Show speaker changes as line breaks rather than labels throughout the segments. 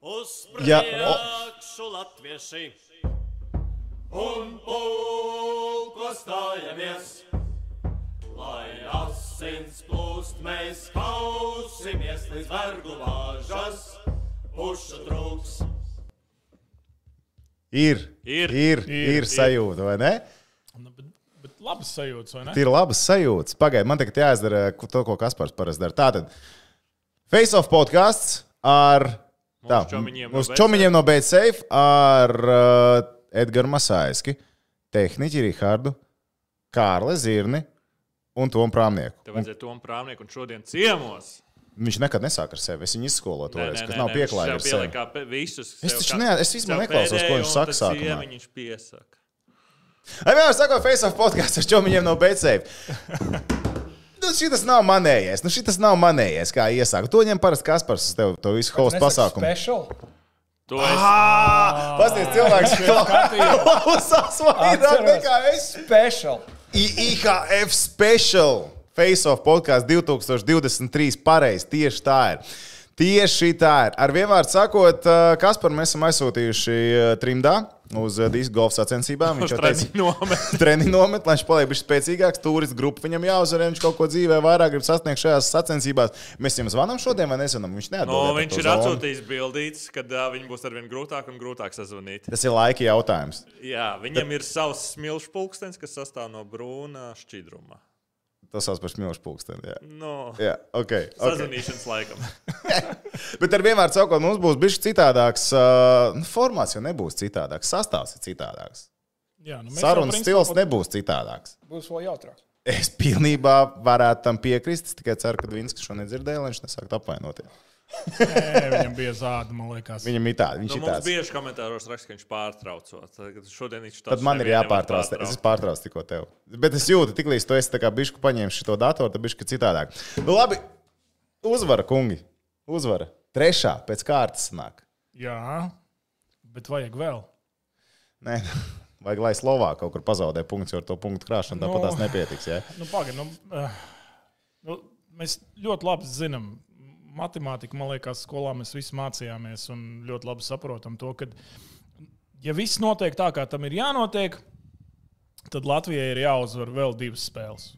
Uz
Ja-
priekšu latvieši! Un pulko stājamies, lai asins plūst, mēs kausimies līdz vergu vāžas, pušu trūks.
Ir, ir,
Ir.
ir,
Ir,
ir sajūta, vai ne?
Nu, bet, bet labas sajūtas, vai ne?
Ir labas sajūtas. Pagaidiet, man tagad jāizdara ko- to, ko Kaspars parasti dara. Tātad, Face of podkāsts ar tā,
čomiņiem no
uz
Bad
čomiņiem no BCF ar uh, Edgars Masāiski, tehniķi Rihardu, Kārli Zirni un Tomu Prāmnieku.
Tev vajadzēja tom prāmnieku un šodien ciemos.
Viņš nekad nesāk ar sevi. Es viņu izskoloju to reizi, kas nav pieklājīgs. ar sevi.
Kā visus.
Es
sev
taču
kā-
ne, es vispār
sev
neklausos, ko
pēdējo,
viņš
un
saka
tad
sākumā.
ciemiņu Viņš piesaka.
Ai, vienmēr sakot, face off podkāsts ar čomiņiem no BCF. Nu, šis nav manējais. Nu, šis nav manējais, kā iesāku. To ņem parasti Kaspars uz tevi, to visu host pasākumu.
Special.
To es
Pastāstiet, cilvēks, klausās vairāk
Atceros.
nekā es.
Special.
I- IHF special face off podkāsts 2023. Pareizi, tieši tā ir. Tieši tā ir. Ar vienvārdu sakot, kas par mēs esam aizsūtījuši eh, trimdā uz eh, disku golfa sacensībām. Viņš jau teica,
nomēju.
treniņu nomet, lai viņš paliek bijis spēcīgāks. Turistu grupu viņam jāuzvar, ja viņš kaut ko dzīvē vairāk grib sasniegt šajās sacensībās. Mēs viņam zvanām šodien, vai nesanām? Viņš
No,
neatbild.
viņš ir atsūtījis bildītas, kad uh, viņi būs arvien grūtāk un grūtāk sazvanīt.
Tas ir laika jautājums.
Jā, viņam ir savs smilšu pulkstenis, kas sastāv no brūna šķidruma.
Tas sauc par smilšu pulksteni. Jā,
No
jā ok. okay.
sazvanīšanas laikam.
Bet ar vienmēr sakot, mums būs bijis citādāks uh, nu, formāts, jo nebūs citādāks. Sastāvs ir citādāks.
Jā, nu, mēs jau
Sarunas
principā
stils nebūs citādāks.
Būs vēl jautrāk.
Es pilnībā varētu tam piekrist. Es tikai ceru, ka Vinskis šo nedzirdēja, lai viņš nesāktu apvainoties.
Nē, viņam bija zāda, man liekas.
Viņam ir tāds, viņš
Nu,
ir
mums
tāds.
bieži komentāros raksta, ka viņš pārtraucot. Tagad Šodien viņš tāds
Tad man ir
nevienu nevar
jāpārtrauc. te- Es
pārtraukt.
pārtraucu tikko tevi. Bet es jūtu, tik līdz tu esi tā kā bišku paņēmis šo datoru, tad bišku citādāk. Nu, labi, uzvara, kungi. Uzvara. Trešā pēc kārtas nāk.
Jā, bet vajag vēl.
Nē, vajag, lai Slovākija kaut kur pazaudē punktus, jo ar to punktu krāšanu
Nu.
tāpat tās nepietiks. Ja?
Nu, pagaid, nu, eh, nu, mēs ļoti labi zinām, matemātiku, man liekas, skolā mēs visi mācījāmies un ļoti labi saprotam to, ka, ja viss notiek tā, kā tam ir jānotiek, tad Latvijai ir jāuzvar vēl divas spēles.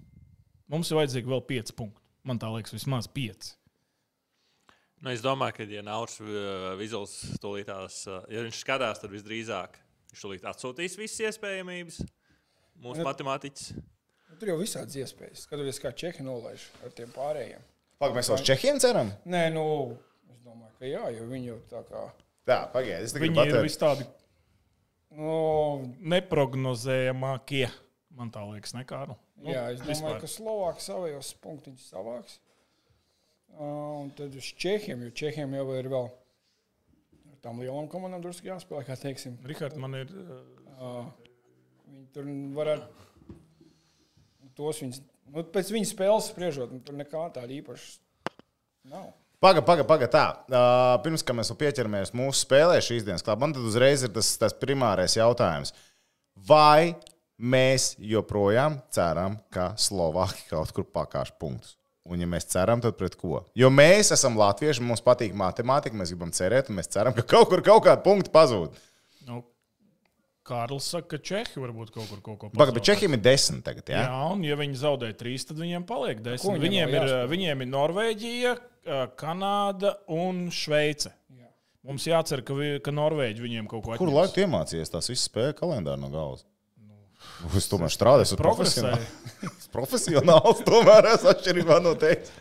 Mums ir vajadzīgi vēl pieci punkti. Man tā liekas, vismaz pieci.
Nu, es domāju, ka, ja Nauris uh, Vizels tūlītās, uh, ja viņš skatās, tad visdrīzāk viņš tūlīt atsūtīs visas iespējamības. Mūsu matemātiķis.
Nu, Tur jau visādas iespējas. Skatoties, kā čehi nolaiž ar tiem pārējiem.
Pagaidām, mēs uz Čehiem ceram?
Nē, nu, es domāju, ka jā, jo viņi jau tā kā.
Jā, pagaidiet, es tikai
Viņi ir
pateicu.
vis tādi
Nu,
neprognozējamākie. Man tā liekas, nekā. Nu,
jā, es domāju, ka Slovākija savējos punktiņus savāks. Uh, Un tad uz Čehiem, jo Čehiem jau ir vēl ar tām lielām komandām drusku jāspēlē, kā teiksim.
Rihards, man ir. eh,
Viņi tur varētu. Tos viņus, nu, pēc viņas spēles spriežot, nu, tur nekā tāda īpaša nav.
Pagaidām, pagaidām, paga, tā. Uh, pirms kā mēs vēl pieķeramies mūsu spēlē šīs dienas klāta, man tad uzreiz ir tas, tas primārais jautājums. Vai mēs joprojām ceram, ka Slovāki kaut kur pakāš punktus? Un, ja mēs ceram, tad pret ko? Jo mēs esam latvieši, mums patīk matemātika, mēs gribam cerēt, un mēs ceram, ka kaut kur kaut kāda punkta pazūd.
Nu, Kārlis saka, ka Čehi varbūt kaut kur kaut ko
Pagaidām,
pazaudē.
bet Čehijam ir desmit tagad. Jā?
Jā, un ja viņi zaudē trīs, tad viņiem
Nu,
paliek
Ko
desmit.
viņiem
Viņiem
vēl
ir, eh,
jāspēlē?
viņiem ir Norvēģija, eh, Kanāda un Šveice.
Jā.
Mums jācer, ka, vi, ka Norvēģi viņiem kaut ko
Kur laiku tu iemācījies tās visas spēļu kalendāru no galvas? Nu, es tomēr strādāju, esmu
Progresēji.
profesionāls. Es profesionāls tomēr esmu atšķirībā no tevis.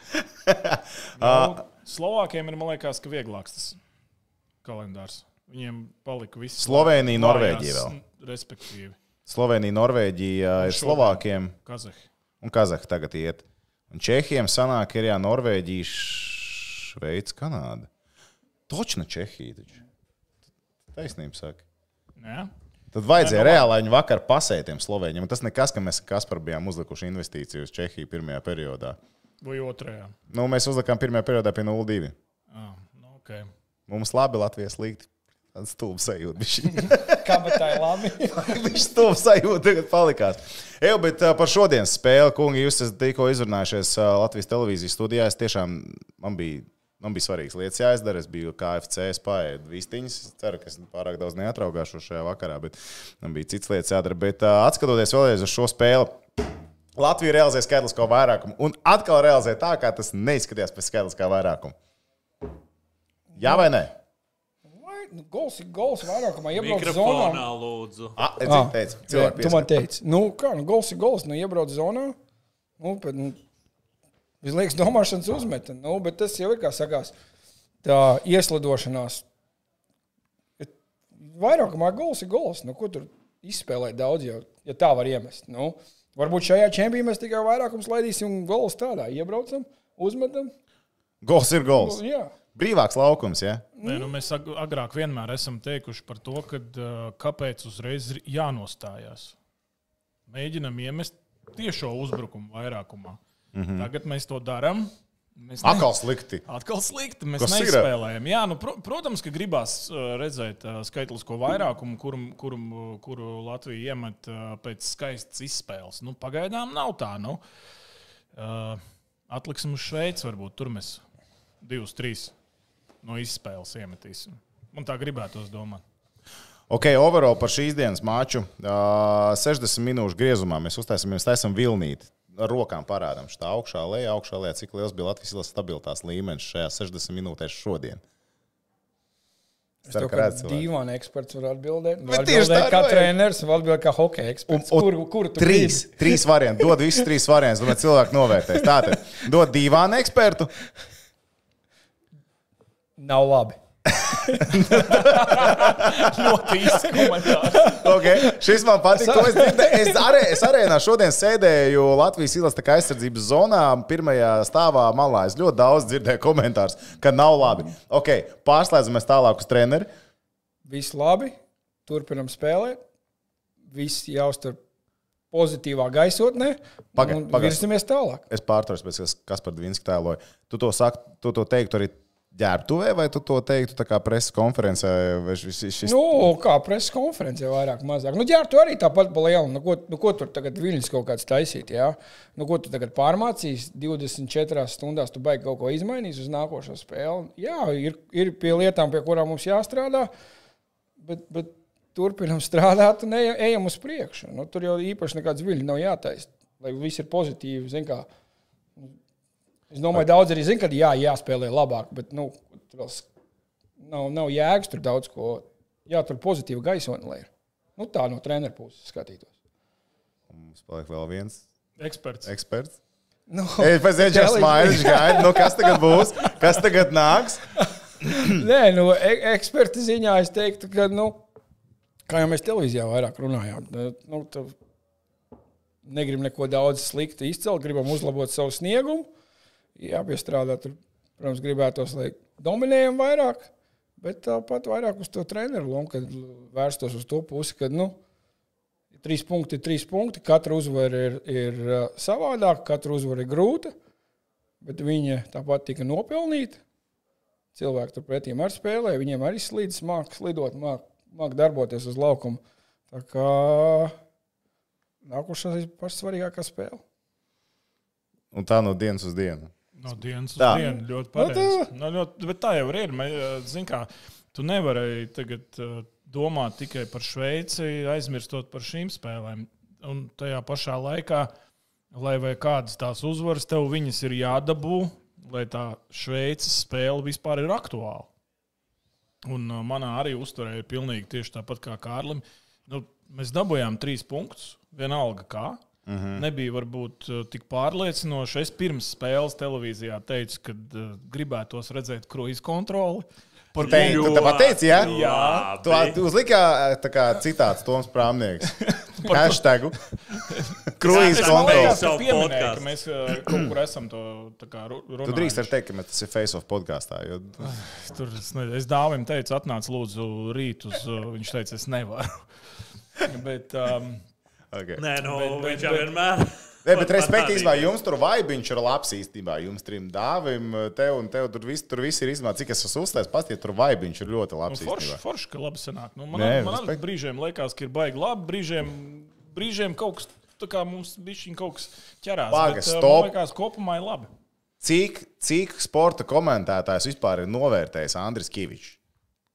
Nu,
Ah.
Slovākiem ir, man liekas, ka vieglāks tas kalendārs. Viņiem palika viss.
Slovenija, Norvēģija
mājās,
vēl.
Respektīvi,
Slovenija, Norvēģija eh, ir
šodien.
Slovākiem
Kazahi.
un Kazahstānā tagad iet. Un Čehijam sanāk, ir jā, Norvēģija, Šveice, Kanāda. Točna Čehija. Taču. Taisnība saka.
Jā.
Tad vajadzēja reāli, lai viņi vakar pasētiem Slovēņiem. Un Tas nekas, ka mēs Kaspar bijām uzlikuši investīciju uz Čehiju pirmajā periodā.
Vai otrajā?
Nu, mēs uzlikām pirmajā periodā pie 0,2.
Ah, nu, okay.
Mums labi, Latvijas slikti. Tāds stulbs sajūta.
Kā bet tā ir labi?
Viņš stulbs sajūta tagad palikās. Ej, bet ā, par šodienas spēli, kungi, jūs esat tikko izrunājušies ā, Latvijas televīzijas studijā. Es tiešām man bija Man bija svarīgas lietas jāizdara. Es biju KFC, spēju vistiņas. Es ceru, ka es pārāk daudz neatraugāšu šajā vakarā, bet man bija citas lietas jādara. Bet uh, atskatoties vēlreiz uz šo spēli, Latvija realizēja skaitlisko vairākumu un atkal realizēja tā, kā tas neizskatījās pēc skaitliskā vairākuma. Jā vai nē?
Vai- nu, Gols ir gols vairākumā, iebraukt zonā.
Mikrofonā, lūdzu.
A, es
Ah,
ah, teicu,
Cilvēki, tu man
cilvēki.
teici, nu, kā, nu, gols ir gols, nu, iebraukt zonā. Nu, bet, nu, Visliekas domāšanas uzmetne, nu, bet tas jau ir, kā sakās, tā ieslidošanās. Bet Vairākumā gols ir gols, nu, ko tur izspēlēt daudz, jau, ja tā var iemest. Nu, varbūt šajā čempionā mēs tikai vairākums laidīsim gols tādā, iebraucam, uzmetam.
Gols ir gols.
Nu, jā.
Brīvāks laukums, ja?
Nē, nu, mēs ag- agrāk vienmēr esam teikuši par to, kad, uh, kāpēc uzreiz ir jānostājās. Mēģinam iemest tiešo uzbrukumu vairākumā. Mm -hmm. Tagad mēs to darām. Mēs ne-
Atkal slikti.
Atkal slikti. Mēs
Kas ir?
nespēlējam. Jā, nu, pro, protams, ka gribās uh, redzēt uh, skaitlisko vairākumu, kuru, kuru, kuru Latvija iemet uh, pēc skaistas izspēles. Nu, pagaidām nav tā. Nu. Uh, Atliksim uz Šveici, varbūt tur mēs divus, trīs no izspēles iemetīsim. Man tā gribētos domāt.
Ok, overall par šīs dienas maču. Uh, 60 minūšu griezumā mēs uztaisām, mēs taisām vilnīti. Ar rokām parādām šo augšā, lejā, augšā, lejā. Cik liels bija Latvijas Banka stabilitātes līmenis šajā 60 minūtēs šodien?
Es
Ceru,
tev
ka
kā
redz cilvēku.
dīvainā eksperts var atbildēt.
Bet
Var
tieši tā
atbildēt kā
arī vajag.
treneris, var atbildēt kā hokeja eksperts.
Un- un
Kur, kur tu
Trīs,
gribi?
trīs varianti. Dod visus trīs variantus, lai cilvēki novērtēs. Tātad, dod divānu ekspertu.
Nav labi.
Ļoti īsts komentārs.
Okay. Šis man patīk. Es, dzirdēju. es, arē, es arēnā šodien sēdēju Latvijas ielas aizsardzības zonā, pirmajā stāvā malā. Es ļoti daudz dzirdēju komentārus, ka nav labi. Okay. Pārslēdzamies tālāk uz treneri.
Viss labi. Turpinam spēlēt. Viss jāuztur pozitīvā gaisotnē.
Pagaid,
un
pagaid.
Virsimies tālāk.
Es pārtraucu, pēc tam, kas par Dvīnsku tēloju. Tu to, sak, tu to teiktu arī ģērbtuvē, vai tu to teiktu tā kā preses konferencē? Vai šis, šis...
Nu, kā preses konferencē, vairāk, mazāk. Nu, jā, tu arī tāpat pa lielu. Nu, ko, nu, ko tur tagad viļņus kaut kāds taisīt? Jā? Nu, ko tu tagad pārmācīsi? 24 stundās tu baigi kaut ko izmainīs uz nākošo spēli. Jā, ir, ir pie lietām, pie kurām mums jāstrādā, bet, bet turpinam strādāt un ejam, ejam uz priekšu. Nu, tur jau īpaši nekāds viļņu nav jātaisa, lai viss ir pozitīvi. zini kā. Es domāju, daudz arī zina, ka jā, jāspēlē labāk, bet nu, tur vēl s- nav, nav jēgas tur daudz ko. Jā, tur pozitīva gaisotne, lai ir. Nu, tā no treneru puses skatītos.
Mums paliek vēl viens
Eksperts.
eksperts.
Nu,
Ei, pēc tam viņš
Telefons.
smaida, viņš gaida. Nu, kas tagad būs? Kas tagad nāks?
nē, nu, e eksperta ziņā es teiktu, ka, nu, kā jau mēs televīzijā vairāk runājām, nu, tu negribam neko daudz sliktu izcelt, gribam uzlabot savu sniegumu. Jā, piestrādāt, tur, protams, gribētos, lai dominējam vairāk, bet tāpat vairāk uz to treneru lomu, kad vērstos uz to pusi, kad, nu, trīs punkti, ir trīs punkti, katra uzvara ir, ir ā, savādāka, katra uzvara ir grūta, bet viņa tāpat tika nopelnīta. Cilvēki turpretī arī spēlē, viņiem arī slīd, mākslinieks lidot, mākslinieks darboties uz laukuma. Tā kā nākošais ir pats svarīgākais spēle.
Un tā no dienas uz dienu.
No dienas uz
Tā.
dienu ļoti
Nu, tā-
pareizi. Nu, ļoti, bet tā jau ir. Mē- Zini, kā tu nevarēji tagad eh, domāt tikai par Šveici, aizmirstot par šīm spēlēm. Un tajā pašā laikā, lai vai kādas tās uzvaras tev viņas ir jādabū, lai tā Šveices spēle vispār ir aktuāla. Un eh, manā arī uzturē ir pilnīgi tieši tāpat kā Kārlim. Nu, mēs dabūjām trīs punktus, vienalga kā. Mm
Mhm.
-hmm. Nebija varbūt eh, tik pārliecinoši. Es pirms spēles televīzijā teicu, ka uh, gribētos redzēt kruīzu kontroli. Par
Tei-
ko-
tu tā pateici, jā?
Jā,
Tu at- uzliki ā, tā kā citāts Toms Prāmnieks. Hashtag. Kruīz
Es
Kontrols.
domāju,
kontrols.
ka
Savu
pieminēju,
podcastu.
ka mēs eh, kaut kur esam to tā kā ru- runājuši.
Tu drīkst ar teikt, ka mēs- tas ir Face of podkāstā. Jo...
Tur es, ne, es dāvim teicu, atnāc lūdzu rīt uz, uh, viņš teica, es nevaru. Bet, um,
Okay. Nē,
Nē, nu,
Bet- bet-
viņš jau
bet-
vienmēr.
bet
Pat- pat
respektīvā
tādīgi.
jums tur vaibiņš ir labs īstenībā. Jums trim dāvim, tev un tev tur viss tur viss ir izmā. Cik es esmu uzstājis, pastiet, tur vaibiņš ir ļoti labs
nu, forši,
īstenībā.
forši, ka labi sanāk. Nu, man
Nē,
Nē, man arī
respekt.
brīžiem liekas, ka ir baigi labi, brīžiem, brīžiem kaut kas, tā kā mums bišķiņ kaut kas ķerās.
Paga,
bet, eh,
stop.
Man liekas, kopumā ir labi.
Cik, cik sporta komentētājs vispār ir novērtējis Andris Kavičs?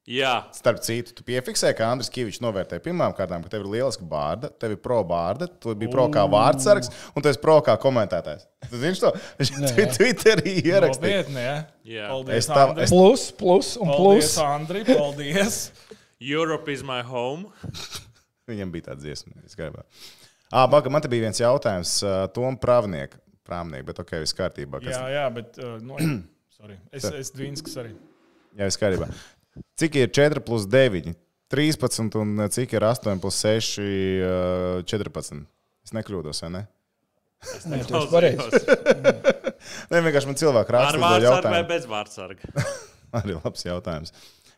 Jā,
Starp citu, tu piefiksēji, ka Andris Kavičs novērtēja pirmām kārtām, ka tev ir lieliska bārda, tev ir pro bārda, tu biji pro kā vārdsargs un tu esi pro kā komentētājs. Tu zini to? Viņš to Twitterī ierakstīja.
Nopietni, jā.
Jā.
Paldies,
Es tā-
Andri.
es-
Plus, plus un
Paldies,
plus.
Andri. Paldies.
Europe is my home.
Viņam bija tāds dziesma, es gribēju. Ah, Baga, man te bija viens jautājums uh, Tom Pravniekam. Prāvnieki, bet ok, viss kārtībā. Kas...
jā, jā, bet. Uh, no, sorry. Es, es Dvīnskas arī.
Jā, viss kārtībā. Cik ir 4 plus 9? 13 un eh, cik ir 8 plus 6? eh, 14. Es nekļūdos, vai ne?
Nē, tu esi pareizs.
Nē, Nu, vienkārši man cilvēki
Ar
rāda
vārdsargu vai bez vārdsarga?
Arī labs jautājums.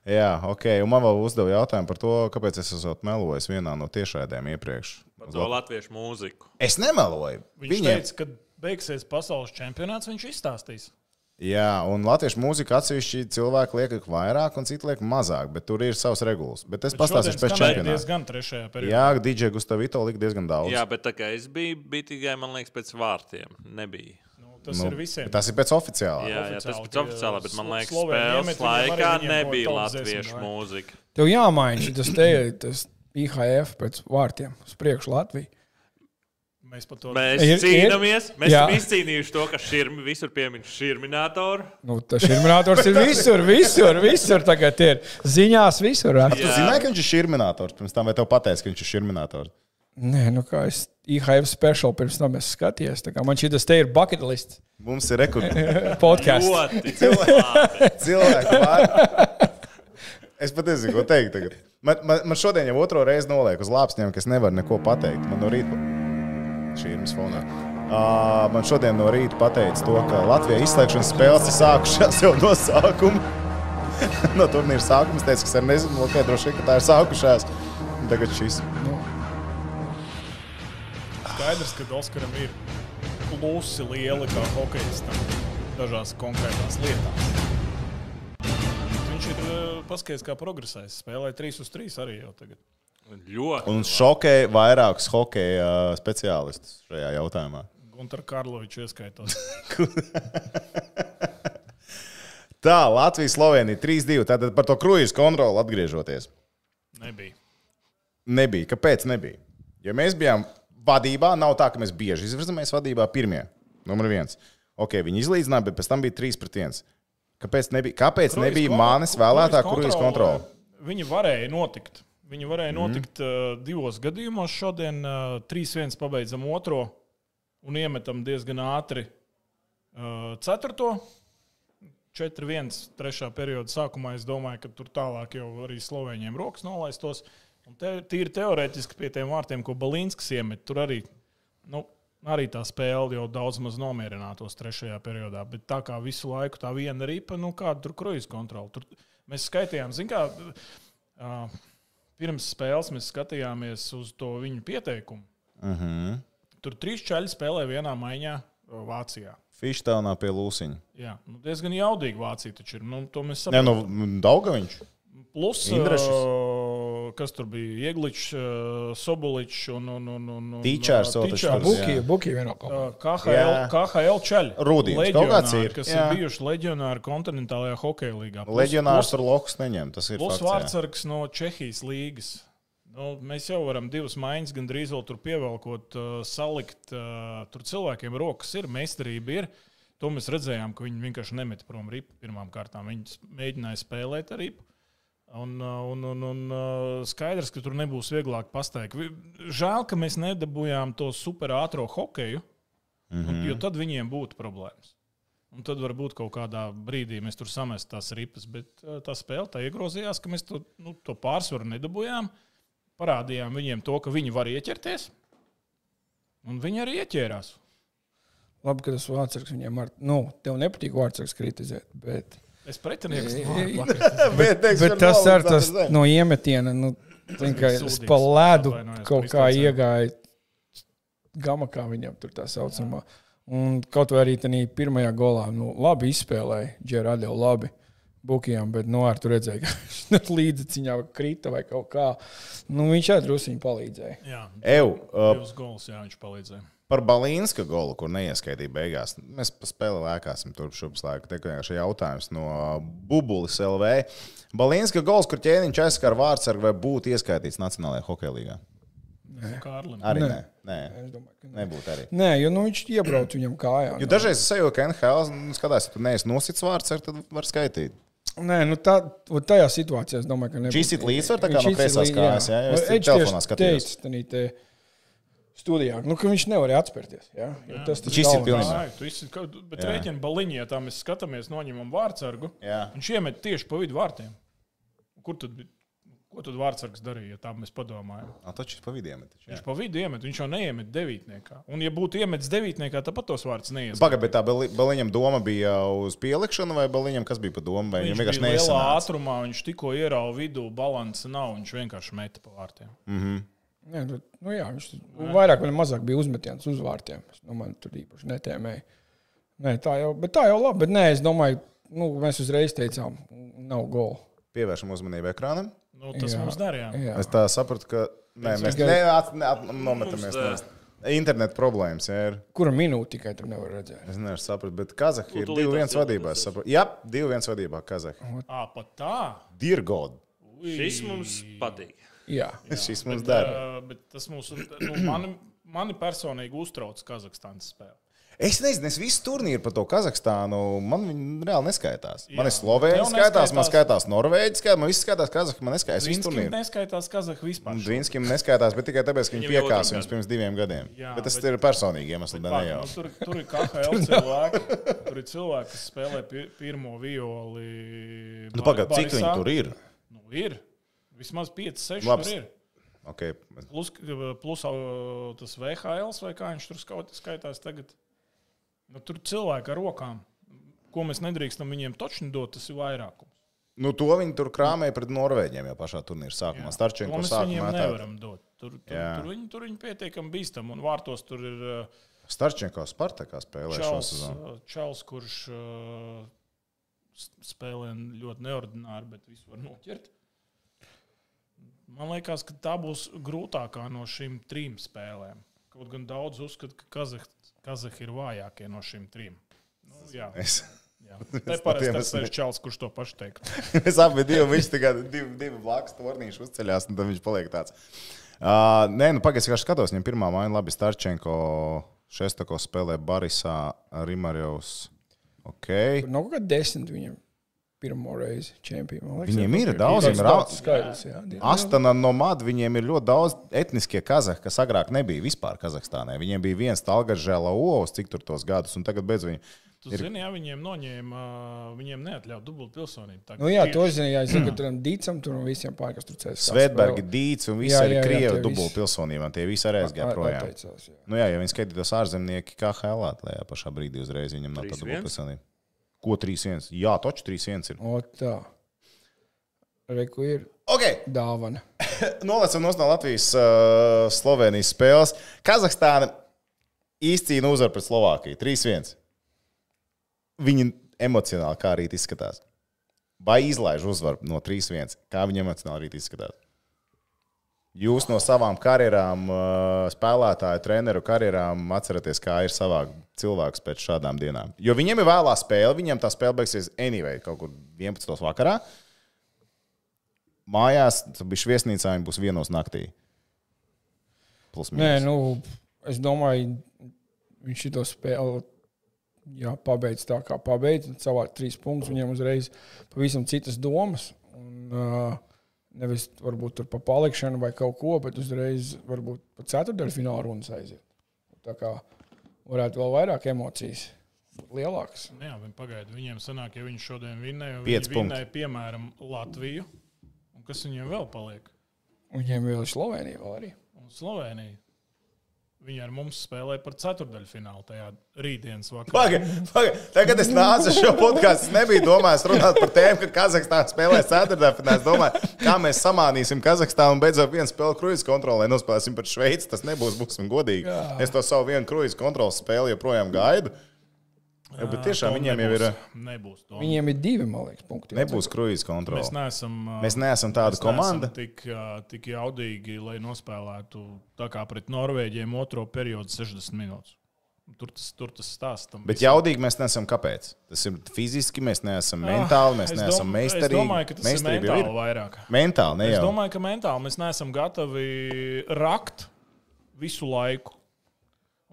Jā, ok. Un man vēl uzdeva jautājumu par to, kāpēc es esmu melojis vienā no tiešraidēm iepriekš.
Par to latviešu mūziku.
Es nemeloju.
Viņš
Viņiem.
teica, ka beigsies pasaules čempionāts, viņš izstāstīs.
Jā, un latviešu mūzika atsevišķi cilvēki liek vairāk, un citi liek mazāk, bet tur ir savs regulas. Bet es
Bet
pastāstīšu
šodien
pēc
skanēja
čempionāta.
Diezgan trešajā periodā.
Jā, DJ Gustavito lika diezgan daudz.
Jā, bet tā kā es biju, bija tikai, man liekas, pēc vārtiem. Nebija.
Nu, tas nu, ir visiem.
bet Tas ir pēc oficiālā.
Jā, jā tas
Oficiāli
bija
tie
oficiāli, bet man
slo-
liekas,
Slovēni,
spēles
Iemetļi, viņiem arī
laikā
viņiem
nebija
kaut kāds
latviešu
dziesmu, vai?
mūzika.
Tev jāmaina šis te tas IHF pēc vārtiem uz priekšu Latviju.
Mēs par to
Mēs
Ir-
ir,
ir?
cīnāmies, mēs
Jā.
esam izcīnījuši to, ka širmi, visur piemin šurminātoru.
Nu, tas šurminātors ir visur, visur, visur. Tagad ir ziņās, visur. ā.
Tu
Jā.
zināji, ka viņš ir šurminātors. Pirms tam vai tev pateica, ka viņš ir šurminātors?
Nē, nu kā es IHF speciālu pirms tam esmu skatījies. tā kā Man šī tas te ir bucket list
Mums ir rekords.
podkāsts.
Ļoti labi.
cilvēki. var- Es pat nezinu, ko teikt. Tagad. Man, man, man šodien jau otro reizi noliek uz lāpstiem, ka es nevaru neko pateikt. Man no rīta šī ir mūsu fonā. Uh, man šodien no rīta pateica to, ka Latvijas izslēgšanas spēles ir sākušās jau no sākuma. no turnīra sākuma es teicu, ka es arī nezinu, ok, droši vien, ka tā ir sākušās. Un Tagad šis.
Skaidrs, ka Oskaram ir plusi lieli kā hokeistam dažās konkrētās lietās. Viņš ir eh, paskaidrs, kā progresējis. Spēlēja 3 uz 3 arī jau tagad.
Ļoti.
Un šokēja vairākus hokeja uh, speciālistus šajā jautājumā.
Gunter Karlovičs ieskaitot.
Tā, Latvija-Slovenija 3-2. Tātad par to kruīzu kontroli atgriežoties.
Nebija.
Nebija. Kāpēc nebija? Ja mēs bijām vadībā, nav tā, ka mēs bieži izvirzāmies vadībā pirmie. Numur viens. Ok, viņi izlīdzināja, bet pēc tam bija 3 pret 1. Kāpēc nebija, kāpēc
Krujas
nebija
kon-
manis vēlētā
Krujas
kurijas kontrole?
Viņi varēja notikt. Viņi varēja
Mhm.
notikt mm. divos gadījumos. Šodien uh, 3-1 pabeidzam otro un iemetam diezgan ātri uh, ceturto. 4-1 trešā perioda sākumā es domāju, ka tur tālāk jau arī slovēņiem rokas nolaistos. Un te, tīri teorētiski pie tiem vārtiem, ko Balīnskis iemet, tur arī, nu, arī tā spēle jau daudz maz nomierinātos trešajā periodā. Bet tā kā visu laiku tā viena ripa, nu kāda tur kruīza kontrola. Tur mēs skaitījām, zinām, kā uh, pirms spēles mēs skatījāmies uz to viņu pieteikumu.
Uh -huh.
Tur trīs čaļi spēlē vienā maiņā ā, Vācijā.
Fištāvnā pie Lūsiņa.
Jā, nu diezgan jaudīgi Vācija taču ir. Nu, to mēs
Nē,
saprotam.
nu, Daugaviņš.
Plus,
Indrašis.
uh, kas tur bija? Iegličs, uh, Sobuļs un, un, un, un, un
Tīčārs vēl taču tur bija.
Buki, buki vienalga.
Uh, KHL,
Jā.
KHL čaļi.
Rudīns, kaut kāds ir.
Leģionāri, Kas
Jā.
ir bijuši leģionāri kontinentālajā hokeja līgā. Plus-
Leģionārs ar lokus neņem. Tas ir
Plus
fakts. jā.
vārdsargs no Čehijas līnijas. Nu, mēs jau varam divas maiņas, gan drīz vēl tur pievelkot, uh, salikt. Uh, tur cilvēkiem rokas ir, meistarība ir. To mēs redzējām, ka viņi vienkārši nemeta prom ripu pirmām kārtām. Viņi s- mēģināja spēlēt ar ripu. Un, uh, un, un, un uh, skaidrs, ka tur nebūs vieglāk pasteigt. Vi- Žēl, ka mēs nedabūjām to superātro hokeju, mm
Mhm.
-hmm. jo tad viņiem būtu problēmas. Un tad varbūt kaut kādā brīdī mēs tur samest tās ripas, bet eh, tā spēle tā iegrozījās, ka mēs to, nu, to pārsvaru nedabūjām. Parādījām viņiem to, ka viņi var ieķerties, un viņi arī ieķērās.
Labi, ka tas vārdsargs viņiem ar... Nu, tev nepatīk vārdsargs kritizēt, bet...
Es pretinieks
Jā,
Bet, teiks,
Bet
ka
tas
nav,
ar tas
tātad, nē.
no iemetiena, nu, zin, ka es
Sūdīgs.
pa ledu
Atvainojos
kaut
par
kā
izteicienu.
iegāju gama, kā viņam tur tā saucamā. Un kaut vai arī tajā pirmajā golā, nu, labi izspēlēja Džerādi jau labi. Bukijām, bet nu, ar to redzēju, ka viņš līdziņā krita vai kaut kā. Nu, viņš arī druskuļi palīdzēja.
Jā,
Ev, uh,
divas gols, jā, viņš palīdzēja.
Par Balīnska golu, kur neieskaitīja beigās. Mēs pa spēli lēkāsim turp šupuslēku. Te vienkārši jautājums no Bubulis LV. Balīnska gols, kur ķēniņš aizskar vārdsargu, vai būtu ieskaitīts Nacionālajā hokeja līgā?
Nu, Kārlim.
Arī nē.
Nē.
nē.
Es domāju, ka nē.
Nebūtu arī.
Nē, jo nu, viņš iebrauc viņam kājā. nu,
Jo dažreiz es eju, ka NHL nu, skatās, ja tu neesi nosits vārds, tad var skaitīt.
Nē, nu tā, un tajā situācijā es domāju, ka nebūs.
Šis ir līdzsvars, tā kā
Viņš
no kreisās
izcīlīja,
kājas, jā, jo es
Edž
telefonā
tieši
skatījos.
teica tenī te Studijā, nu, ka viņš nevarēja atspērties. Jā, jo tas tas
Nu, Šis ir
galvenais.
pilnīgi.
Nē, tu esi, ka- bet rēķina baliņā, ja tā mēs skatāmies, noņemam vārdsargu.
Jā.
Viņš iemet tieši pa vidu vārtiem. Kur tad, bi- ko tad vārdsargs darīja, ja tā mēs padomājam?
Nā, Nu, Taču pa vidiem. ir taču, jā.
Viņš pa vidu iemet, viņš jau neiemet devītniekā. Un, ja būtu iemetis devītniekā, tad pat tos vārds neies.
Pagaidām, bet tā bali- baliņam doma bija uz pielikšanu, vai baliņam kas bija pa domu, vai
Viņš
viņam vienkārši
vienkārši bija lielā
neizsanāca?
ātrumā, viņš tikko ierauga vidū, balanss nav, viņš vienkārši meta pa vārtiem.
Nē, nu, nu jā, viņš nu, vairāk vai mazāk bija uzmetiens uz vārtiem. Es domāju, tur īpaši netēmēja. Nē, tā jau, bet tā jau labi. Bet nē, es domāju, nu, mēs uzreiz teicām, nav gola.
Pievēršam uzmanību ekrānam.
Nu, tas
Jā.
jā. mums darīja.
Jā.
Es tā sapratu, ka nē, mēs
tikai-
Mums,
neatrādāmies.
ā,
Internet problēmas, jā, ir.
Kura minūte tikai tur nevar redzēt?
Es nevaru saprast, bet Kazahija ir
Nu, tu
2-1
līdzās
vadībā. es saprotu. Jā, 2-1 vadībā Kazahija.
Ah, pat tā.
Dirgod.
Šis mums patīk.
Jā,
Šis mums dara.
Uh, bet tas mums, nu, mani, mani personīgi uztrauc Kazahstānas spēle.
Es nezinu, es visu turnīru par to Kazahstānu. Man viņa reāli neskaitās. Man
Jā.
ir Slovēnija,
Tev
skaitās, man
neskaitās.
skaitās Norvēģija, skaitās, man viss skaitās Kazahstāna. Man neskaitās visu
Viņš
turnīru.
neskaitās Kazahstānu vispār. šo
Džinskim neskaitās, bet tikai tāpēc, ka viņš
Viņam jau
piekāpās
otru
viņus pirms diviem gadiem. Jā,
Jā,
bet tas
bet-
ir personīgi iemesli, ne
Pār,
jau.
nu, tur, tur ir KL cilvēki, tur ir cilvēki, kas spēlē pi- pirmo violi.
Nu, Pagaidiet, cik viņi tur ir?
Nu, ir. Vismaz 5, 6
Labs.
Labs. tur ir.
Okay.
Plus, k- plus au, tas VHL vai kā viņš tur skaut- skaitās tagad. Nu, tur cilvēki ar rokām. Ko mēs nedrīkstam viņiem točni dot, tas ir vairākums.
Nu, to viņi tur krāmēja pret Norvēģiem jau pašā turnīra sākumā.
To
Starčēnko
mēs viņiem
sākumā tā.
nevaram dot. Tur, tur,
Jā.
tur, viņi, tur viņi pietiekami bīstami un vārtos tur ir. Uh,
Starčēnko Spartakā spēlē šo
Čels,
sezonu.
uh, čels, kurš uh, s- spēlē ļoti neordināri, bet visu var noķert. Man liekas, ka tā būs grūtākā no šīm trim spēlēm. Kaut gan daudz uzskata, ka Kazahs Kazah ir vājākie no šīm trim. Nu, jā,
Es,
jā. Tā ir
patiem
parasti tas
esmu-
ir Čels, kurš to pašu teiktu.
es abi divi, viņš tikai divi, divi blakus turnīši uzceļās, un tad viņš paliek tāds. Uh, nē, nu pagaidi, kā skatos, viņam pirmā māja labi Starčēnko Šestako spēlē Barisā Rimarjovs. Okay.
tur nav Nu, kaut kāda desmit viņam pirmo reizi čempionu.
Viņiem ir daudz, viņiem ir
tāds skaidrs. Jā, diezgan daudz.
Astana nomāda, viņiem ir ļoti daudz etniskie kazahi, kas agrāk nebija vispār Kazahstānā. Viņiem bija viens Talgažēla Ovs, cik tur tos gadus, un tagad bez viņa.
Tu zini, ja viņiem noņēma, uh, viņiem neatļauj dubult pilsonību. tagad
Nu, jā,
tieši.
to zinu, jā, es zinu, ka tur ir dīcam, tur un visiem pārējiem, kas tur cēlās.
Svetbergi, Dīts un visi
Jā,
arī
jā, jā,
krievi
tie
dubult
visi.
pilsonībām, tie visi arī aizgāja projām.
Atteicās, jā.
Nu jā, ja viņi skaitītos ārzemnieki, kā HL, tajā pašā brīdī uzreiz viņam nav tāda
3-1?
dubult pilsonība. Ko 3-1? Jā, toču 3-1 ir.
O, tā. Reku ir
Ok,
dāvana.
nolecam no Latvijas uh, Slovenijas spēles. Kazahstāna izcīna uzvaru pret Slovākiju 3-1. Viņi emocionāli kā rīt izskatās. Vai izlaiž uzvaru no 3-1, kā viņi emocionāli rīt izskatās? Jūs no savām karjerām, uh, spēlētāju, treneru karjerām atceraties, kā ir savākt cilvēkus pēc šādām dienām. Jo viņiem ir vēlā spēle, viņiem tā spēle beigsies anyway, kaut kur 11. vakarā. Mājās, tad bija viesnīcā, viņi būs vienos naktī. Plus
Nē,
mīnus.
nu, es domāju, viņš šo spēli jā, pabeidz tā, kā pabeidz. un Savāc trīs punktus, viņam uzreiz pavisam citas domas. Un, uh, nevis varbūt tur pa palikšanu vai kaut ko, bet uzreiz varbūt pat ceturtdaļu fināla runas aiziet. Tā kā varētu vēl vairāk emocijas, lielākas.
Nu Jā, viņi pagaida. Viņiem sanāk, ja viņi šodien vinnēja,
Pieci
viņi
punkti.
vinnēja, piemēram, Latviju. Un kas viņiem vēl paliek?
Viņiem vēl ir Slovenija vēl arī.
Un Slovenija. Viņi ar mums spēlē par ceturdaļu finālu tajā rītdienas vakarā.
Paga, paga. Tagad es nācu uz šo podkāstu. Es nebiju domājis runāt par tēmu, ka Kazahstāna spēlē ceturtdienā. Es domāju, kā mēs samānīsim Kazahstānu un beidzot vienu spēli kruīzes kontrolē. Nospēlēsim par Šveici. Tas nebūs, būsim godīgi. Jā. Es to savu vienu kruīzes kontrolas spēli joprojām gaidu. Jā, bet tiešām viņiem jau ir. eh,
Nebūs. Tom.
Viņiem ir divi, man liekas, punkti.
Nebūs kruīzes kontrole.
Mēs neesam. ā,
Mēs neesam tāda
mēs
komanda.
Neesam tik, ā, tik jaudīgi, lai nospēlētu tā kā pret Norvēģiem otro periodu 60 minūtes. Tur tas, tur tas stāsts.
Bet jaudīgi mēs neesam. Kāpēc? Tas ir fiziski, mēs neesam mentāli, mēs
Ah, Es
neesam
dom-
meistarīgi.
Es domāju, ka tas
Meistarība
ir
jau
mentāli vairāk.
Mentāli, ne
Es
jau.
domāju, ka mentāli mēs neesam gatavi rakt visu laiku.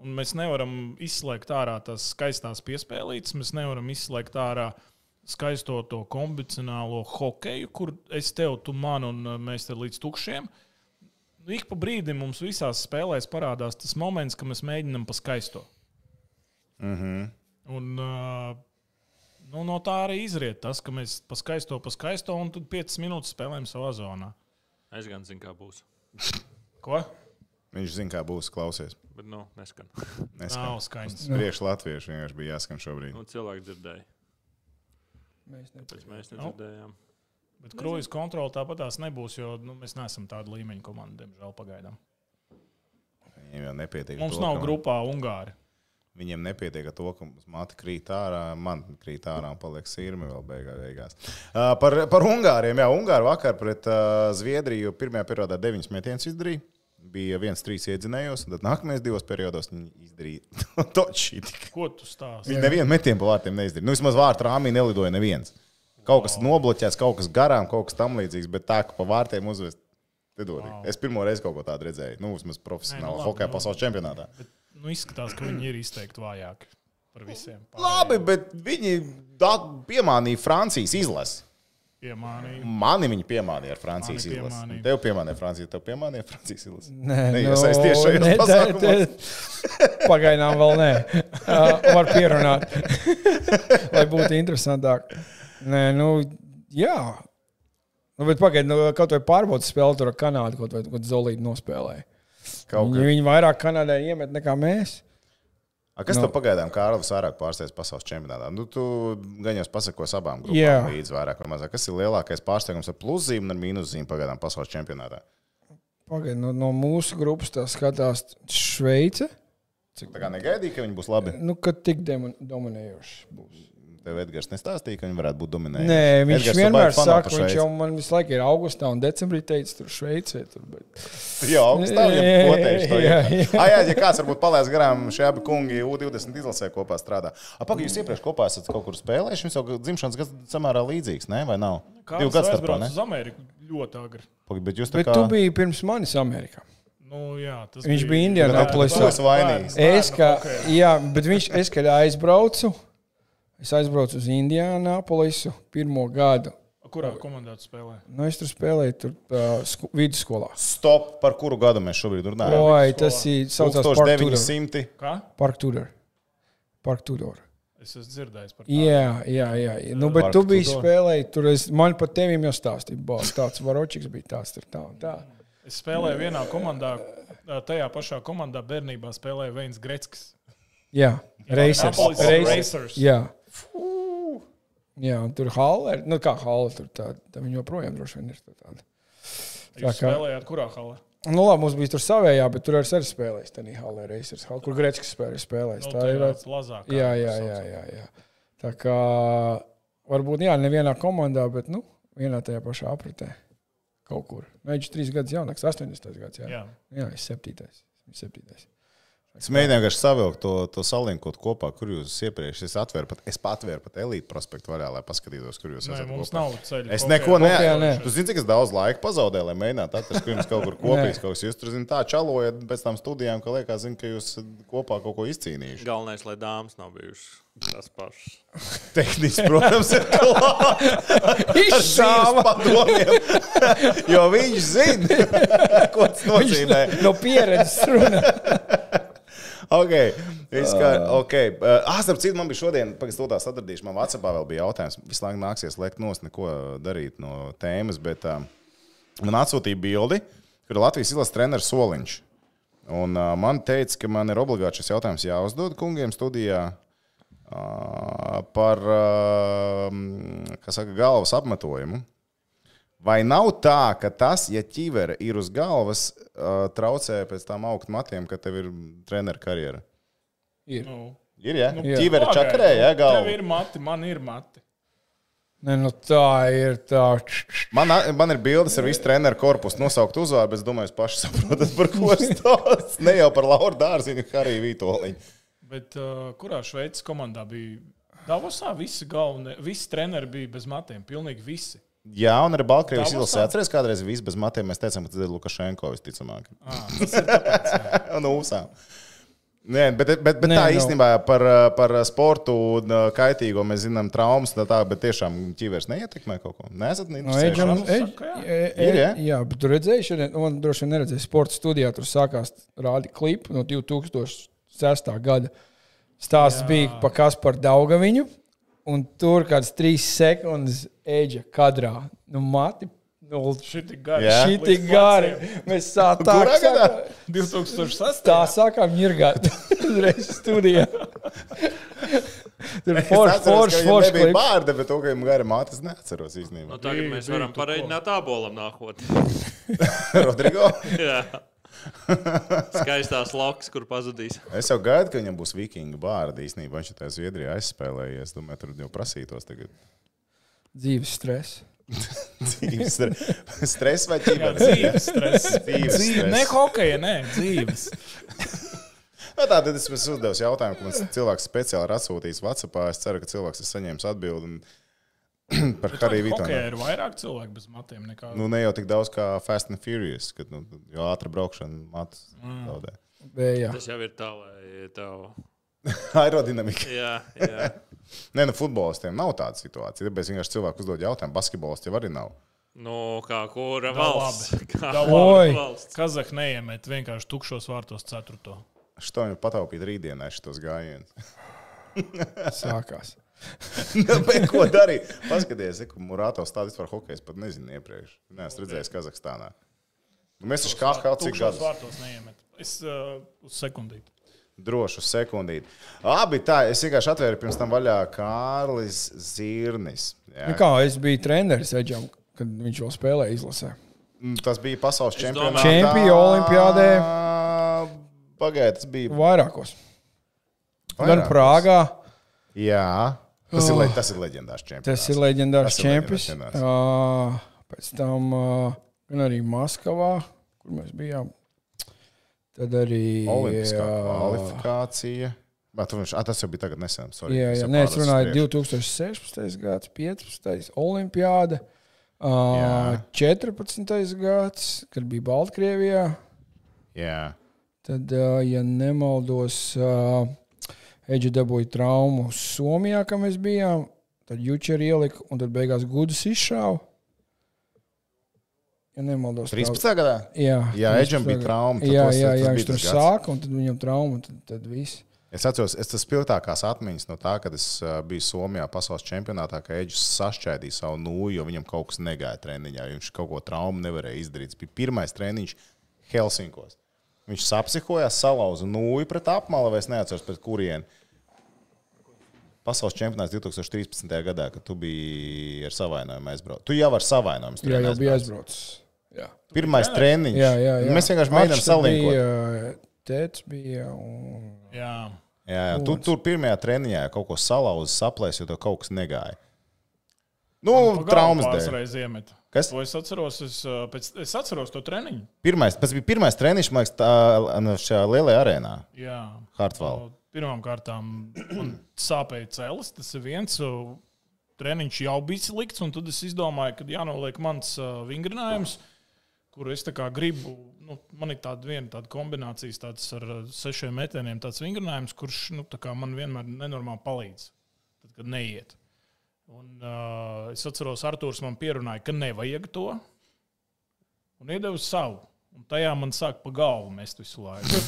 Un mēs nevaram izslēgt ārā tās skaistās piespēlītas, mēs nevaram izslēgt ārā skaisto to kombināciju hokeju, kur es tevu, tu man un uh, mēs te līdz tukšiem. Nu, Ik pa brīdim mums visās spēlēs parādās tas moments, kad mēs mēģinām pa skaisto. Un, uh, nu, no tā arī izriet tas, ka mēs pa skaisto, pa skaisto un tad 5 minūtes spēlējam savā zonā.
Es gan zinu, kā būs.
Ko?
Viņš zina, kā būs klausies.
Bet, nu, neskan.
Neskan.
Nav skaņas.
Nu. Priekš latviešu vienkārši bija jāskan šobrīd.
Nu, cilvēki dzirdēja.
Mēs ne-
Pēc mēs nedzirdējām.
Bet kruīzes kontrole tāpat tās nebūs, jo nu, mēs neesam tāda līmeņa komanda, diemžēl, pagaidām.
Viņiem jau nepietiek. ar
Mums
to,
nav
ka-
grupā Ungāri.
Viņiem nepietiek ar to, ka mums māte krīt ārā, man krīt ārā un paliek sirmi vēl beigā, beigās. Uh, par, par Ungāriem. Jā, Ungāri vakar pret uh, Zviedriju pirmajā periodā deviņas metienas izdarīja. Bija viens, trīs iedzinējos, un tad nākamajos divos periodos viņi izdarīja to šī.
Ko tu stāsti?
Viņi nevienu metienu pa vārtiem neizdarīja. Nu, vismaz vārtu rāmī nelidoja neviens. Kaut kas nobloķēts, kaut kas garām, kaut kas tam līdzīgs, bet tā, ka pa vārtiem uzvest. Wow. Es pirmo reizi kaut ko tādu redzēju. Nu, vismaz
Nē, nu
profesionāli
labi,
hokeja
nu.
pasaules čempionātā.
Bet, nu, izskatās, ka viņi ir izteikti vājāki par visiem.
Labi, bet viņi da- piemānīja Francijas izlasi.
Piemānīja.
Mani viņi piemānīja ar Francijas
Mani
izlasi.
piemānīja.
Un Tev piemānīja Francija, tev piemānīja Francijas izlasi.
Nē, nu,
Neiesaisties šajos
ne, tā-
pasākumos.
tā- Pagaidām vēl nē. Uh, var pierunāt, lai būtu interesantāk. Nē, nu, jā. Nu, bet pagaidām, nu, kaut vai pārbaudas spēle tur ar Kanādu, kaut vai kaut zolīti nospēlēja.
Kaut
Viņi,
kā.
viņi vairāk Kanādai iemet nekā mēs.
A, Kas
Nu.
tev pagaidām, Kārlis, vairāk pārsteidz pasaules čempionātā? Nu, tu gan jau pasakos abām
Jā.
grupām līdz vairāk vai mazāk. Kas ir lielākais pārsteigums ar pluszīm un ar mīnuszīm pagaidām pasaules čempionātā?
Pagaidām, no, nu, no mūsu grupas tā skatās Šveice.
Tā kā negaidīja, ka viņi būs labi.
Nu, kad tik demon- dominējoši būs.
Tev Edgars nestāstīja, ka viņi varētu būt dominējoši.
Nē, viņš
Edgars
Edgars
tu
vienmēr
baigi fano par
saka, viņš
Šveici.
jau man visu laiku ir augustā un decembrī teicis, tur Šveicē. Tur, bet...
Jā, augstā
Jā, jā,
līmenī.
jā.
Jā, ja kāds varbūt palaist garām, šie abi kungi U20 izlasē kopā strādā. Apakaļ jūs iepriekš kopā esat kaut kur spēlējuši, jums jau dzimšanas gads samērā līdzīgs, ne? vai nav? Divu
Kāds
gadu starpā,
aizbrauc
ne?
uz Ameriku ļoti agri?
Pagaid, Bet jūs tā
Bet
kā...
tu biji pirms manis Amerikā.
Nu, jā, tas
Viņš bija Indianapolisā.
Tu esi vainīgs.
Es, kā,
Okay.
jā, bet viņš, es, kad aizbraucu, es aizbraucu uz Indianapolisu pirmo gadu.
Kurā komandā tu spēlē?
Nu, es tur spēlēju tur, uh, sku, vidusskolā.
Stop, par kuru gadu mēs šobrīd runājam?
Oi, tas ir saucās Park Tudor.
1900.
Kā?
Park Tudor. Park Tudor.
Es esmu dzirdējis par to.
Jā, jā, jā. jā. Nu, bet
Park
tu biji
Tudor.
spēlējis tur. Es, man pat tevim jau stāstīja, ka tāds varočiks bija tāds tur tā un tā.
Es spēlēju vienā komandā, tajā pašā komandā bērnībā spēlēja Veins Gretskis.
Jā, reizes.
Indianapolis Racers.
Jā. Jā, un tur Halla ir. Nu, kā Halla tur tāda, tā viņa joprojām droši vien ir tur tāda.
Jūs
kā-
spēlējāt kurā halā?
Nu, labi, mums bija tur savējā, bet tur arī ir spēlējis. Tā ir Halla Racers, Hall, kur Grečkas spēlē ir spēlējis.
Nu,
Tā ir.
tajā plazākā,
Jā,
kas
jā,
sauc.
jā, jā, jā. Tā kā varbūt jā, nevienā komandā, bet nu, vienā tajā pašā apritē. Kaut kur. Nu, viņš ir trīs gadus jaunāks, 80 gads. Jā,
Jā.
jā es septītais. es septītais.
Es mēģināju vienkārši savilkt to, to salinkot kopā, kur jūs iepriekš es atvēru pat, es pat atvēru pat elītu prospektu vaļā, lai paskatītos, kur jūs
Nē,
esat.
mums
kopā.
nav ceļu.
Es
Kopējā-
neko
Kopijā
nedomāju.
nē.
Jūs zināt, cik es daudz laika pazaudēju, lai mēģinātu atrast, kur jums kaut kur kopīgs kaut kas. Jūs tur zināt, tā čalojat pēc tam studijām, ka liekas, zin, ka jūs esat kopā kaut ko izcīnījuši.
Galvenais, lai dāmas nav bijušas tas pašs.
Tehniski, protams, ir klāts
Izšāva!
ar padomiem. Jo viņš zina, ko tas nozīmē.
Viņš no pieredzes runā.
Okay. Viss kā- Okay. Uh, ah, starp citu, man bija šodien, pagaidiet, to tās atradīšu. Man Vācijā vēl bija jautājums. Visu laiku nāksies lekt nost, neko darīt no tēmas, bet uh, man atsūtīja bildi, kur ir Latvijas izlases treneris Soliņš. Un uh, man teica, ka man ir obligāti šis jautājums jāuzdod kungiem studijā. ā, Par ā, kā saka, galvas apmetojumu. Vai nav tā, ka tas, ja ķivere ir uz galvas, ā, traucē pēc tam augt matiem, ka tev ir treneru karjera?
Ir.
Nu,
Ir, ja?
Nu,
Ķīvera
pagaidi,
čakarē,
nu,
ja,
Tev
galva.
ir mati, man ir mati.
Nē, nu tā ir tā. Č- č-
Man, man ir bildes ar visu treneru korpusu nosaukt uzvārdu, bet es domāju, jūs paši saprotat, par ko es stāstu. Ne jau par Lauru Dārziņu, kā arī Vitoļiņu.
Bet uh, kurā Šveices komandā bija? Davosā visi galvenie, visi treneri bija bez matiem. Pilnīgi visi.
Jā, un arī Baltkrievijas
Davosā?
izlasē atceries, kādreiz viss bez matiem mēs teicām, ka tas ir Lukašenko visticamāk. un ūsām. Nē, bet, bet, bet Nē,
Nē,
tā
nu.
īstenībā par, par sportu un kaitīgo mēs zinām traumas, tā, tā, bet tiešām ķīvers neietekmē kaut ko. Nē, esat
No Eģipta.
neinteresējušies.
saka,
Ir, jā?
Jā, bet tur redzēju, šodien, un droši vien neredzēju, sporta studijā tur sākās rādi klipi no 2006. gada. Stāsts jā. bija par Kasparu Daugaviņu, un tur kāds trīs sekundes eģa kadrā. Nu, mati, nu,
Šī tik gara.
Jā.
šī tik gara. Mēs sā- tā
Kurā gadā?
sākām.
2006.
Tā sākām ņirgāt uzreiz studijā. Tur
Es
forši,
atceros,
forši,
ka viņam
forši.
nebija
klips.
bārda, bet to, ka viņam gara māte, es neatceros
Nu,
īstenībā.
tagad
Bija,
mēs
bija,
varam
tu
parādīt abolam nākotnē.
Rodrigo,
Jā. Skaistās loks, kur pazudīs.
es jau gaidu, ka viņam būs vikinga bārda īstenībā. Viņš tajā Zviedrijā aizspēlējies. Domāju, tur jau prasītos tagad.
Dzīves stress.
Dzīves stre- stress vai ķīvers?
Dzīves stress.
Dzīves
Dzīve,
stress.
ne hokeja, ne dzīves.
Nu, tā tad es jums uzdevu jautājumu, ko man cilvēks speciāli ir atsūtījis Vācijā. Es ceru, ka cilvēks ir saņēmis atbildi un par Hariju Vitonu.
Hokejā ir vairāk cilvēku bez matiem nekā.
Nu, ne jau tik daudz kā Fast and Furious, kad nu, jau ātrā braukšana matus zaudē.
Vējā.
Tas jau ir tā, lai tev.
Aerodinamika.
Jā, jā.
Nē, nu, futbolistiem nav tāda situācija. Tāpēc vienkārši cilvēki uzdod jautājumu. Basketbolists jau arī nav.
Nu, kā kura valsts? Kā
Da
labi.
kura valsts?
Kazahs neiemet vienkārši tukšos vārtos ceturto.
Šo viņu pataupīt rītdienai šitos gājienus. Nu,
Sākās.
Bet ko darīt? Paskaties, ko Murāto stādīs par hokeju. Es pat nezinu iepriekš. Nē, es redzēju Kazahstānā. Nu, Mēs taču kā kaut cik
Tukšos
gadus.
vārtos neiemet. Es uh, uz sekundīti.
drošu sekundīti. Abi tā, es vienkārši atvēru pirms tam vaļā Kārlis Zirnis. Jā.
Nu kā, es biju treneris Eģam, kad viņš vēl spēlēja izlasē.
Nu, Tas bija pasaules
domāju-
čempionāts.
Čempio olimpiādē.
Pagaidiet, tas bija.
Vairākos. Gan
vairākos.
Prāgā.
Jā, tas ir, le- tas ir leģendārs
Tas
čempionāts.
ir leģendārs
Tas ir
čempions.
leģendārs
Ā, Pēc tam ā, gan arī Maskavā, kur mēs bijām. Tad arī
Olimpiskā
ā,
kvalifikācija. Bet, tu viņš, a, tas jau bija tagad nesen. Sorry,
Jā,
es jau
jā. Nē, es
pārlecu
runāju
priekšu.
2016. gads, 15. olimpiāda, ā, 14. gads, kad bija Baltkrievijā.
Jā.
Tad, ā, ja nemaldos, ā, Eģe dabūja traumu Somijā, kā mēs bijām. Tad Jučeri ielika un tad beigās gudus izšāva. Ja nemaldos, tā-
13. gadā.
Jā,
Jā,
13.
Edžam bija trauma, tad
Jā,
tas-
jā,
tas
jā
bija
viņš tur
tas gads.
sāka un tad viņam trauma, un tad, tad viss.
Es atceros, es tas spilgtākās atmiņas no tā, kad es ā, biju Somijā pasaules čempionātā, ka Eģis sašķēdīja savu nūju, jo viņam kaut kas negāja treniņā. Viņš kaut ko traumu nevarēja izdarīt. Tas bija pirmais treniņš Helsinkos. Viņš sapsihojās, salauza nūju pret apmalu, vai es neatceros, pret kurieni. Pasaules čempionāts 2013. gadā, kad tu biji ar savainojumu aizbraucis. Tu jau ar savainojumu
Jā,
strādāji
jau bija
aizbraucis.
aizbraucis. Jā,
Pirmais treniņš.
jā, jā, jā.
Nu, Mēs vienkārši mēģinām
Atš tad
salinkot.
bija, Tēts bija un
Jā.
Nu, Jā, jā. Tu, tur pirmajā treniņā kaut ko salauzi, saplēsi, jo tev kaut kas negāja. Nu, traumas dēļ.
Pāris iemet.
Kas?
To es atceros, es, uh, pēc, es atceros to treniņu.
Pirmais, tas bija pirmais treniņš, man liekas, tā, nu, šajā lielajā arēnā,
Jā.
Hartvalda.
Pirmkārt, sāpēja cēlis. Tas ir viens. uh, Treniņš jau bija slikts, un tad es izdomāju, ka jānoliek mans uh, vingrinājums, kur es tā kā gribu. Nu, man ir tāda viena tāda kombinācija, tāds ar uh, sešiem metieniem, tāds vingrinājums, kurš nu, tā kā man vienmēr nenormāli palīdz, tad, kad neiet. Un, uh, es atceros, Arthurs man pierunāja, ka nevajag to, un iedeva savu. Un tajā man sāk pa galvu mest visu laiku.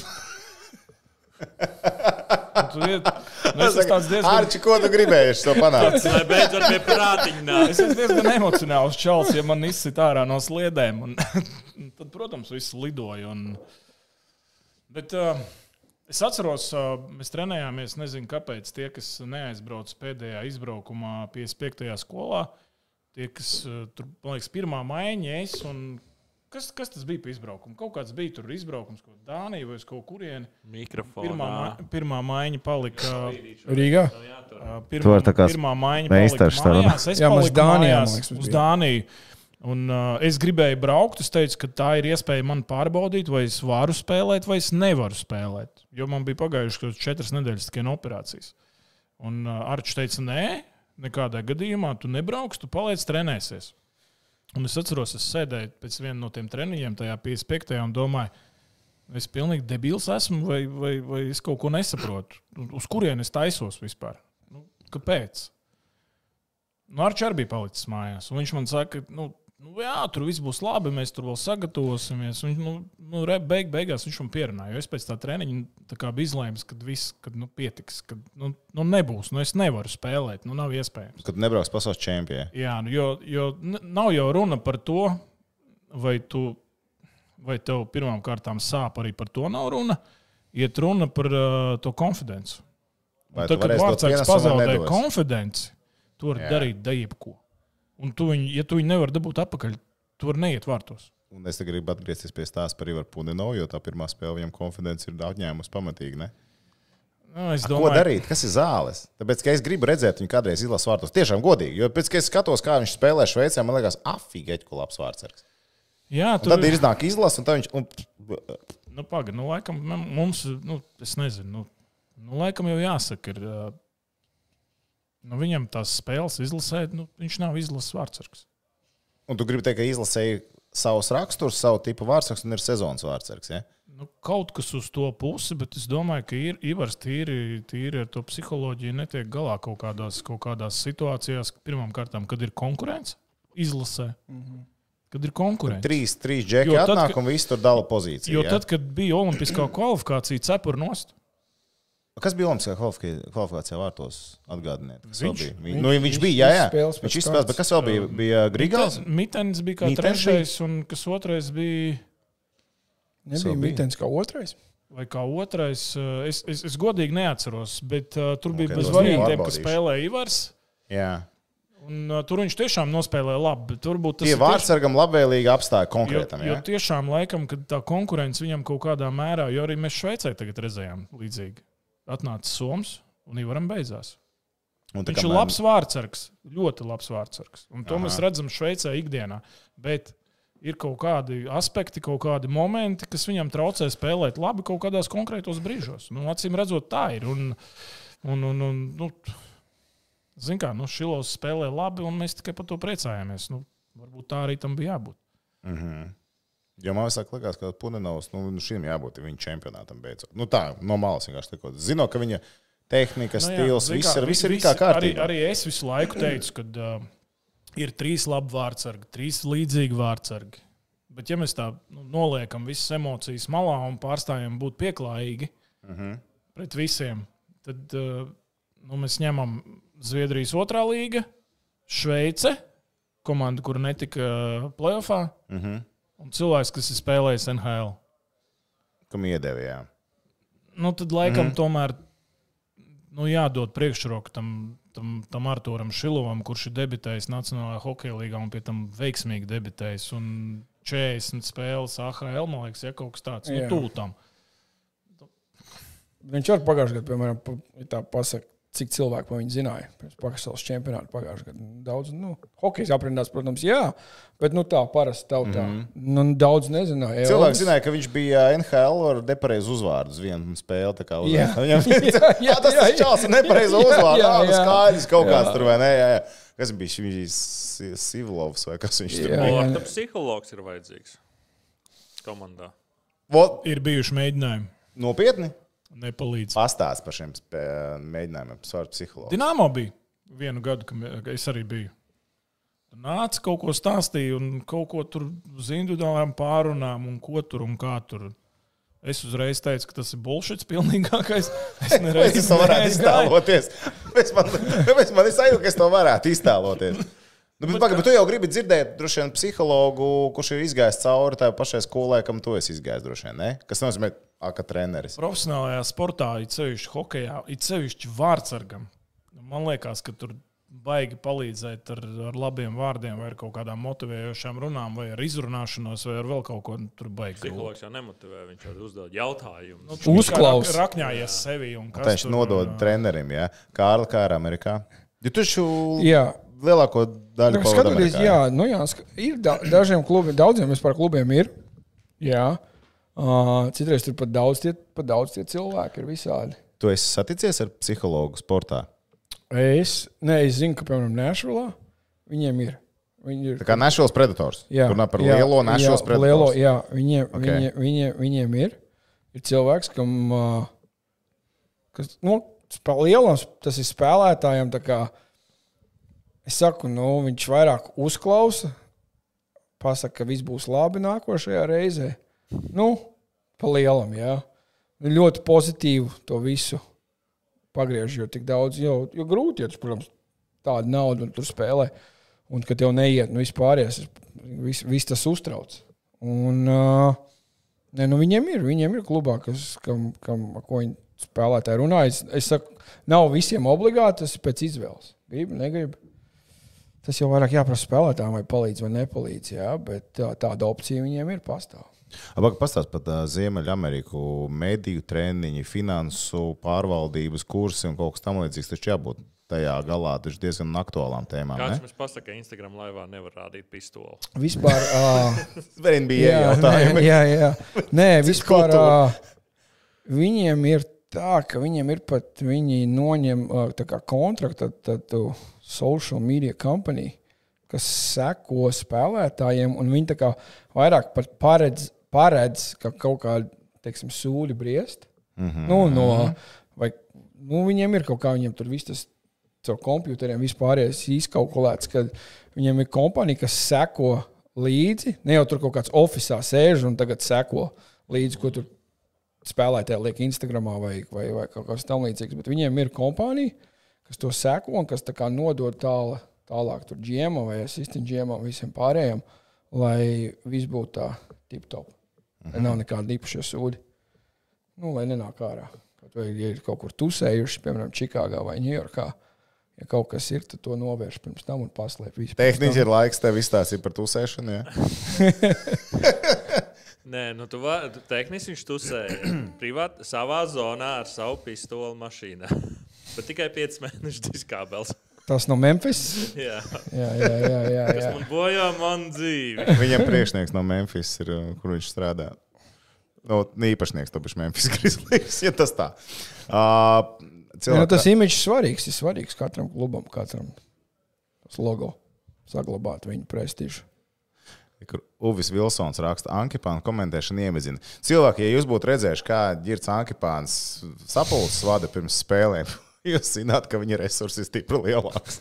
Un tu iet- nu, Es esmu tāds diezgan
Arči, ko tu gribēji to panākt?
Lai beidzot pie prātiņa nāk.
Es esmu diezgan emocionāls čels, ja man izsit ārā no sliedēm. Un, un tad, protams, viss lidoja. Un... Bet uh, es atceros, uh, mēs trenējāmies, nezinu, kāpēc tie, kas neaizbrauca pēdējā izbraukumā, 55. skolā, tie, kas uh, tur, man liekas, pirmā maiņa, es un Kas, kas tas bija par izbraukumu? Kaut kāds bija tur izbraukums, ko Dānija vai uz kaut kurieni.
Mikrofonā.
Pirmā, ma pirmā maiņa palika.
Rīgā.
ā,
Tu
Pirmā,
vari tā kā
pirmā maiņa
meistars
palika
tā, vai ne?
mājās. Es
Jā, mēs
paliku
Dānijā,
mājās
man liekas, mums
uz
bija.
Dāniju. Un, uh, es gribēju braukt, es teicu, ka tā ir iespēja man pārbaudīt, vai es varu spēlēt, vai es nevaru spēlēt. Jo man bija pagājušas kaut kādas četras nedēļas tikai no operācijas. Un uh, Arčs teica, nē, nekādā gadījumā tu nebrauks, tu paliec trenēsies. Un es atceros, es sēdēju pēc viena no tiem treniņiem, tajā 55. un domāju, es pilnīgi debils esmu, vai, vai, vai es kaut ko nesaprotu. Uz kurienes taisos vispār? Nu, kāpēc? Nu, Arčs arī bija palicis mājās. un Viņš man saka, nu, nu, jā, tur viss būs labi, mēs tur vēl sagatavosimies. Un Viņš, nu, nu, re, beig, beigās viņš man pierunāja. jo Es pēc tā treniņa nu, tā kā biju izlēmis, ka viss kad, nu, pietiks, ka nu, nu, nebūs. Nu, es nevaru spēlēt, nu, nav iespējams.
Kad nebrauks pasaules čempionā.
Jā, nu, jo, jo n- nav jau runa par to, vai tu, vai tev pirmām kārtām sāp arī par to nav runa. Iet runa par uh, to konfidenci.
Vai
Tad,
tu
kad
varēsi dot
Vācijā
pienesumu vai
pazaudēja
nedos?
konfidenci, tu vari
Jā.
darīt da jebko. Un tu viņu, ja tu viņu nevari dabūt atpakaļ, tu vari neiet vārtos.
Un es te gribu atgriezties pie stāsta par Ivaru Puninovu, jo tā pirmā spēle viņam konfidence ir atņēmusi pamatīgi. Ne?
Nu, es
Domāju. Ko darīt? Kas ir zāles? Tāpēc, ka es gribu redzēt viņu kādreiz izlasu vārtos. Tiešām godīgi. Jo pēc tam, kad es skatos, kā viņš spēlē Šveicē, man liekas, afīgi, ko labs vārds.
Jā, tu,
Tad ir iznāk izlase, un tā viņš. Un,
Nu, pagaidi, nu, laikam, mem- mums, nu, es nezinu, nu, nu laikam jau jāsaka, ir, ā, nu, viņam tās spēles izlasē, nu, viņš nav izlases vārdsargs.
un tu gribi teikt, ka izlasēji savus raksturus, savu tipu vārdsargs un ir sezonas vārdsargs. Ja?
Nu, kaut kas uz to pusi, bet es domāju, ka ir Ivars tīri, tīri ar to psiholoģiju netiek galā kaut kādās, kaut kādās situācijās, pirmkārt, kad ir konkurence izlasē. Mm -hmm. Kad ir konkurence.
Trīs, trīs
Jo
džekļi
tad,
atnāk
ka-
un visi tur dala pozīciju.
Jo
ja?
tad, kad bija olimpiskā kvalifikācija, cepur nost.
Kas bija Olimpiskā kvalifikā- kvalifikācijā vārtos? Atgādiniet, kas
Viņš?
viņš, bija. Viņš, nu, viņš bija, jā, jā.
izspēles pēc
Viņš izspēlēja, bet kas vēl bija? Bija Grigāls?
Mitens bija kā
Mitens
trešais, un kas otrais bija.
Nebija mitens kā otrais.
Vai kā otrais, eh, es, es, es godīgi neatceros, bet uh, tur bija
Ok,
okay, bez
es
variantiem, ka
pārbaudīšu.
spēlēja Ivars.
Jā.
Un, uh, tur viņš tiešām nospēlēja labi. bet Turbūt tas
Tie
ir
vārdsargam labvēlīgi apstāja
tieši- jo,
konkrētam.
jo
jā?
tiešām laikam, kad tā konkurence viņam kaut kādā mērā, jo arī mēs Šveicē tagad redzējām līdzīgi. Atnāca Soms un Ivaram beidzās.
Un tā
Viņš ir
kamēr-
labs vārdsargs, ļoti labs vārdsargs. Un to
Aha.
Aha. mēs redzam Šveicē ikdienā. Bet ir kaut kādi aspekti, kaut kādi momenti, kas viņam traucē spēlēt labi kaut kādos konkrētos brīžos. Nu, acīm redzot, tā ir. Un, un, un, un, nu, Zinām, kā nu, Šilovs spēlē labi, un mēs tikai par to priecājāmies. Nu, varbūt tā arī tam bija jābūt.
Jo man vienmēr liekas, ka Punenovs nu, nu, šim jābūt viņa čempionātam beidzot. Nu, tā, no malas vienkārši sakot. Zinu, ka viņa tehnika,
Nu, jā,
stils,
zini
viss
kā,
ir, viss ir
vi-
it kā
Arī,
kārtībā.
arī es visu laiku teicu, ka uh, ir trīs labi vārdsargi, trīs līdzīgi vārdsargi. Bet, ja mēs tā nu, noliekam visas emocijas malā un pārstājam būt pieklājīgi
Mhm.
pret visiem, tad uh, nu, mēs ņemam Zviedrijas otrā līga, Šveice, komanda, kur netika plēsofā,
Mhm,
un cilvēks, kas ir spēlējis NHL.
Kam iedevējā?
nu, tad laikam
Mhm.
mm -hmm. tomēr nu, jādod priekšroka tam, tam, tam Arturam Šilovam, kurš ir debitējis Nacionālajā hokeja līgā un pie tam veiksmīgi debitējis. Un 40 spēles AHL, man liekas, ja kaut kas tāds nu,
Jā.
- tūlīt.
Viņš arī pagājušajā gadā, piemēram, pa- ja tā pasakā, cik cilvēku pa viņu zināja. Pirms pasaules čempionāta pagājušajā gadā. Daudz, nu, hokejs aprindās, protams, jā, bet nu, tā parasti tautā. Mm -hmm. nu, daudz nezināja.
Cilvēks Mhm. zināja, ka viņš bija NHL ar nepareizu uzvārdu uz vienu spēli. tā kā uz-
Jā.
Viņam
Jā, jā,
jā, Ah, tas
jā,
ir čels,
jā.
nepareizi
Jā,
uzvārds.
jā,
Jā, tas
jā.
skaidrs kaut kāds
Jā.
tur vai nē. Jā, jā. Kas bija šis- šis Sivlovs vai kas viņš tur
Jā.
bija?
Sporta psihologs ir vajadzīgs komandā.
Vo-
Ir bijuši mēģinājumi,
Nopietni?
nepalīdz.
Pastāst par šiem spē- mēģinājumiem, svaru psihologu.
Dināmo bija vienu gadu, kad es arī biju. Tur Nāca kaut ko stāstīja, un kaut ko tur uz individuālām pārunām, un ko tur un kā tur. Es uzreiz teicu, ka tas ir bullshit pilnīgākais. Es
Vai es to varētu
neiztēloju.
iztēloties? Tāpēc man, tāpēc man ir sajūta, ka es to varētu iztēloties. Nu, bet, paga, bet tu jau gribi dzirdēt, droši vien, psihologu, kurš ir izgājis cauri tā pašai skolai, kam tu esi izgājis, droši vien, ne? Kas nozīmē, ah, ka treneris.
Profesionālajā sportā, it sevišķi hokeja, it sevišķi vārdsargam. Man liekas, ka tur baigi palīdzēt ar, ar labiem vārdiem, vai ar kaut kādām motivējošām runām, vai ar izrunāšanos, vai ar vēl kaut ko nu, tur baigi. grūti.
Psihologs jau nemotivē, viņš jau uzdod jautājumus.
Nu, tu kā
Uzklaus.
rak- Rakņājies sevi un kas
Viņš
tur,
nodod
un,
trenerim, ja Kārlis kā ir Amerikā. Ja tu šo
Jā.
lielāko daļu
Nu,
pavadi
Skatoties,
Amerikā,
jā, nu jā, ska- ir da dažiem klubiem, daudziem vispār klubiem ir. Jā. Uh, citreiz tur pat daudz, tie, pat daudz tie cilvēki ir visādi.
Tu esi saticies ar psihologu sportā.
Es, ne, es zinu, ka, piemēram, Nešvilā viņiem ir. Viņi ir
Tā kā Nešvils Predators. Runā par lielo Nešvils
jā,
Predators.
Lielo, jā, viņiem,
Ok.
okay. viņiem, viņiem, viņiem ir. Ir cilvēks, kam, ā, kas, nu, pa lielam tas ir spēlētājiem. tā kā, Es saku, nu, viņš vairāk uzklausa, pasakā, ka viss būs labi nākošajā reizē. Nu, pa lielam, jā. Nu, Ļoti pozitīvi to visu pagriež, jo tik daudz, jo, jo grūti, ja tas, protams, tāda nauda un tur spēlē. Un ka tev neiet, nu vispār, viss vis tas uztrauc. Un, uh, ne, nu, viņiem ir, viņiem ir klubā, kas, kam, kam, ar ko viņi spēlētāji runā. Es, es saku, nav visiem obligāti, tas ir pēc izvēles. Gribu, negribu. Tas jau vairāk jāprasa spēlētājiem, vai palīdz vai nepalīdz. Jā, bet tā, tāda opcija viņiem ir pastāv.
Abas pastāstīs par uh, Ziemeļameriku, mediju treniņu, finansu pārvaldības kursu un kaut kas tamlīdzīgs. Taču jābūt tajā galā taču diezgan aktuālām tēmām.
Kāds
ne?
mums pasaka, ka Instagram laivā nevar rādīt pistoli?
Vispār. Uh,
Vēl NBA
nē,
jautājumi.
jā, jā. Nē, vispār
kultūra.
ā, viņiem ir tā, ka viņiem ir pat viņi noņem ā, tā kā kontraktu ar to social media kompāniju, kas seko spēlētājiem, un viņi tā kā vairāk pat paredz, paredz ka kaut kāda, teiksim, sūdi briest. Mm -hmm. nu, no, vai, nu, viņiem ir kaut kā, viņiem tur viss tas caur kompjuteriem vispār izkalkulēts, ka viņiem ir kompānija, kas seko līdzi. Ne jau tur kaut kāds oficiāls sēž un tagad seko līdzi, ko tur spēlētāji liek Instagram vai, vai, vai kaut kas tamlīdzīgs. Bet viņiem ir kompānija, kas to seko un kas tā kā nodod tālu, tālāk tur džēmam vai asistentam džēmam un visiem pārējiem, lai viss būtu tā tip top. Lai nav nekāda īpaša sūdi. Nu, lai nenāk ārā. Kaut vai ja ir kaut kur tusējuši, piemēram, Čikāgā vai Ņujorkā. Ja kaut kas ir, tad to novērš pirms tam un paslēp visu. pirms tam.
Tehniski ir laiks tev izstāstīt par tusēšanu. Ja?
Nē, nu tu vari, tehniski viņš tusēja privāti savā zonā ar savu pistoli mašīnā. Bet tikai 5 mēnešu diskābels.
Tas no Memphis.
Jā,
Jā, jā, jā. jā, jā.
man bojā man dzīvi.
Viņam priekšnieks no Memphis ir, uh, kur viņš strādā. No, īpašnieks tam pašam Memphis Grizzlies. Ja tas tā. Uh,
Jā, nu,
cilvēki,
tas imidžs svarīgs, ir svarīgs katram klubam, katram tas logo. Saglabāt viņa prestižu.
Kur Uvis Vilsons raksta, Ankipāna komentēšana iemazina. Cilvēki, ja jūs būtu redzējuši, kā ģērbs Ankipāns sapulces vada pirms spēlēm, jūs zināt, ka viņa resursi ir stipri lielāks.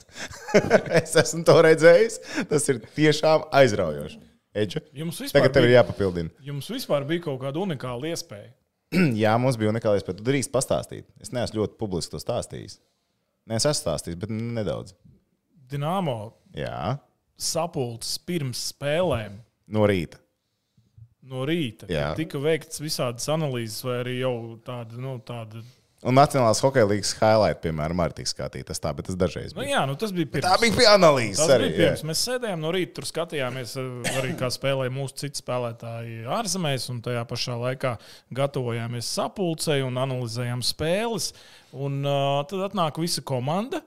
es esmu to redzējis. Tas ir tiešām aizraujoši. Eģe,
Jums vispār,
tagad tev ir
bija,
jāpapildina.
jums vispār bija kaut kāda unikāla iespēja.
Jā, mums bija unikālais, bet tu drīkst pastāstīt. Es neesmu ļoti publiski to stāstījis. Nē, es esmu stāstījis, bet nedaudz.
Dienāmo
Jā,
sapulces pirms spēlēm
no rīta.
no rīta.
Jā.
kad Tika veikts visādas analīzes, vai arī jau tāda, nu, tāda.
Un Nacionālās hokeja līnijas highlight, piemēram, arī tika skatīta. Tas tā, bet tas dažreiz.
Nu,
bija.
jā, nu, tas bija pirms.
Tā bija pie analīzes.
Tas
Arī,
arī, bija
jā.
pirms. Mēs sēdējām no rīta, tur skatījāmies eh, arī, kā spēlēja mūsu citi spēlētāji ārzemēs, un tajā pašā laikā gatavojāmies sapulcei un analizējām spēles. Un, uh, tad atnāk visa komanda.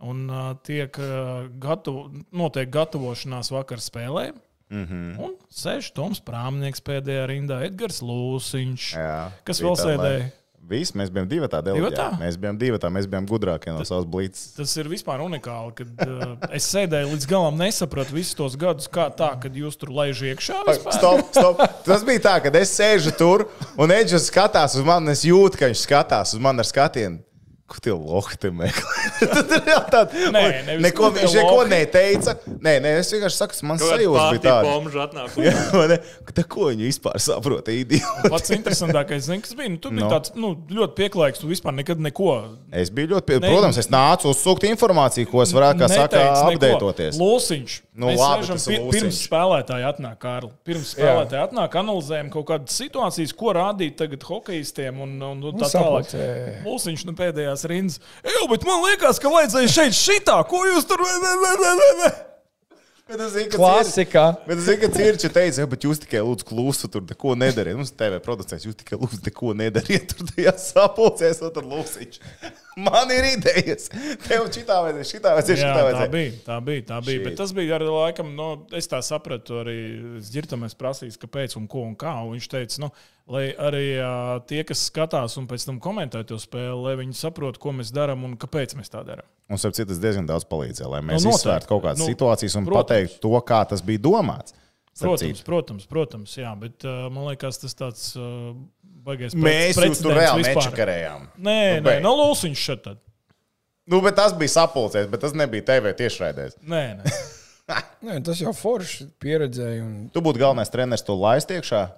Un uh, tiek uh, gatav, notiek gatavošanās vakar spēlēm. Mm -hmm. Un sēž Toms Prāmnieks pēdējā rindā, Edgars Lūsiņš.
Jā,
Kas
bija
vēl
tā,
sēdēja?
lai- Visi mēs bijām divi tādi
Divatā?
lieli. Mēs bijām divi tādi, mēs bijām gudrākie no savas blīdas.
Tas ir vispār unikāli, kad uh, es sēdēju līdz galam, nesapratu visus tos gadus, kā tā, kad jūs tur laižat iekšā. vispār.
Stop, stop. Tas bija tā, ka es sēžu tur un Edžers skatās uz mani. un Es jūtu, ka viņš skatās uz mani ar skatienu. Kur tie lohi te meklē? Tad ir jau tāda-
Nē,
un
nevis,
neko,
kur tie
viņš neko
lohi?
neteica. Nē, nē, es vienkārši saku, man
Kaut kā
sajūta bija
pārtī
tāda.
bomža atnāk.
Jā, vai ne? Tā ko viņi vispār saprot? Idioti.
Pats interesantākais, zin, kas bija, nu, tu biji
No.
no. tāds nu, ļoti pieklājīgs. Tu vispār nekad neko
Es biju ļoti, pie...
Ne-
protams, es nācu uzsūkt informāciju, ko es varētu, kā saka, apdeitoties.
Lūsiņš.
Nu,
Nu,
labi,
labi,
tas
sēžam,
ir
pir
Lūsiņš.
pirms spēlētāji atnāk, Kārli. Pirms spēlētāji atnāk, analizējam kaut kādas situācijas, ko rādīt tagad hokeistiem un, un, un tā
sapulcē.
tālāk. Lūsiņš nu, pēdējā garās rindas. Ej, bet man liekas, ka vajadzēja šeit šitā, ko jūs tur vēlaties.
Bet es zinu, ka Klasika.
Klasika.
Bet es zinu, ka Cirča teica, "Jā, bet jūs tikai lūdzu klusu, tur neko nedariet. Mums TV producents, jūs tikai lūdzu neko nedariet. Tur tajā sapulcēs, un tur lūsiņš. Man ir idejas. Tev šitā vajadzēja, šitā vajadzēja,
Jā,
šitā
tā
vajadzēja.
bija. Tā bija, tā bija. Bet tas bija arī laikam, no, es tā sapratu, arī dzirdam, es prasīju, kāpēc un ko un kā. Un viņš teica, nu, lai arī ā, tie, kas skatās un pēc tam komentē to spēli, lai viņi saprotu, ko mēs darām un kāpēc mēs tā darām.
Un starp citu, tas diezgan daudz palīdzēja, lai mēs
Nu,
nu,
noteikti.
izsvērtu kaut kādas
Nu,
nu, situācijas un
protams.
pateiktu to, kā tas bija domāts. Starp
Protams,
citu.
protams, protams, jā, bet ā, man liekas, tas tāds ā, baigies.
Mēs
prec-
jūs tur
precedents
reāli
vispār.
nečakarējām.
Nē,
Nu,
nē,
beidz.
no Lūsijas šeit tad.
Nu, bet tas bija sapulcēs, bet tas nebija TV tiešraidēs.
Nē, nē.
Nē, tas jau forši pieredzēja. Un...
Tu būtu galvenais treneris, tu laist iekšā.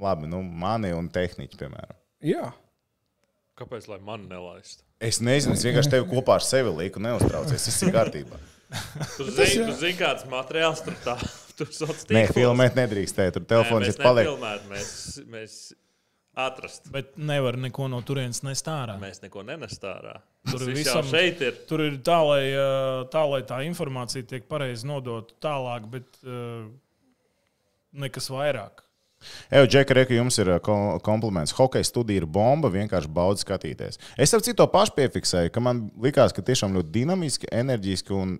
Labi, nu, mani un tehniķi, piemēram.
Jā.
Kāpēc lai man nelaistu?
Es nezinu, es vienkārši tevi kopā ar sevi lieku, neuztraucies. Viss ir kārtībā.
Tu zini, tu zini kāds materiāls tur tā. Tur sauc
Nē,
tīklos.
filmēt nedrīkstēja. Tur telefons
mēs
ir palicis.
nefilmēt, mēs, mēs atrast.
Bet nevar neko no turienes nestārā.
Mēs neko nenestārā.
Tur
Tur viss jau
visam-
šeit ir.
Tur ir tā, lai ā, tā, lai tā informācija tiek pareizi nodota tālāk, bet ā, nekas vairāk.
Evo, Džek, reku, jums ir uh, ko- kompliments. Hokejas studija ir bomba, vienkārši baudi skatīties. Es ap citu to pašu piefiksēju, ka man likās, ka tiešām ļoti dinamiski, enerģiski un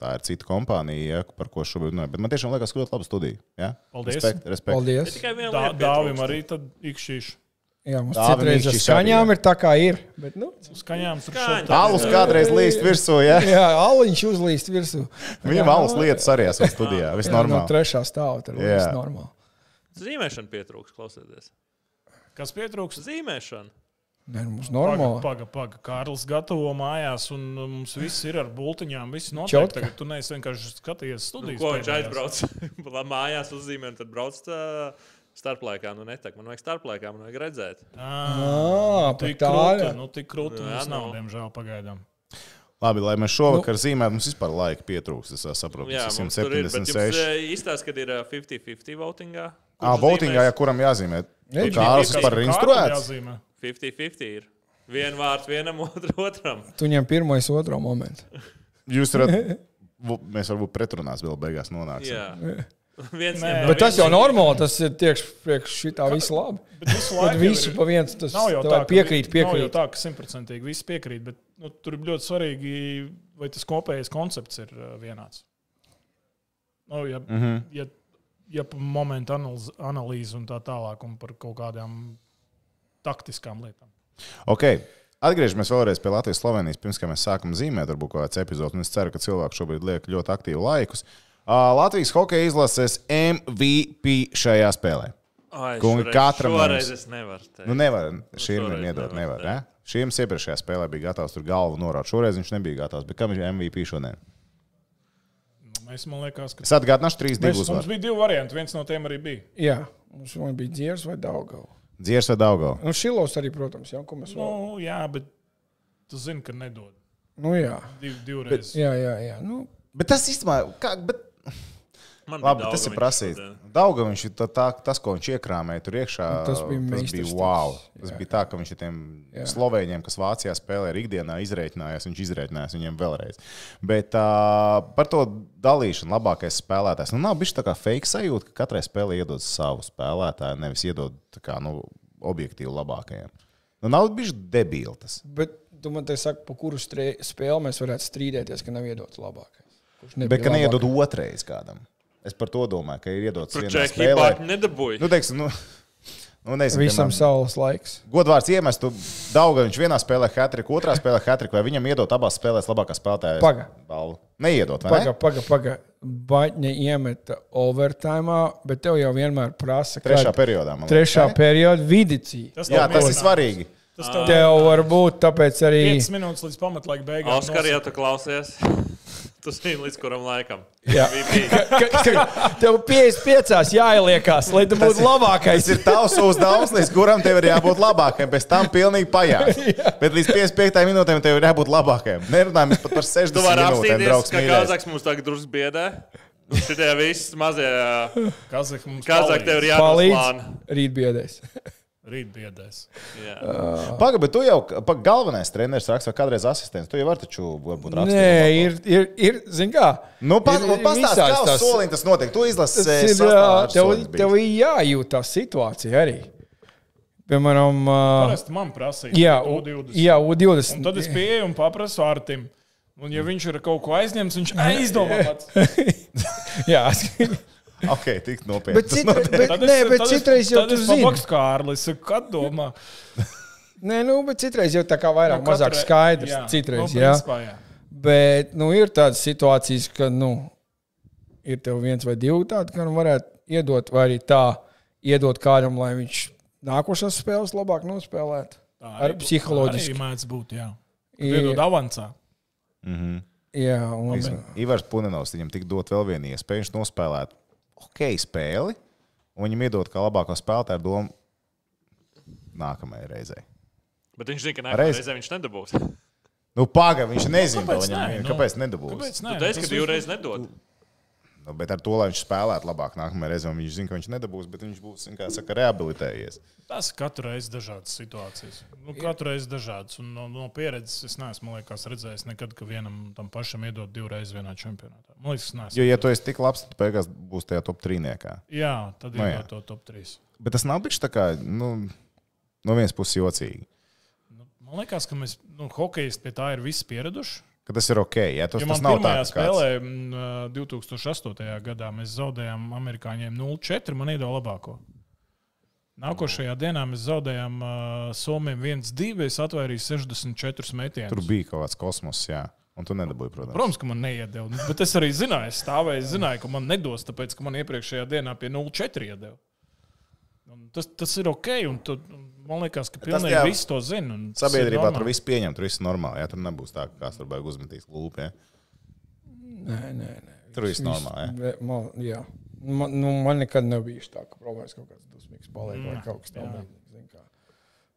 tā ir cita kompānija, ja, par ko šobrīd runājam. Bet man tiešām liekas, ka ļoti laba studija. Ja?
Paldies.
Respekt, respekt.
Ir
Paldies.
Tikai viena
Tā,
lieta.
dāvim
pietrūkst.
arī tad ikšķīšu.
Jā, mums
Dāvim
citreiz ar
Mikšķis arī, jā.
skaņām ir tā, kā ir. Bet, nu,
Skaņām tur
Skaņa.
šeit.
Alus kādreiz līst virsū, ja?
jā, aliņš uzlīst virsū. nu,
Viņam alus lietas arī esmu studijā. Viss
Jā, nu, no
normāli.
trešā stāvā tur
Jā.
viss normāli.
Zīmēšana pietrūks, klausieties.
Kas pietrūks?
Zīmēšana.
Nē, nu, mums
Paga,
normāli.
paga, paga. Kārlis gatavo mājās, un mums viss ir ar bultiņām. Viss notiek.
Čotka.
Tagad tu neesi vienkārši skatījies
Nu,
studijas.
ko viņš
pēdējās.
aizbrauc? La- Mājās uzzīmē, un tad brauc tā starplaikā. Nu, netek. Man vajag starplaikā, man vajag redzēt.
Ā,
Ah,
Tik
tā
krūti,
jā.
nu tik krūti.
Jā,
mums Nav,
nav.
diemžēl, pagaidām.
Labi, lai mēs
Nu.
šovakar zīmētu, mums vispār laika pietrūks. Es ā, saprotu,
Jā,
tas ir
mums tur ir. Bet jums
176.
eh, izstāsta, ka ir eh, 50-50 votingā.
Ah,
Kurš
votingā,
zīmēs?
ja kuram jāzīmē.
Nē,
Kārlis
Kas
vispār
par
ir
kārtu
instruēts.
jāzīmē?
50-50 ir. Vienu vārdu vienam, otru otram.
Tu ņem pirmais, otro momentu.
Jūs varat, v- mēs varbūt pretrunās vēl beigās nonāksim.
Jā. Viens
Nē.
ņem
Bet tas
viens
jau normāli, tas ir tiek priekš šitā viss labi.
Bet visu
Tad
laiku jau
visu
ir-
pa viens tas
Nav jau
tev
tā, ka
piekrīt,
vi- Nav jau
piekrīt.
tā, ka simtprocentīgi viss piekrīt, bet nu, tur ir ļoti svarīgi, vai tas kopējais koncepts ir uh, vienāds. Nu, ja, mm -hmm.
Mhm.
ja, ja pa momentu analz- analīzi un tā tālāk, un par kaut kādām taktiskām lietām.
Okay. Atgriežamies vēlreiz pie Latvijas Slovenijas. Pirms kā mēs sākam zīmēt, varbūt kaut kāds epizodes, un es ceru, ka cilvēki šobrīd liek ļoti aktīvu laikus. Ā, Latvijas hokeja izlases MVP šajā spēlē.
Ai,
Kungi,
šoreiz-
katram
Šoreiz
mums-
es nevaru teikt.
Nu, nevar, šī ir
šoreiz
nedod,
nevar,
nevar. Ne? Šiem iepriekšējā spēlē bija gatavs tur galvu norādīt. Šoreiz viņš nebija gatavs, bet kam ir MVP šodien?
Nu, mēs, man liekas, ka
Es atgādināšu trīs
mēs,
divus
mums
uzvaru.
bija divi varianti. Viens no tiem arī bija.
Jā, mums šodien bija dziers vai daugau.
Dziers vai Daugo?
Un šilos arī, protams, jau, ko mēs vēl.
Nu, jā, bet tu zini, ka nedod
Nu, jā.
div, divreiz.
Jā, jā, jā. Nu,
Bet tas īstenībā, kā, bet
Man bija
Labi, bet
daudz,
tas ir
viņš
prasīts.
šodien.
Daudzā viņš ir tā, tā, tas, ko viņš iekrāmēja tur iekšā.
Nu, tas bija
tas
meistars
bija
tas.
wow. Tas
Jā.
bija tā, ka viņš ir tiem
Jā.
slovēņiem, kas Vācijā spēlē ir ikdienā, izreikinājās. Viņš izreikinājās viņiem vēlreiz. Bet uh, par to dalīšanu labākais spēlētājs. Nu, nav bijis tā kā fake sajūta, ka katrai spēlē iedod savu spēlētāju, nevis iedod tā kā, nu, objektīvi labākajiem. Nu, nav bijis debiltas.
bet tu man te saki, pa kuru strē- spēli mēs varētu strīdēties, ka nav iedots labākais. Kurš nebija
Bet ka neiedod
labākais?
otrais kādam. Es par to domāju, ka ir iedots
Tur
vienā
Čehija
spēlē.
pārāk nedabūja.
Nu, teiksim, nu, nu, nezinu,
Visam
piemēram,
saules laiks.
Godvārds iemestu daudz, viņš vienā spēlē hatriku, otrā spēlē hatriku, vai viņam iedot abās spēlēs labākā spēlētāja
Paga.
balvu? Neiedot, vai
Paga,
ne?
paga, paga. Baņa iemeta overtime, bet tev jau vienmēr prasa,
Trešā
kad-
periodā. man
trešā
liekas,
perioda vidicī.
Tas
ne? Jā,
tev
tas ir
vienāds.
svarīgi.
Tas tev ir
Tev var būt tāpēc arī.
5 minūtes līdz pamatlaika beigām.
Oskar, ja tu klausies, tu zini, līdz kuram laikam.
Jā.
MVP.
Ka- ka- Tev 55 jāieliekās, lai tu būtu labākais.
Tas ir tavs uzdevums, līdz kuram tev ir jābūt labākajam. Pēc tam pilnīgi pajāts. Bet līdz 55 minūtēm tev ir jābūt labākajam. Nerunājam mēs pat par
Tu
60
vari
minūtēm,
apstīties,
draugs.
ka
mīļais.
Kazaks mums tagad drusku biedē. Nu, Šitie visi mazie
Kazakh mums
Kazaki tev
palīdz.
ir
Palīdz.
jāplāno.
Rīt biedēs.
Rīt biedēs.
Jā,
Pagaidi, bet tu jau pa, galvenais treneris raksta, vai kādreiz asistents. Tu jau vari taču varbūt rakstīt.
Nē, ir, ir, ir zin kā.
Nu, pas,
ir- ir
pastāst,
visās
kā uz
tās-
solim tas notiek. Tu izlasi
Tas ir, ā, tev, tev ir jājūt tā situācija arī. Piemēram, ā,
Parasti man prasīja.
jā,
to
U-
20.
jā,
Un tad es
U20.
pieeju un paprasu Artim. Un, ja viņš ir kaut ko aizņemts, viņš aizdomā pats.
Jā, es-
Ok, tik nopietni.
bet
Tas
citreiz, bet,
Tad
nē, bet
tad
citreiz jau
tad
tu
es
zini.
pabakstu Kārlis, kad domā.
Nē, nu, bet citreiz jau tā kā vairāk, no mazāk skaidrs. Jā,
nu,
citreiz, jā.
principā, jā.
Bet nu, ir tādas situācijas, ka nu, ir tev viens vai divi tādi, ka nu, varētu iedot, vai arī tā iedot kādam, lai viņš nākošās spēles labāk nospēlētu.
Tā
Ar
arī bū- Tā
psiholoģisku.
arī mēdz būt, jā.
I-
Iedod avansā.
Jā, un,
Ivars Punenovs viņam tik dot vēl vienu iespēju, viņš nospēlēt ok spēli, un viņam iedot kā labāko spēlētāju domu nākamajai reizei.
bet viņš zina, ka
Reiz.
nākamā reizē viņš nedabūs. Tu
Nu, pagaidi, viņš nezina,
kāpēc
kāpēc, viņam,
nē,
ir,
nu?
kāpēc nedabūs.
Kāpēc? Nē,
teici,
tas
ka divreiz nedod.
Nu, bet ar to, lai viņš spēlētu labāk nākamajā reizē, un viņš zina, ka viņš nedabūs, bet viņš būs, zin kā saka, rehabilitējies.
Tas katru reizi dažādas situācijas. Nu, katru reizi dažādas. Un no, no pieredzes es neesmu man liekas, redzējis nekad, ka vienam tam pašam iedod divreiz vienā čempionātā. Man liekas, tas
Jo,
nesmu.
ja tu esi tik labs, tad beigās būs tajā top trīniekā.
Jā, tad
Nu,
ir
jā.
no, to top 3.
Bet tas nav bijis tā kā, nu, no vienas puses jocīgi.
Nu, Man liekas, ka mēs, nu, hokejisti pie tā ir visi pieraduši.
Ka tas ir ok, ja tas,
Jo
tas
man
nav tā,
pirmajā
ka
spēlē
kāds-
mm, 2008. gadā mēs zaudējām amerikāņiem 0-4. Man iedeva labāko. Nākošajā dienā mēs zaudējām uh, Somijam 1-2. Es atvairīju 64 metienus.
tur bija kaut kāds kosmos, jā. Un tu nedabūji, protams.
Protams, ka man neiedeva. nu, Bet es arī zināju, es stāvēju, es zināju, ka man nedos, tāpēc, ka man iepriekšējā dienā pie 0,4 iedeva. Un Tas, tas ir ok, un tu, man liekas, ka
Tas
pilnīgi
jā,
viss to zina. un tas ir
Sabiedrībā tur
normāli.
viss pieņem, tur viss ir normāli. Jā, tur nebūs tā, ka kāds tur beigas uzmetīs lūpē.
nē, nē, nē.
Tur viss normāli.
Re- Man, jā. man, nu, man nekad nav bijis tā, ka problēmas kaut kāds dusmīgs paliek vai kaut kas tāds.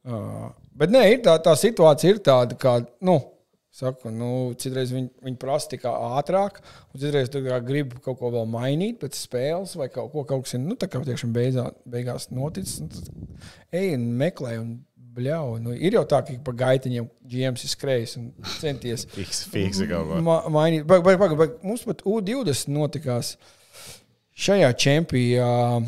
Uh, bet nē, ir tā, tā situācija ir tāda, ka, nu, saku, nu citreiz viņi, viņi prasa tā kā ātrāk, un citreiz tā kā grib kaut ko vēl mainīt pēc spēles, vai kaut, ko, kaut kas ir, nu, tā kā tiešām beidzā, beigās noticis. un tad Ej un meklē, un bļauj. Nu, ir jau tā, ka ik pa gaitiņiem ģēmas ir skrējis un centies.
Fiks, fiks, kaut ko.
Ma mainīt. Bag, bag, bag, bag. Mums pat U20 notikās šajā čempionā.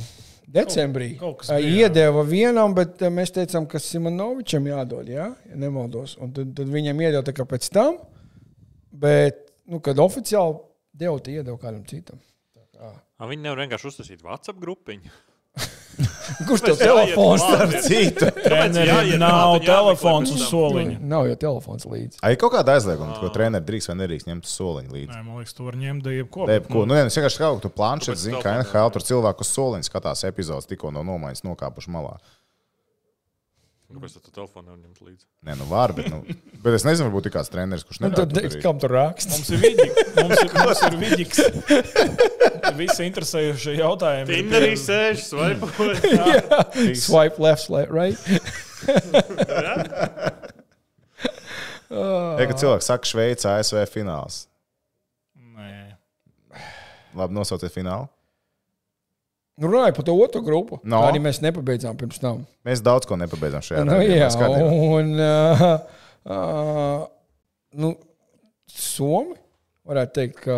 Decembrī
Kaut- kaut kas
Ā,
bija, jā.
iedeva vienam, bet ā, mēs teicām, ka Simonovičam jādod, jā? ja nemaldos. Un tad, tad viņam iedeva tā kā pēc tam, bet, nu, kad oficiāli deva, tad iedeva kādam citam.
Ā, Viņi nevar vienkārši uztaisīt WhatsApp grupiņu.
Kurš tev
Tāpēc jāiet
telefons?
klāt, jā.
Cita.
Tāpēc jāiet
Treneriem
klāt
nav
un jāmeklē
telefons
pēc
uz
tam.
soliņa.
Nav jau telefons līdzi.
Ai, kaut kāda aizlieguma, ko treneris drīkst vai nedrīkst ņemt uz soliņa līdzi.
Nē, man liekas, to var ņemt da jebko.
Nē, ko, nu, nē, es vienkārši kaut kādu planšu
Tāpēc
zinu, ka
telefonu
NHL tur cilvēku uz soliņa skatās epizodus tikko no nomaiņas nokāpuši malā.
Kāpēc tu telefonu nevar ņemt līdzi?
Nē, nu var, bet, nu, bet es nezinu, varbūt ir kāds treneris, kurš
Nu, tad,
nedarbojas.
kam tur raksts?
Mums ir vidiks. Mums ir, mums ir vidiks. Visi interesējušie jautājumi. ir
Tinderī
pie-
sēž, vai
Swipe left, swipe right.
Ja, kad cilvēks saka, Šveice, ASV fināls,
Nē.
labi, nosauciet finālu.
Nu, Runāju par to otru grupu.
No.
Tā arī mēs nepabeidzām pirms tam.
Mēs daudz ko nepabeidzām šajā
Nu, jā,
skatījumā.
un uh, uh, nu, Somi varētu teikt, ka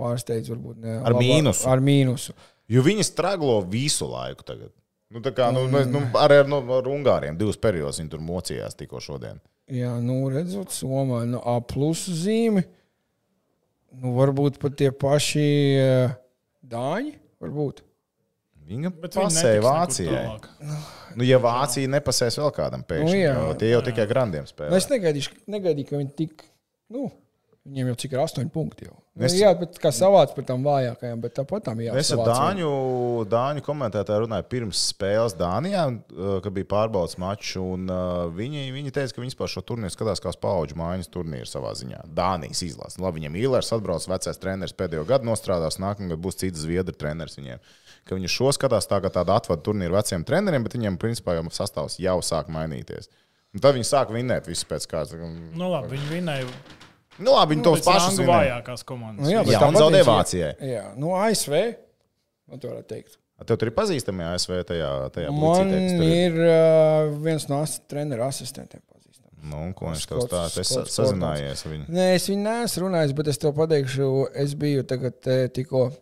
pārsteidz varbūt ne.
Ar mīnusu.
Ar mīnusu.
Jo viņi strāglo visu laiku tagad. Nu, tā kā
Mm.
nu, mēs, nu, arī ar, nu, ar Ungāriem divas periodus viņi tur mocījās tikko šodien.
Jā, nu, redzot, Somā nu, A plus zīme. Nu, varbūt pat tie paši uh, dāņi. Varbūt.
Viņa
Bet viņi
pasēja
netiks nekur
Vācijai.
tālāk.
Nu, ja Vācija nepasēs vēl kādam
Nu,
pēkšņi,
jā.
nu, tie jau tikai grandiem spēlē.
Nu, es negaidīšu, negaidīju, ka viņi tik. Nu, Viņiem jau cik ir astoņi punkti. Jau. Nu,
Es-
jā, bet kā savāds par tām vājākajām, bet tāpat tām
Es ar
jāsavāc.
Dāņu, Dāņu komentētāju runāju pirms spēles Dānijā, uh, kad bija pārbaudas mačs. un, uh, Viņi, viņi teica, ka viņi vispār šo turnīru skatās kā paudžu mājas turnīru savā ziņā. Dānijas izlases. Nu, Labi, viņam īlērs atbrauc vecais treneris pēdējo gadu nostrādās, nākamgad būs cits zviedru treneris viņiem. Ka viņi šo skatās tā kā tādu atvadu turnīru veciem treneriem, bet viņiem principā jau sastāvs jau sāk mainīties. Un tad viņi sāk vinēt visus pēc kārtas. Nu,
Nu, labi, viņi vinēja.
labi, viņi
Nu,
tos
pēc
pašus
rangu
vinēja.
vājākās komandas.
Nu, jā, bet
Jā, un
tāpat
zaudēja
viņš-
Vācijai.
Jā, nu ASV. Man to varētu teikt.
Tev tur ir pazīstami ASV tajā, tajā
Man
puicītē, kas tur ir?
ir uh, viens no as- treneru asistentiem. pazīstams.
Nu, un ko viņš tev
Skots-
stāsta? Es sa-
Skots-
sazinājies ar viņu.
Nē, es viņu neesmu runājis, bet es tev pateikšu, es biju tagad eh, tikko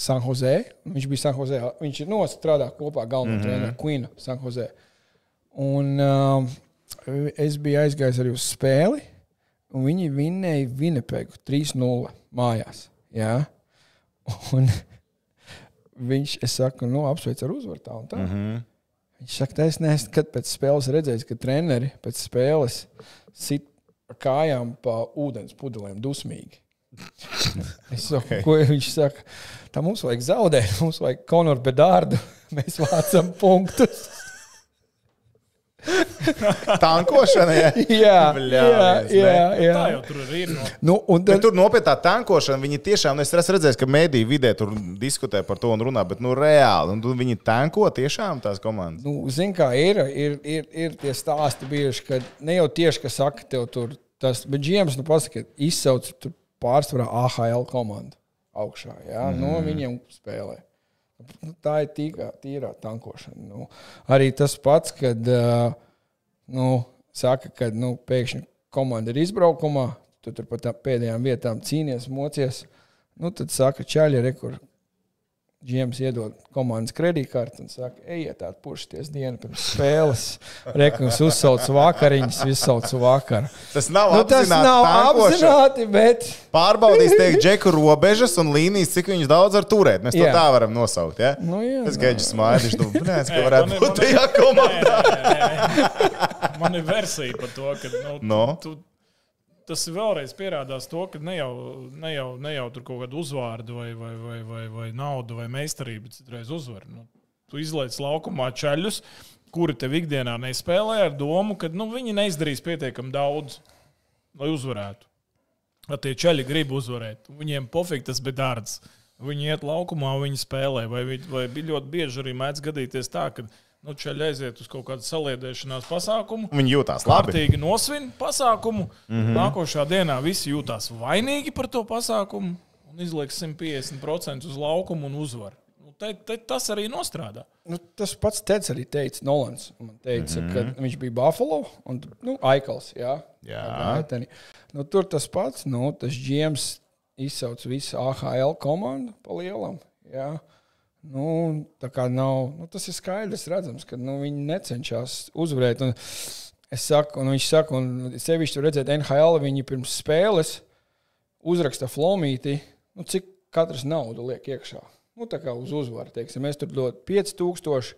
Sanhozē. Viņš bija Sanhozē. Viņš ir nostrādājis kopā ar galveno mm -hmm. treneru Queenu Sanhozē. Un um, es biju aizgājis arī uz spēli, un viņi vinnēja Vinepegu 3-0 mājās. Jā. Un viņš, es saku, nu, apsveicu ar uzvaru tā un tā. Mm -hmm. Viņš saka, ka es neesmu kad pēc spēles redzējis, ka treneri pēc spēles sit ar kājām pa ūdens pudelēm dusmīgi. Es saku, okay. ko viņš saka? Tā mums vajag zaudēt, mums vajag konoru bedārdu. Mēs vācam punktus.
Tankošana, jā.
jā,
Bļā,
jā,
es ne-
jā, jā.
Tā jau tur ir. No.
Nu, un
Bet
tad,
tur nopietnā tankošana, viņi tiešām, nu, es esmu redzējis, ka mēdī vidē tur diskutē par to un runā, bet nu reāli, un tu- viņi tanko tiešām tās komandas.
nu, zini, kā ir, ir, ir, ir tie stāsti bijuši, ka ne jau tieši, kas saka tev tur tas, bet Džiems, nu, pasaka, izsauc tur pārsvarā AHL komandu augšā, jā, mm. no viņiem spēlē. Nu, tā ir tīkā, tīrā tankošana. Nu, arī tas pats, kad, ā, nu, saka, kad, nu, pēkšņi komanda ir izbraukumā, tu tur pat pēdējām vietām cīnies, mocies, nu, tad saka, čaļi, rekur, Džiems iedod komandas kredītkarti un saka, ejiet, atpūšties dienu pirms spēles. Rekums uzsauc vakariņas, izsauc vakaru.
Tas nav
Nu, tas
apzināti
nav
tankošana.
apzināti, bet
Pārbaudīs, teikt, džeku robežas un līnijas, cik viņš daudz var turēt. Mēs to
Jā.
tā varam nosaukt. Ja?
Nu, jā,
tas
nu.
gaidžs smaidiņš, nu, blēns, ka
Ei, man
varētu
ir-
būt
man ir-
tajā komandā.
Man ir versija par to, ka nu,
No.
tu, tas vēlreiz pierādās to, ka ne jau, ne jau, ne jau tur kaut kādu uzvārdu vai, vai, vai, vai, vai naudu vai meistarību, bet citreiz uzvaru. Nu, tu izlaiž laukumā ceļus, kuri tev ikdienā nespēlē ar domu, ka nu, viņi neizdarīs pietiekami daudz, lai uzvarētu. Ja tie ceļi grib uzvarēt, viņiem pofīgi tas bija dārgs. Viņi iet laukumā, viņi spēlē. Vai, vi- vai bija ļoti bieži arī mēdz gadīties tā, ka nu, ceļi aiziet uz kaut kādu saliedēšanās pasākumu,
Viņi jūtās labi.
kārtīgi nosvin pasākumu. Mm
Mhm.
-hmm. Nākošā dienā visi jūtās vainīgi par to pasākumu un izliek 150% uz laukumu un uzvar. Nu, te, te, tas arī nostrādā.
nu, tas pats Teds arī teica, Nolans. Man teica, mm -hmm. ka viņš bija Buffalo un nu, Aikals. Jā,
Jā.
Gaiteni. Nu, tur tas pats, nu, tas Džiems izsauc visu AHL komandu pa lielam. Jā. Nu, tā kā nav, nu, tas ir skaidrs, redzams, ka nu, viņi necenšas uzvarēt. Un es saku, un viņš saka, un sevišķi tur redzēt, NHL viņi pirms spēles uzraksta flomīti, nu, cik katrs naudu liek iekšā. Nu, tā kā uz uzvaru, teiksim, mēs tur dodam 5000,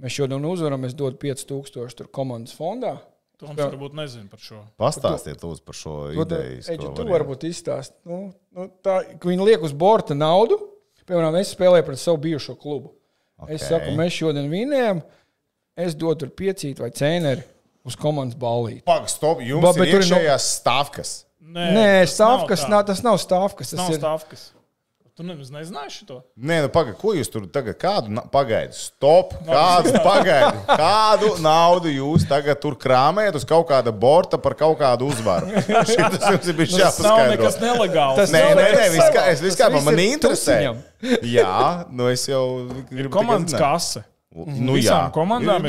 mēs šodien uzvaram, es dodu 5000 tur komandas fondā.
Toms varbūt nezina par šo.
Pastāstiet, lūdzu, par šo ideju.
Eģi, tu varbūt izstāst. Nu, nu, tā, ka viņi liek uz borta naudu. Piemēram, es spēlēju pret savu bijušo klubu. Okay. Es
Okei.
saku, mēs šodien vinējam, es dodu tur piecīt vai cēneri uz komandas ballīti.
Pagaidām, stop. Jums
Ba-
ba,
bet
ir
tur ir no-
iekšējās no... stāvkas.
Nē,
Nē,
tas
stāvkas,
tā.
nav, tas nav stāvkas. Tas
nav
nav ir,
stāvkas. Tu nemaz nezināji to.
Nē, nu pagaidi, ko jūs tur tagad, kādu na... pagaidu, stop, kādu, pagaidu, kādu naudu jūs tagad tur krāmējat uz kaut kāda borta par kaut kādu uzvaru? Šitas jums ir bijis
Nu, Tas nav
jāpaskaidro.
nekas nelegāls.
Tas
Nē,
nav
nē, nē,
nekas
viss kā,
savāds.
es vispār
Tas viss
man
ir
interesē.
tusiņam.
Jā, nu es jau gribu.
komandas
tikai zināt.
kase.
Nu,
Visām
jā.
komandām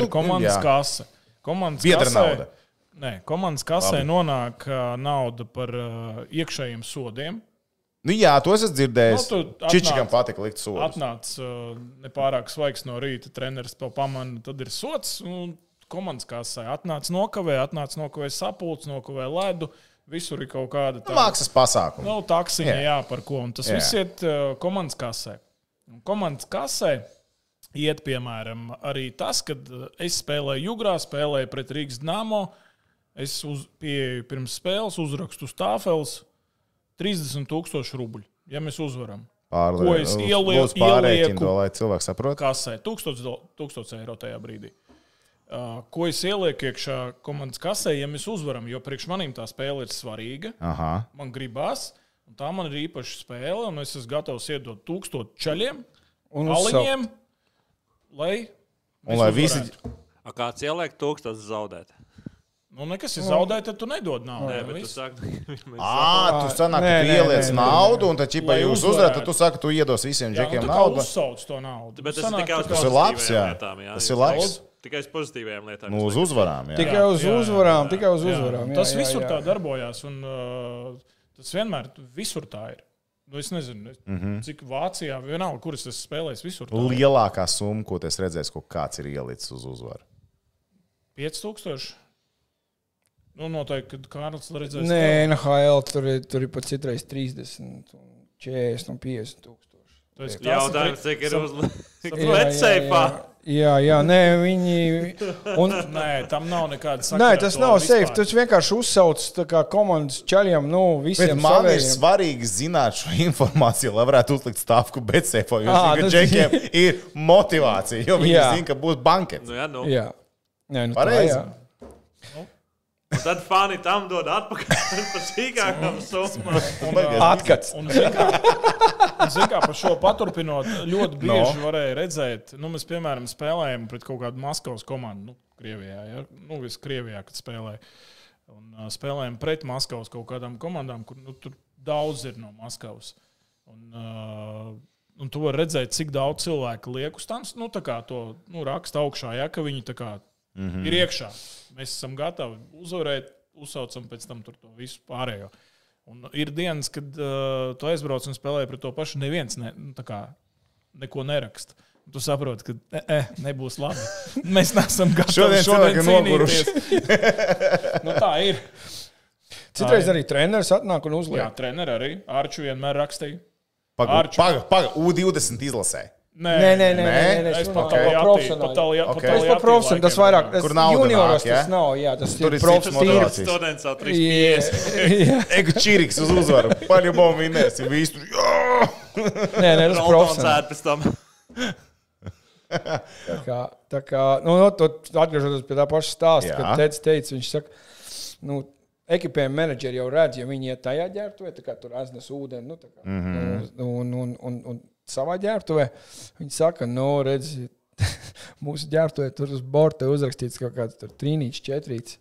Nu,
ir komandas
jā.
kase. Komandas
Biedra
kasē-
nauda.
Nē, komandas kasē Labi. nonāk ā, nauda par ā, iekšējiem sodiem.
Nu, jā, to es esmu dzirdējis.
Nu,
Nu,
tu atnāc.
Čičikam patika likt soli.
Atnācis uh, nepārāk svaigs no rīta, treneris to pamana, tad ir sots. un Komandas kasē atnāca nokavē, atnāca nokavē sapulcē, nokavē ledu. Visur ir kaut kāda tā-
Mākslas pasākumu.
Nav taksiņa,
Jā.
jā, par ko. Un tas
Jā.
jā. viss iet uh, komandas kasē. Un komandas kasē iet, piemēram, arī tas, kad uh, es spēlēju Jugrā, spēlēju pret Rīgas Dāmo. Es uz, pieeju pirms spēles, uzrakstu uz tāfeles 30,000 rubļu. Ja mēs uzvaram, Ko es ielieku- ielieku?
to, lai cilvēks saprotu.
kasē 1000 dol- 1000 eiro tajā brīdī. Uh, ko es ielieku iekšā komandas kasē, ja mēs uzvaram, jo priekš manīm tā spēle ir svarīga.
Aha.
man gribās. un Tā man ir īpaša spēle, un es esmu gatavs iedot tūkstošu ceļiem,
Un uzsaukt.
aliņiem, lai,
Un
mēs
lai visi-
uzvarētu.
Kāds ieliek, tūkstoš zaudēt.
Nu, nekas ir zaudēts, tad tu nedod naudu.
Nē,
Nu,
bet tu
viss.
saki,
Ā, tu sanāk, ka
Nē,
tu
nē,
ieliec
nē, nē,
naudu, un tad, ja
Lai
jūs
uzvarētu.
uzvarat, tad tu saki, tu iedos visiem
Jā, nu,
džekiem
tā kā
naudu.
Uzsauc to naudu.
bet
Nu,
tas ir
sanāk,
tikai uz
ka
Tas ir
pozitīvajām
labs, jā.
lietām. Jā.
Tas ir labs.
Tikai uz pozitīvajām lietām.
Nu, uz uzvarām. Jā.
Tikai uz
jā, jā,
uzvarām,
jā.
tikai uz
Jā,
uzvarām.
nu,
jā,
Tas
jā,
visur
jā.
tā darbojās. Un, uh, tas vienmēr visur tā ir. Nu, es nezinu, es-
Mhm.
cik Vācijā, vienalga, kuras es spēlēju, visur. tā ir.
Lielākā summa, ko tu esi redzējis, ko kāds ir ielicis uz uzvaru.
5000. Nu, noteikti, kad Kārlis redzēs.
Nē, NHL tur ir, tur ir pat citreiz 30, un 40 un 50 tūkstoši.
tev, tas ir
Jautājums, cik ir uz
Jā, jā,
Lecēpā.
Jā, jā, jā, nē, viņi. Un,
Nē, tam nav nekāda sakta.
nē, tas nav safe. Tas vienkārši uzsauc tā kā komandas čaļiem, nu,
Bet
visiem
man ir
saviem.
svarīgi zināt šo informāciju, lai varētu uzlikt stāvku BCF. Jo zinu,
Ā,
ka
tas-
džekiem ir motivācija, jo viņi
Ah, nu, Jā.
zina, ka būs bankets.
Nu, jā, nu.
Jā, nē, nu, tā,
Pareizi.
jā.
Un Tad fani tam dod atpakaļ par sīkākām summām.
Un beigās-
Atkats.
Un, zini kā, un zini kā, par šo paturpinot, ļoti bieži no. varēja redzēt, nu, mēs, piemēram, spēlējām pret kaut kādu Maskavas komandu, nu, Krievijā, ja? nu, es Krievijā, kad spēlēju. Un uh, spēlējām pret Maskavas kaut kādām komandām, kur nu, tur daudz ir no Maskavas. Un, uh, un tu vari redzēt, cik daudz cilvēku liek uz tam, nu, tā kā to nu, raksta augšā, ja ka viņi tā kā mm
Mhm.
-hmm. ir iekšā. Mēs esam gatavi uzvarēt, uzsaucam pēc tam tur to visu pārējo. Un ir dienas, kad uh, tu aizbrauc un spēlē pret to pašu. Neviens ne, nu, tā kā neko neraksta. Tu saproti, ka e, e, nebūs labi. Mēs neesam gatavi
Šodien
šodien,
cilvēki
šodien
noguruši.
cīnīties. nu, tā ir.
Citreiz
Tā
arī treneris atnāk un uzliek.
Jā, treneris arī. Arču vienmēr rakstīja.
Paga,
Arču.
paga, paga, U20 izlasē.
Nē, nē, nē, nē, nē,
Es
es
pat
runāju
tālu
par profesionāli. Es par profesionāli, tas vairāk, tas
Kur nauda
junioros
nāk, jā?
tas nav, jā, tas
Tur
ir
ir cits
profesionāli.
motivācijas.
Students jau trīs.
Jā,
Ego čiriks uz uzvaru. Paļabom vinēsim visu. Jā!
nē, nē, tas ir
Roltons
profesionāli.
ēd pēc tam.
Tā kā, tā kā nu, nu, to- atgriežoties pie tā paša stāsta,
Jā.
kad Tēvs teica, viņš saka, nu, ekipējuma menedžeri jau redz, ja viņi iet tajā ģērbtuvē, tā kā tur aiznes ūdeni, nu, tā kā, mm -hmm. un, un, un, un savā ģērbtuvē, viņi saka, nu, redz, mūsu ģērbtuvē tur uz borta uzrakstīts kaut kāds tur trīnīčs, četrīts,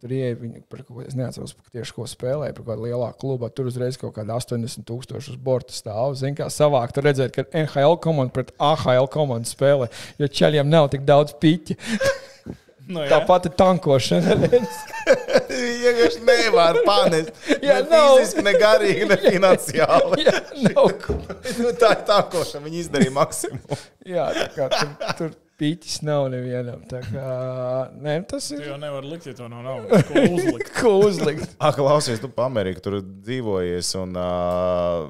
tur ieeja viņi par kaut ko, es neatceros tieši, ko spēlēja, par kādu lielāku klubu, tur uzreiz kaut kāda 80 tūkstoši uz borta stāv, zin kā savāk, tur redzēt, ka NHL komanda pret AHL komandu spēlē, jo čaļiem nav tik daudz piķi,
Nu,
tā pati tankošana, redz.
Viņa vienkārši nevar panest. Jā,
Jā,
ne
nav.
fiziski, ne garīgi, ne finansiāli.
Jā, nav ko.
Nu, tā ir tā, ko viņi izdarīja maksimumu.
Jā, tā kā tur, tur pīķis nav nevienam. Tā kā, nē, nu tas
Tu
ir.
jau nevar likt, ja to nav naudas. Ko uzlikt?
Ko uzlikt?
Ak, klausies, tu pa Ameriku tur dzīvojies un uh,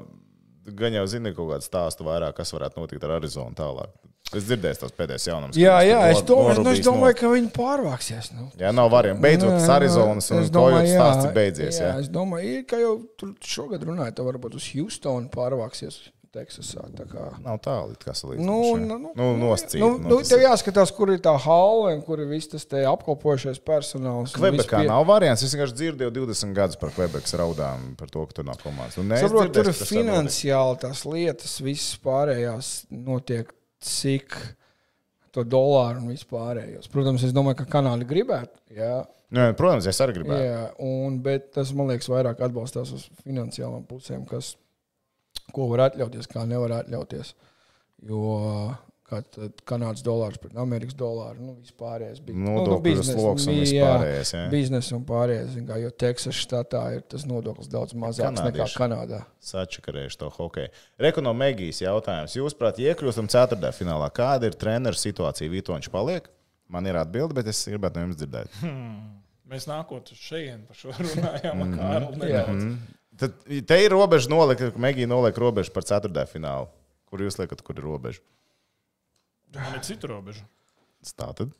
gan jau zini kaut kādu stāstu vairāk, kas varētu notikt ar Arizonu tālāk. Es dzirdēju tās pēdējās jaunums.
Jā,
kas
jā,
tur
es
nor-
domāju, nu, es
norūpīs
domāju
no-
ka viņi pārvāksies. Nu.
Jā, nav variem. Beidzot, tas Arizonas un
es domāju,
Toyota
jā,
stāsts ir beidzies.
Jā,
Jā.
es domāju, ir, ka jau tur šogad runāja, tad varbūt uz Houstonu pārvāksies Teksasā. tā kā.
Nav tālu, it kā salīdzinājums.
Nu, nu, nu,
nu nosacīt.
Nu, nu, tev jāskatās, kur ir tā hale un kur ir viss tas te apkopojušais personāls. un viss
Nu, Kvebekā
pie-
nav variants. Es vienkārši dzirdu jau 20 gadus par Kvebekas raudām, par to, ka tur nav Nu, komandas. Un, nē, es
Saprotu,
dzirdēju,
tur ir
ka tas tā notiek.
finansiāli tās lietas, visas pārējās notiek cik to dolāru un vispārējos. Protams, es domāju, ka Kanāda gribētu. Jā,
Nē, Nu, protams, es arī gribēju.
jā un, bet tas man liekas vairāk atbalstās uz finansiālām pusēm, kas, ko var atļauties, kā nevar atļauties. Jo kā tad Kanādas dolārs pret Amerikas dolāru, nu vispārējais bija.
Nodokļu sloks un vispārējais. jā.
Biznesa un pārējais, zin kā, jo Teksas štatā ir tas nodoklis daudz mazāks nekā
Kanādieši.
Kanādā.
Sačakarējuši to hokeju. Rekonomēģijas jautājums. Jūs, prāt, iekļūstam ceturtajā finālā. Kāda ir treneru situācija? Vitoņš paliek? Man ir atbilde, bet es gribētu no jums dzirdēt.
Mēs nākot uz šejienes par šo runājām.
Mhm.
Mm -hmm. nedaudz.
Tad te ir robeža nolika, ka Megija noliek robežu par ceturtajā finālu. Kur jūs liekat, kur ir robeža?
Man ir citu robežu.
Tātad.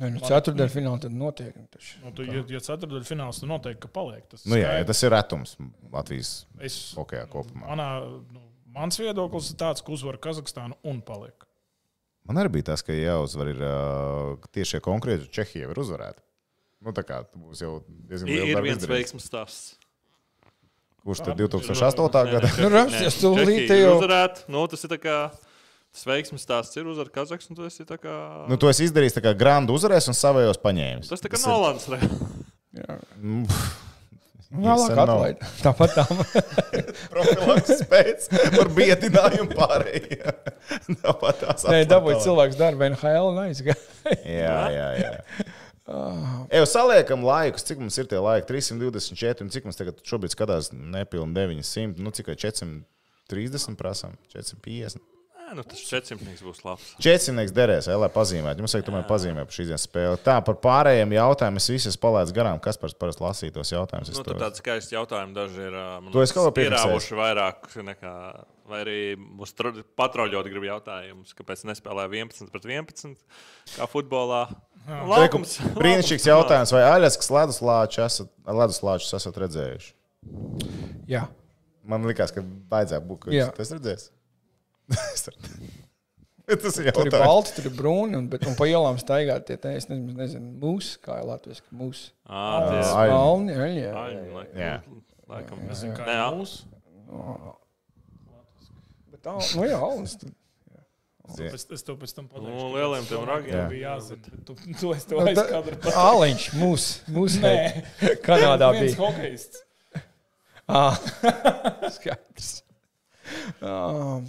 Nē, Nu, Ceturtdienā finālā tad notiek. nu, taču.
Nu, tu, ja ja ceturdaļa fināls, tad noteikti ka paliek. Tas
Nu, jā,
skaidrs.
jā, tas ir retums Latvijas
es,
hokejā kopumā.
manā, nu, mans viedoklis ir tāds, ka uzvar Kazahstānu un paliek.
Man arī bija tas, ka jāuzvar ir uh, tieši šie konkrēti Čehija ir uzvarēta. Nu, tā kā tu būs jau diezgan
Ir,
liela
ir
darba
viens
izdarīts.
veiksmes stāsts.
Kurš tad 2008. gada?
Nu, Rasties, tu līdzi jau-
Uzvarēt, nu, tas ir tā kā Tas veiksmes stāsts ir uzvarēt Kazahstānu. Tas ir tā kā.
Nu, to es izdarīju tā kā grandu uzvarēs un savējos paņēmis.
Tas tā kā Nolans. re.
Mm,
Vēlāk
Sen nav.
atlaid. Tāpat tā.
Profilaks pēc par biedinājumu pārējiem. Tāpat tās
Nē, dabūj
atpakaļ.
cilvēks darbu NHL un aizgāja.
Jā, jā, jā.
Ah.
Evo, saliekam laikus, cik mums ir tie laiki? 324, un cik mums tagad šobrīd skatās nepilnīgi 900, nu cik vai 430 prasām, 450.
Nē, nu tas četrsimtnieks būs labs.
Četrdesmitnieks derēs, ej, lai pazīmētu. Jums vajag tomēr pazīmēt par šīs dienas spēli. Tā, par pārējiem jautājumiem es visus palaidu garām. Kas par parasti lasītos jautājumus? Es
Nu,
to-
tur tāds skaists jautājums daži ir. ā, man
To es
liekas,
kaut kā piefiksēju.
pierāvuši vairāk nekā. Vai arī mums tro- patroļot grib jautājumus, kāpēc nespēlē 11 pret 11 kā futbolā.
Reku,
Laukums,
Brīnišķīgs jautājums, vai Aļaskas leduslāčus esat, leduslāčus esat redzējuši?
Jā.
Man liekas, ka vajadzētu būt, ka
Jā.
jūs tas redzēs. Bet tas ir
Tur ir
jautājums.
balti, tur ir brūni, un, bet, un pa ielām staigā tie tā, es nezinu, nezinu mūsu, kā ir latviešu, mūsu.
Ā,
Aļņi.
Balni, jā, jā.
tie ir aļņi,
Jā.
laikam. Laikam.
Zinu, kā
Nē, nu,
ir
ā,
mūsu.
Bet tā, nu jā, alns. tur.
Zie-
Es, es to pēc tam pateikšu.
Nu,
kāpēc
lieliem
es
tiem
domāju,
ragiem.
ka bija jāzina. Tu, tu es to
Nu, tā-
aizkadru.
Āliņš, mūsu, mūsu. Nē, Kanādā
Viens
bija.
hokejists.
Ah, Skaidrs. Um,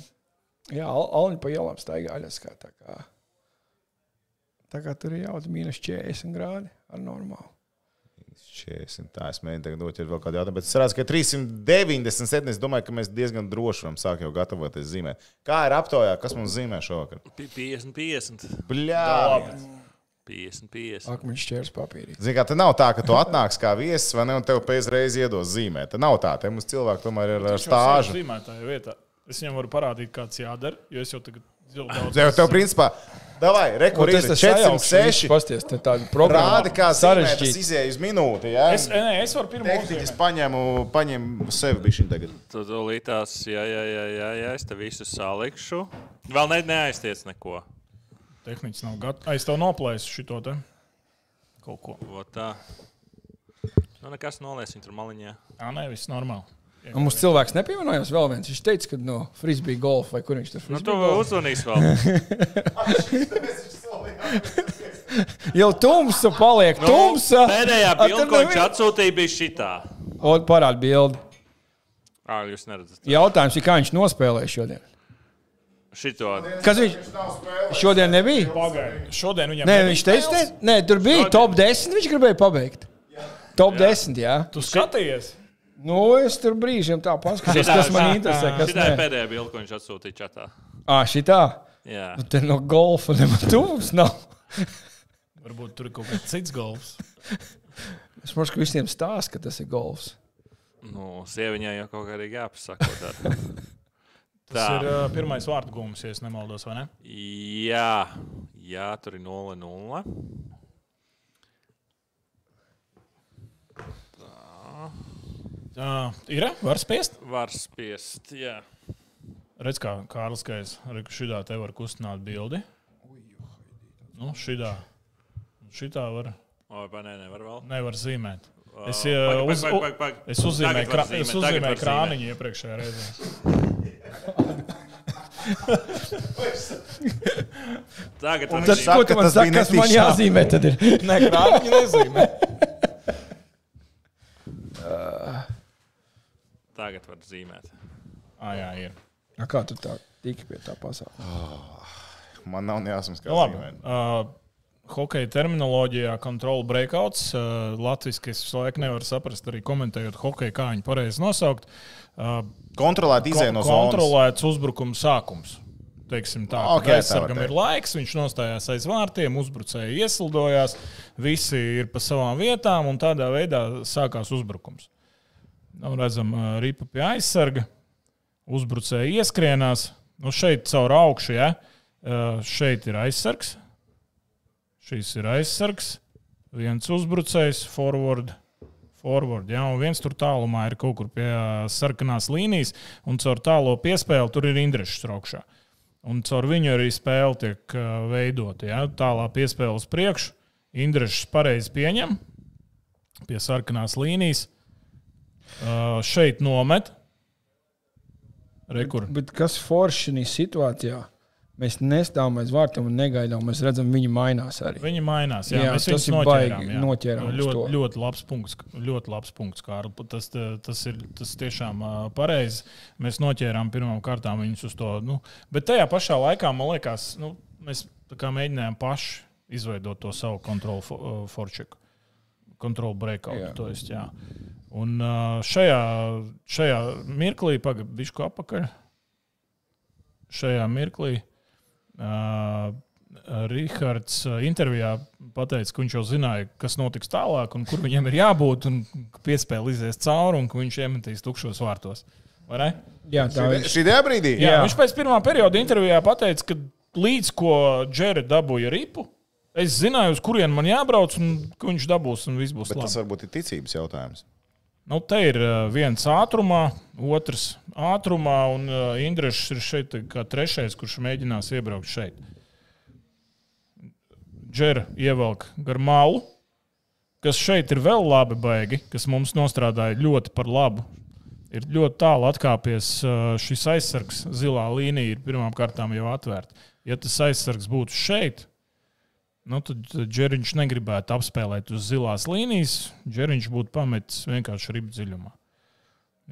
Jā, Al- Alni pa ielām staigā Aļaskā. Tā kā, tā kā tur ir jau mīnus 40 grādi ar normālu.
40. Tā es mēģinu tagad noķert vēl kādu jautājumu, bet es redzu, ka 397. Es domāju, ka mēs diezgan droši varam sākt jau gatavoties zīmēt. Kā ir aptaujā, kas mums zīmē šovakar?
pi- 50, 50.
Bļā!
50, 50.
Akmeņš ķērs papīrī.
Zini, kā te nav tā, ka tu atnāc kā viesis, vai ne, un tev pēc reizes iedos zīmē. Tā nav tā, te mums cilvēki tomēr ir ar
Viņš jau
stāžu.
sēž zīmētāja vietā. Es viņam varu parādīt, kāds jādara, jo es jau tagad ļoti daudz.
Tev, tev principā, davai,
Nu,
rekur ir 406.
Pasties, tā tāda programma.
Rādi, kā sarežģīts
sarežģīta.
izēja uz minūti, jā?
Es, nē, es varu pirmo
Tehniķis paņēmu, paņēmu sevi bišķiņu tagad.
Tad līdās, jā, jā, jā, jā, jā, es te visu salikšu. Vēl ne, neaiztiec neko.
Tehnicis nav gatavs. Aiz tev noplēsu šito te. Kaut ko.
Ot tā. Nu, nekas nolies viņa tur maliņā.
Jā, nē, viss normāli.
Un mums cilvēks nepievienojās vēl viens. Viņš teica, ka no frisbee golfa vai kur viņš tur
Nu,
frisbee
tu
golfa?
uzvanīsi vēl.
Jau tumsa paliek,
Nu,
tumsa!
Pēdējā
A,
bilde,
tur
ko viņš
nevi-
atsūtīja, bija šitā.
O, parād bildi.
Ā, jūs neredzat.
Jautājums ir, kā viņš nospēlēja šodien.
Šito.
Kas viņš šodien nebija?
Pagaidi. Šodien viņam
Nē,
nebija
viņš teica,
spēles?
ne, nē, tur bija top 10. Viņš gribēja pabeigt. Top 10, jā.
Tu skaties.
Nu, es tur brīžiem tā paskatījos,
Šitā-
kas man interesē. Kas
Šitā ir
nē.
pēdējā bilde, ko viņš atsūtīja čatā.
Ā, šitā.
Jā.
Nu, Te no golfa nemaz tums nav.
Varbūt tur ir kaut kāds cits golfs.
Es domāju, ka visiem stāsta, ka tas ir golfs.
Nu, sieviņai jau kaut kā arī jāpasaka. ko dara.
Tas ir
Tā.
uh, pirmais vārdu gūms, ja es nemaldos, vai ne?
Jā, jā, tur ir 0, 0.
Uh, ir? Var spiest?
Var spiest, jā.
Redz, kā Kārlis Kais, šitā te var kustināt bildi. Nu, šitā. Šitā var,
O, vai nē, nevar vēl.
nevar zīmēt. Es,
Ā,
uh,
pag-
uz,
pag- pag- pag-
es uzzīmēju,
Tagad var
krā,
zīmēt,
es
tagad var
uzzīmēju
zīmēt.
krāniņu iepriekšējā reizē.
Tagad var
Tas,
zīmēt.
saka,
ko tu
ka
man
tas
saki,
bija
kas man
netīšām.
jāzīmē, tad ir.
Nē, krāniņu nezīmē.
Tagad var zīmēt.
ah, jā, ir.
A, kā tu tā tiki pie tā pasaules?
Man nav nejausmas, kā
Nu, labi.
zīmēt.
Uh, Hokeja terminoloģijā kontrola breakouts. Uh, Latvijas es visu laiku nevaru saprast, arī komentējot hokeju, kā viņu pareizi nosaukt. Uh,
Kontrolēt izēju no
ko-
zonas.
kontrolēts uzbrukuma sākums. Teiksim tā,
Ok,
okay,
tā var
aizsargam
teikt.
ir laiks, viņš nostājās aiz vārtiem, uzbrucēji iesildojās, visi ir pa savām vietām, un tādā veidā sākās uzbrukums. Nu, redzam, ā, ripa pie aizsarga, uzbrucēji ieskrienās. Nu, šeit caur augšu, ja? Ā, šeit ir aizsargs, šīs ir aizsargs, viens uzbrucējs, forward, forward, ja, un viens tur tālumā ir kaut kur pie ā, sarkanās līnijas, un caur tālo piespēli tur ir indrešs raukšā. Un caur viņu arī spēle tiek ā, veidota. Ja, tālā piespēle uz priekšu, indrešs pareizi pieņem pie sarkanās līnijas, Ā, šeit nomet. Rekur.
Bet kas forši šajā situācijā? Mēs nestāvam aiz vārtiem un negaidām. Mēs redzam, viņi mainās arī.
Viņi mainās. Jā,
Jā,
jā, mēs
tas
viņus
ir
noķērām.
baigi,
jā.
noķērām uz
ļoti,
to.
ļoti labs punkts. Ļoti labs punkts Kārl. tas, eh, tas ir tas tiešām eh, pareizi. Mēs noķērām pirmām kārtām viņus uz to. Nu, bet tajā pašā laikā, man liekas, nu, mēs tā kā mēģinājām paši izveidot to savu kontrolu fo- eh, forčeku. Kontrolu breakout.
Jā.
to Jest, jā. Un eh, šajā, šajā mirklī, pagaidiet, kā apakaļ. Šajā mirklī. Uh, Rīgards uh, intervijā pateica, ka viņš jau zināja, kas notiks tālāk, un kur viņam ir jābūt, un ka piespēle izies cauri, un ka viņš iemetīs tukšos vārtos. Vai ne?
Jā, tā ir.
Šī tajā brīdī?
Jā, jā. Viņš pēc pirmā perioda intervijā pateica, ka līdz ko Džeri dabūja ripu, es zināju, uz kurien man jābrauc, un ka viņš dabūs, un viss būs
Bet tas
labi.
varbūt ir ticības jautājums.
Nu, te ir uh, viens ātrumā, otrs ātrumā, un uh, Indrišs ir šeit kā trešais, kurš mēģinās iebraukt šeit. Džera ievelk gar malu, kas šeit ir vēl labi baigi, kas mums nostrādāja ļoti par labu. Ir ļoti tālu atkāpies uh, šis aizsargs, zilā līnija ir pirmām kārtām jau atvērta. Ja tas aizsargs būtu šeit, Nu, tad Džeriņš negribētu apspēlēt uz zilās līnijas. Džeriņš būtu pametis vienkārši ribu dziļumā.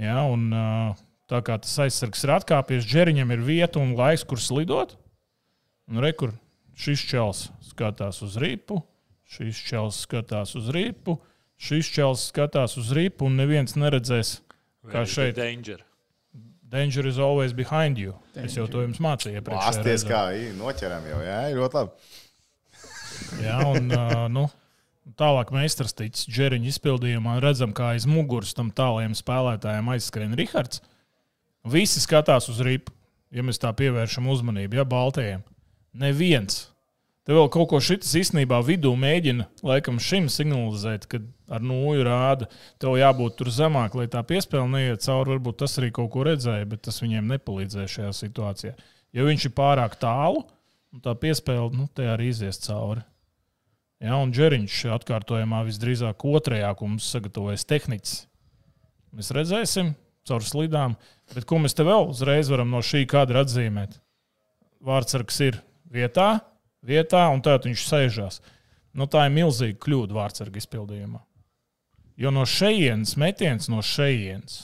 Jā, un ā, tā kā tas aizsargs ir atkāpies, Džeriņam ir vieta un laiks, kur slidot. Un rekur, šis čels skatās uz ripu, šis čels skatās uz ripu, šis čels skatās uz ripu, un neviens neredzēs. Kā šeit.
Danger.
Danger is always behind you. Danger. Es jau to jums mācīju iepriekš.
Pasties, kā ir, noķeram jau. Jā, ir ļoti labi.
Jā, un uh, nu, tālāk meistarstīs Džeriņa izpildījumā redzam, kā aiz muguras tam tālajiem spēlētājiem aizskrien Rihards. Visi skatās uz ripu, ja mēs tā pievēršam uzmanību, ja baltajiem. Neviens. Te vēl kaut ko šis īstenībā vidū mēģina laikam šim signalizēt, kad ar nūju rāda, tev jābūt tur zemāk, lai tā piespēle neiet cauri. Varbūt tas arī kaut ko redzēja, bet tas viņiem nepalīdzēja šajā situācijā. Ja viņš ir pārāk tālu, nu, tā piespēle nu, te arī izies cauri. Jā, un Džeriņš atkārtojumā visdrīzāk otrajā, ko mums sagatavojas tehnicis. Mēs redzēsim, caur slidām, bet ko mēs te vēl uzreiz varam no šī kadra atzīmēt? Vārtsargs ir vietā, vietā, un tad viņš sēžās. Nu, tā ir milzīga kļūda vārtsarga izpildījumā. Jo no šejienes metiens no šejienes.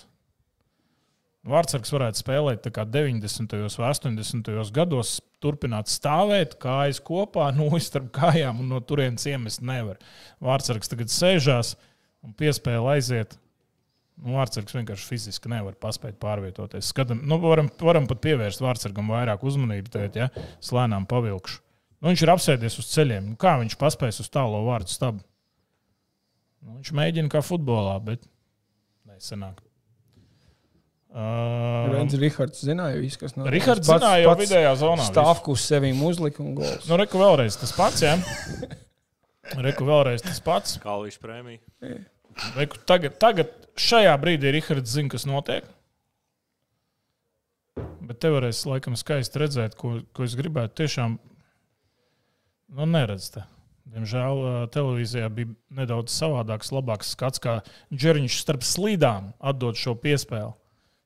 Vārtsargs varētu spēlēt tā kā 90. vai 80. gados, turpināt stāvēt, kājas kopā, no starp kājām un no turienes iemest nevar. Vārtsargs tagad sēžās un piespēja aiziet. Nu, Vārtsargs vienkārši fiziski nevar paspēt pārvietoties. Skatam, nu, varam, varam pat pievērst vārtsargam vairāk uzmanību, tad, ja slēnām pavilkšu. Nu, viņš ir apsēdies uz ceļiem. Nu, kā viņš paspēs uz tālo vārdu stabu? Nu, viņš mēģina kā futbolā, bet nesenāk. Uh,
Renzi Rihards zināja visu, kas notiek.
Rihards zināja jau vidējā zonā. visu.
Stāvku uz sevīm uzlika un gols.
Nu, reku vēlreiz tas pats, jā. Reku vēlreiz tas pats.
Kalvijas prēmija.
Reku, tagad, tagad šajā brīdī Rihards zina, kas notiek. Bet te varēs laikam skaisti redzēt, ko, ko es gribētu. Tiešām, nu, neredzēt. Diemžēl ā, televīzijā bija nedaudz savādāks, labāks skats, kā Džeriņš starp slīdām atdod šo piespēli.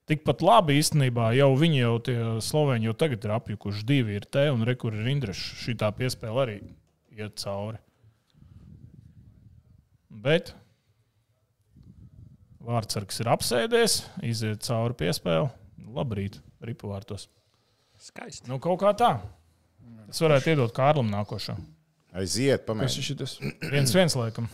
Tikpat labi īstenībā jau viņi jau tie slovēņi jau tagad ir apjukuši. Divi ir te un rekur ir Indriša. Šī tā piespēle arī iet cauri. Bet vārdsargs ir apsēdies, iziet cauri piespēli. Labrīt, ripu vārtos.
Skaisti.
Nu, kaut kā tā. Es varētu iedot Kārlim nākošo.
Aiziet,
Kas
pamēģiniet.
ir šis?
Viens viens laikam.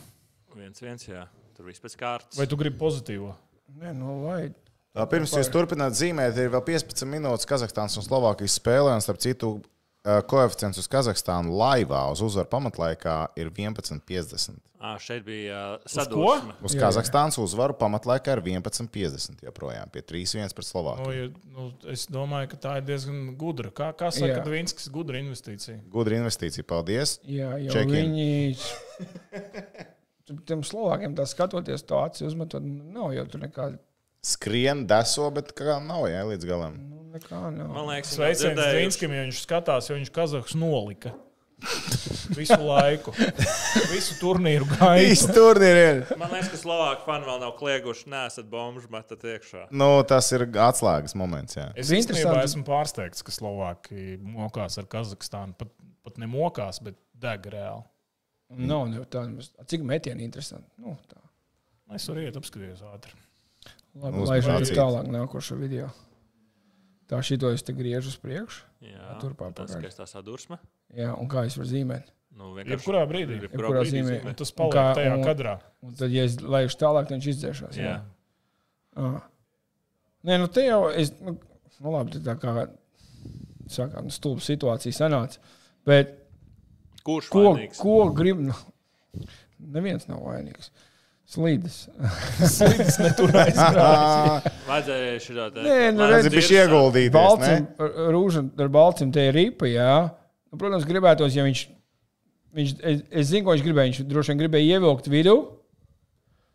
Viens, viens, jā. Tur viss pēc kārtas.
Vai tu gribi pozitīvo?
Nē, nu, lai.
Tā, Pirms jūs turpināt zīmēt, ir vēl 15 minūtes Kazahstānas un Slovākijas spēlē. Un starp citu, eh, koeficients uz Kazahstānu laivā uz uzvaru pamatlaikā ir 11,50.
Ā, šeit bija uh,
ko?
sadūrums.
Uz
Jā, jā.
Kazahstānas uzvaru pamatlaikā ir 11,50 joprojām pie 3,1 pret
Nu,
Slovākiju.
ja, nu, es domāju, ka tā ir diezgan gudra. Kā, kā
Jā.
saka Dvīnskis, gudra investīcija.
Gudra investīcija, paldies!
Jā, jau
Check in.
viņi. Tu- Tiem slovākiem tā skatoties, tā acī uzmetot, nu, nav jau tur nekā.
Skrien, deso, bet kā nav jā, līdz galam.
Nu, nekā nav.
Man liekas,
Sveiciens
dzirdējuši.
Dvīnskam, ja viņš skatās, jo viņš Kazahs nolika. Visu laiku. Visu turnīru gaitu.
Īsti turnīri ir.
Man liekas, ka Slovākija fani vēl nav klieguši, nesat bombuļus, bet tad iekšā.
Nu, tas ir atslēgas moments. Jā.
Es
Bija
īstenībā
interesanti.
esmu pārsteigts, ka Slovākija mokās ar Kazahstānu. Pat, pat ne mokās, bet deg reāli.
Nav jau tā, nemaz- cik metieni interesanti. Nu, tā.
Es varu iet apskatīties ātri.
Labi,
Uzmanīgs.
lai es tālāk nākošo video. Tā šito es te griežu uz priekšu.
Jā,
Turpā
tas
pakaļ.
ir tas sadursme.
Jā, un kā es varu zīmēt.
Nu, vienkārši-
Jebkurā brīdī.
Jebkurā
Jebkurā
brīdī
zīmē.
zīmē.
Un tas
Un
paliek
kā-
tajā
un-
kadrā.
Un tad, ja es laišu tālāk, tad viņš izdzēšās.
Jā.
Ah. Nē, nu te jau es. Nu, nu labi, tā kā saka, nu, stulba situācija sanāca. Bet
Kurš
ko,
vainīgs?
ko grib? Nu, neviens nav vainīgs. Slīdes.
Slīdis neturēs.
Vajadzēja šitā te.
Nē, nu,
Tas
Lēns
redz,
ir bijis
ir,
ieguldīts.
Balcim, ar- rūža ar balcim te ir ripa. Jā. Nu, protams, gribētos, ja viņš. viņš es, es zinu, ko viņš gribēja. Viņš droši vien gribēja ievilkt vidū,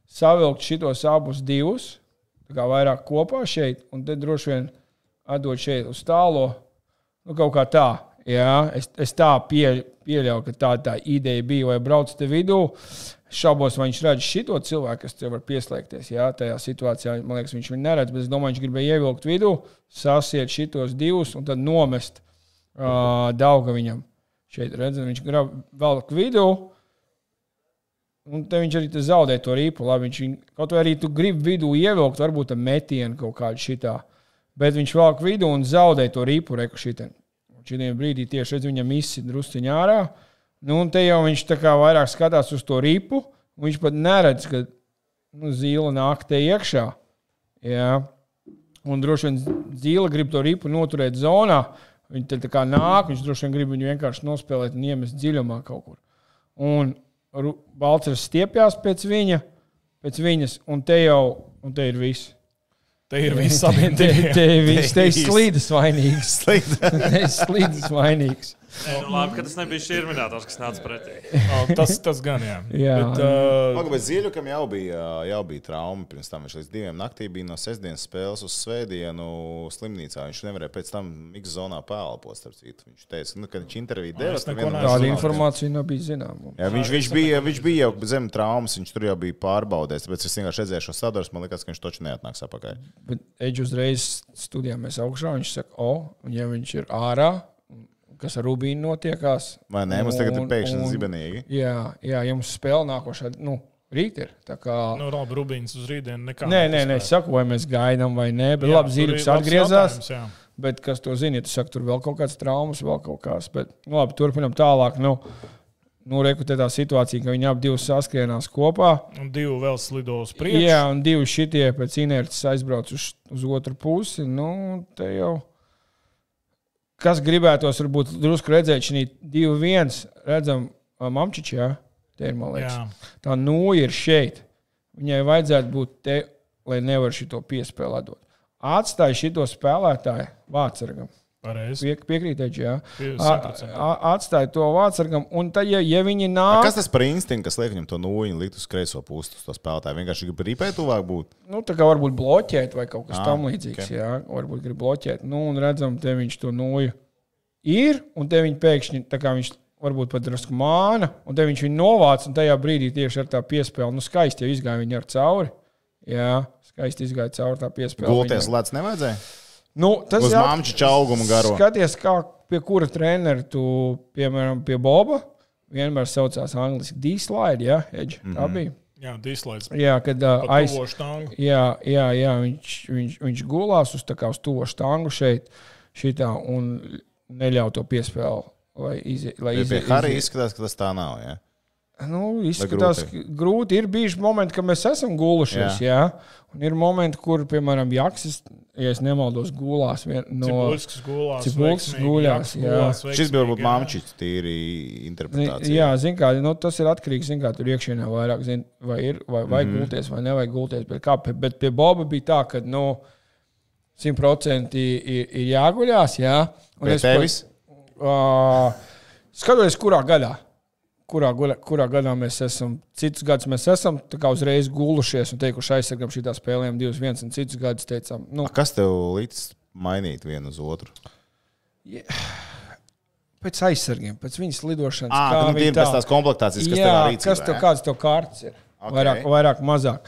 savilkt šitos abus divus, tā kā vairāk kopā šeit, un tad droši vien atdot šeit uz tālo. Nu, kaut kā tā. Jā, es, es tā pie, pieļauju, ka tā, tā ideja bija. Vai brauc te vidū, šaubos, vai viņš redz šo cilvēku, kas te var pieslēgties. Jā, tajā situācijā man liekas, viņš viņu neredz. Bet es domāju, viņš gribēja ievilkt vidū, sasiet šitos divus un tad nomest uh, daudzu viņam. Šeit redzam, viņš grab vēl vidū. Un te viņš arī te zaudē to rīpu. Labi, viņš viņu- kaut vai arī tu gribi vidū ievilkt, varbūt tam metienu kaut kādu šitā. Bet viņš velk vidū un zaudē to rīpu reku šitiem. Šitiem brīdī tieši redz viņam izsit drusciņā ārā. Nu, un te jau viņš tā kā vairāk skatās uz to rīpu. un Viņš pat neredz, ka nu, zīle nāk te iekšā. Jā. Un droši vien zīle grib to ripu noturēt zonā. Viņa te tā kā nāk, viņš droši vien grib viņu vienkārši nospēlēt un iemest dziļumā kaut kur un Ru- Balčers stiepjas pēc viņa, pēc viņas, un te jau un te ir viss.
Te ir viss
Te,
sabiedrība.
te, viņš te ir
viss.
slīdis vainīgs.
Slīd.
Te ir slīdis vainīgs.
Nē, nu, labi, ka tas nebija šī minētās, kas nāca pretī.
Oh, Tas, tas gan jā.
Jā.
Bet, uh,
Pagaidām, Zīļukam jau bija, jau bija trauma. Pirms tam viņš līdz diviem naktī bija no sestdienas spēles uz svētdienu slimnīcā. Viņš nevarēja pēc tam miks zonā pēlpot. starp citu. Viņš teica, nu, ka viņš interviju
Ah,
deva.
es
tad
neko
vienmēr
Tāda
zināja.
informācija nebija zināma.
Jā, viņš, viņš, bija, viņš bija jau zem traumas, viņš tur jau bija pārbaudījis. Tāpēc es vienkārši redzēju šo sadursmi. Man liekas, ka viņš taču neatnāks apakaļ.
Bet Eģis uzreiz studijā mēs augšā. Viņš saka, o, un ja viņš ir ārā, kas ar Rubīnu notiekās.
Vai nē, mums tagad ir
un-
pēkšņi
un-
zibenīgi.
Jā, jā, jums spēle nākošā, nu, rīt ir. tā kā-
nu, labi, Rubīns uz rītdienu nekā.
Nē, nē, nē,
neuzspēlē.
es saku, vai mēs gaidām, vai nē, bet
Jā,
labi,
tur ir
Zīriks
labs
atgriezās.
jautājums, jā.
Bet kas to zina, ja tu saki, tur vēl kaut kādas traumas, vēl kaut kādas. Bet nu, labi, turpinam tālāk. Nu, nu rekrutē tā situācija, ka viņi abi divi saskrienās kopā.
Un divi vēl slido uz priekšu.
Jā, un divi šitie pēc inerces aizbrauc uz, uz otru pusi. Nu, te jau. Kas gribētos, varbūt drusku redzēt, šī 2-1, redzam, Mamčičs, jā, te ir man liekas.
Jā.
Tā nūja ir šeit. Viņai vajadzētu būt te, lai nevar šito piespēlēt. Atstāj šito spēlētāju vārdsargam.
Pareizi.
Pie, piekrītēji, jā.
Pie-
A-
100%.
a- Atstāj to vārdsargam, un tad, ja, ja viņi
A,
nāk,
Kas tas par instinktu, kas liek viņam to nūjiņu likt uz kreiso pusi, uz to spēlētāju? Vienkārši grib ripēt tuvāk būt.
nu, tā kā varbūt bloķēt vai kaut kas
Ā,
tamlīdzīgs,
Ah, ok.
okay. jā, varbūt grib bloķēt. Nu, un redzam, te viņš to noju ir, un te viņi pēkšņi, tā kā viņš varbūt pat drusku māna, un te viņš viņu novāc, un tajā brīdī tieši ar tā piespēli, nu, skaisti jau izgāja viņi ar cauri. Jā, skaisti izgāja cauri tā piespēle.
Gulties lēts nevajadzēja.
Nu, tas
Uz
jā-
māmčiča auguma garo.
Skaties, kā pie kura trenera tu, piemēram, pie Boba, vienmēr saucās angļuiski dislide, ja, Edge. Mm -hmm. Tā bija.
Jā, dislaiks.
Jā, kad uh, aiz,
Aizsver štangu.
jā, jā, jā viņš, viņš, viņš gulās uz, tā kā uz to štangu šeit, šitā, un neļauj to piespēli. Lai izie, lai
Pie- Pie
izie,
Harija izskatās, ka tas tā nav. Ja?
Nu, izskatās, ka grūti ir bijuši momenti, kad mēs esam gulušies. Jā. Jā. Un ir momenti, kur, piemēram, Jaksis, ja es nemaldos, gulās vien, no.
Cipulskis gulās.
Cipulskis
veiksmīgi,
gulās,
Jaks
jā.
gulās
Šis bija varbūt
veiksmīgi, jā.
māmčiņš, tīri
Zi-
interpretācija.
Jā, zin kā, nu, tas ir atkarīgs no tā, tur iekšienē vairāk zin, vai ir, vai vajag
Mhm.
mm -hmm. gulties, vai nevajag gulties. Bet, kā, pie- bet pie Boba bija tā, ka nu, 100% ir, ir jāguļās. Jā, Un
Pie
es pat,
tevis?
ā, Skatoties, kurā gadā. Kurā, guļa- kurā gadā mēs esam? Citus gadus mēs esam tā kā uzreiz gulušies un teikuši, aizsargam šī spēlēm 2-1, un citus gadus teicām, nu,
Kas tev līdz mainīt vienu uz otru?
Pēc aizsargiem, pēc viņas lidošanas.
Ah,
kā
tā
viņi
ir pēc
tā-
tās komplektācijas, kas tev
Jā,
arī
kas tev kāds tev kārtas ir?
Ok.
Okay. Vairāk, vairāk, mazāk.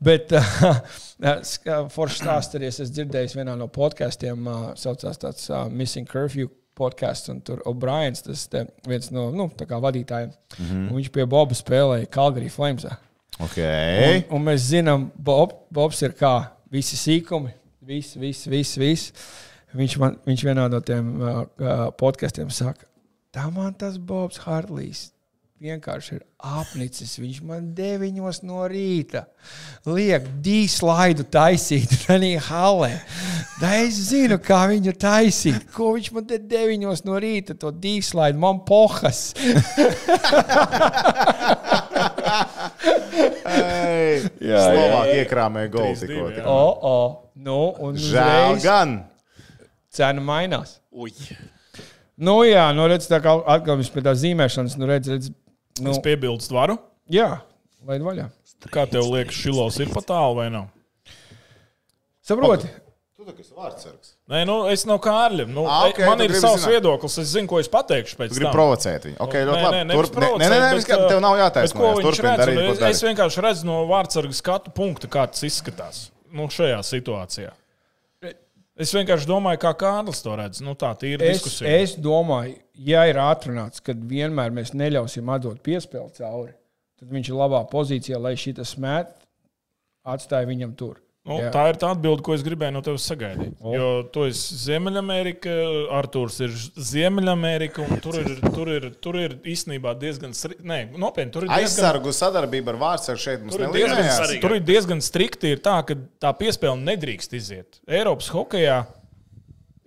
Bet eh, uh, forši stāstīties, es dzirdēju, vienā no podkāstiem uh, saucās tāds uh, Missing Curfew podkāsts, un tur O'Briens, tas te viens no nu, tā kā vadītājiem, mm
Mhm.
-hmm. viņš pie Boba spēlēja Calgary Flames. Un,
Okay.
un mēs zinām, Bob, Bobs ir kā visi sīkumi, viss, viss, viss. viss. Viņš, man, viņš vienā no tiem uh, uh, podkastiem saka, tā man tas Bobs Hartlīs. Vienkārši ir apnicis. Viņš man 9 no rīta liek dīslaidu taisīt. Arī halē. Da es zinu, kā viņu taisīt. Ko viņš man te 9 no rīta to dīslaidu? Man pohas.
Jā, Slovākija iekrāmē golfu tikko.
divi, jā.
tikko.
O, o. Nu, un
Žēl
uzreiz
gan.
cena mainās.
Uj.
Nu, jā, nu, redz, tā kā atkal mums pie tā zīmēšanas, nu, redz, redz. Nu,
Es piebildu stvaru.
jā, lai vaļā.
Kā tev liekas, šilos ir pat tālu vai nav?
Saproti?
Tu tā kā esi vārdsargs.
Nē, nu es nav Kārļiem. Nu,
Ah,
ah,
ok,
okay, man
tu
ir
gribi zināt.
savs zināt. viedoklis. Es zinu, ko es pateikšu pēc
Tu gribi
tam.
provocēt viņu. Okay, ļoti
Nē,
labi.
nē, nevis
Turp- Nē, nē, nē,
provocēt,
nē,
bet,
viskam, tev nav
Bet ko
jātaisno.
viņš
Turpini
redz?
darīt,
un
ko
Es, es
dari.
vienkārši redzu no vārdsarga skatu punkta, kā tas izskatās nu, šajā situācijā. Es vienkārši domāju, kā Kārlis to redz. Nu, tā ir
Es,
diskusija.
es domāju, ja ir atrunāts, ka vienmēr mēs neļausim atdot piespēli cauri, tad viņš ir labā pozīcijā, lai šī tas met, atstāja viņam tur.
Nu,
jā.
tā ir tā atbilde, ko es gribēju no tevis sagaidīt. O. Jo tu esi Ziemeļamerika, Arthurs ir Ziemeļamerika, un tur ir, tur ir, tur ir īstenībā diezgan. sri- Nē, nopietni, tur ir diezgan
Aizsargu sadarbība ar vārdsargu šeit mums
Tur ir, diezgan,
nelīdzinājās.
svarīgi.
tur ir diezgan strikti, ir tā, ka tā piespēle nedrīkst iziet. Eiropas hokeja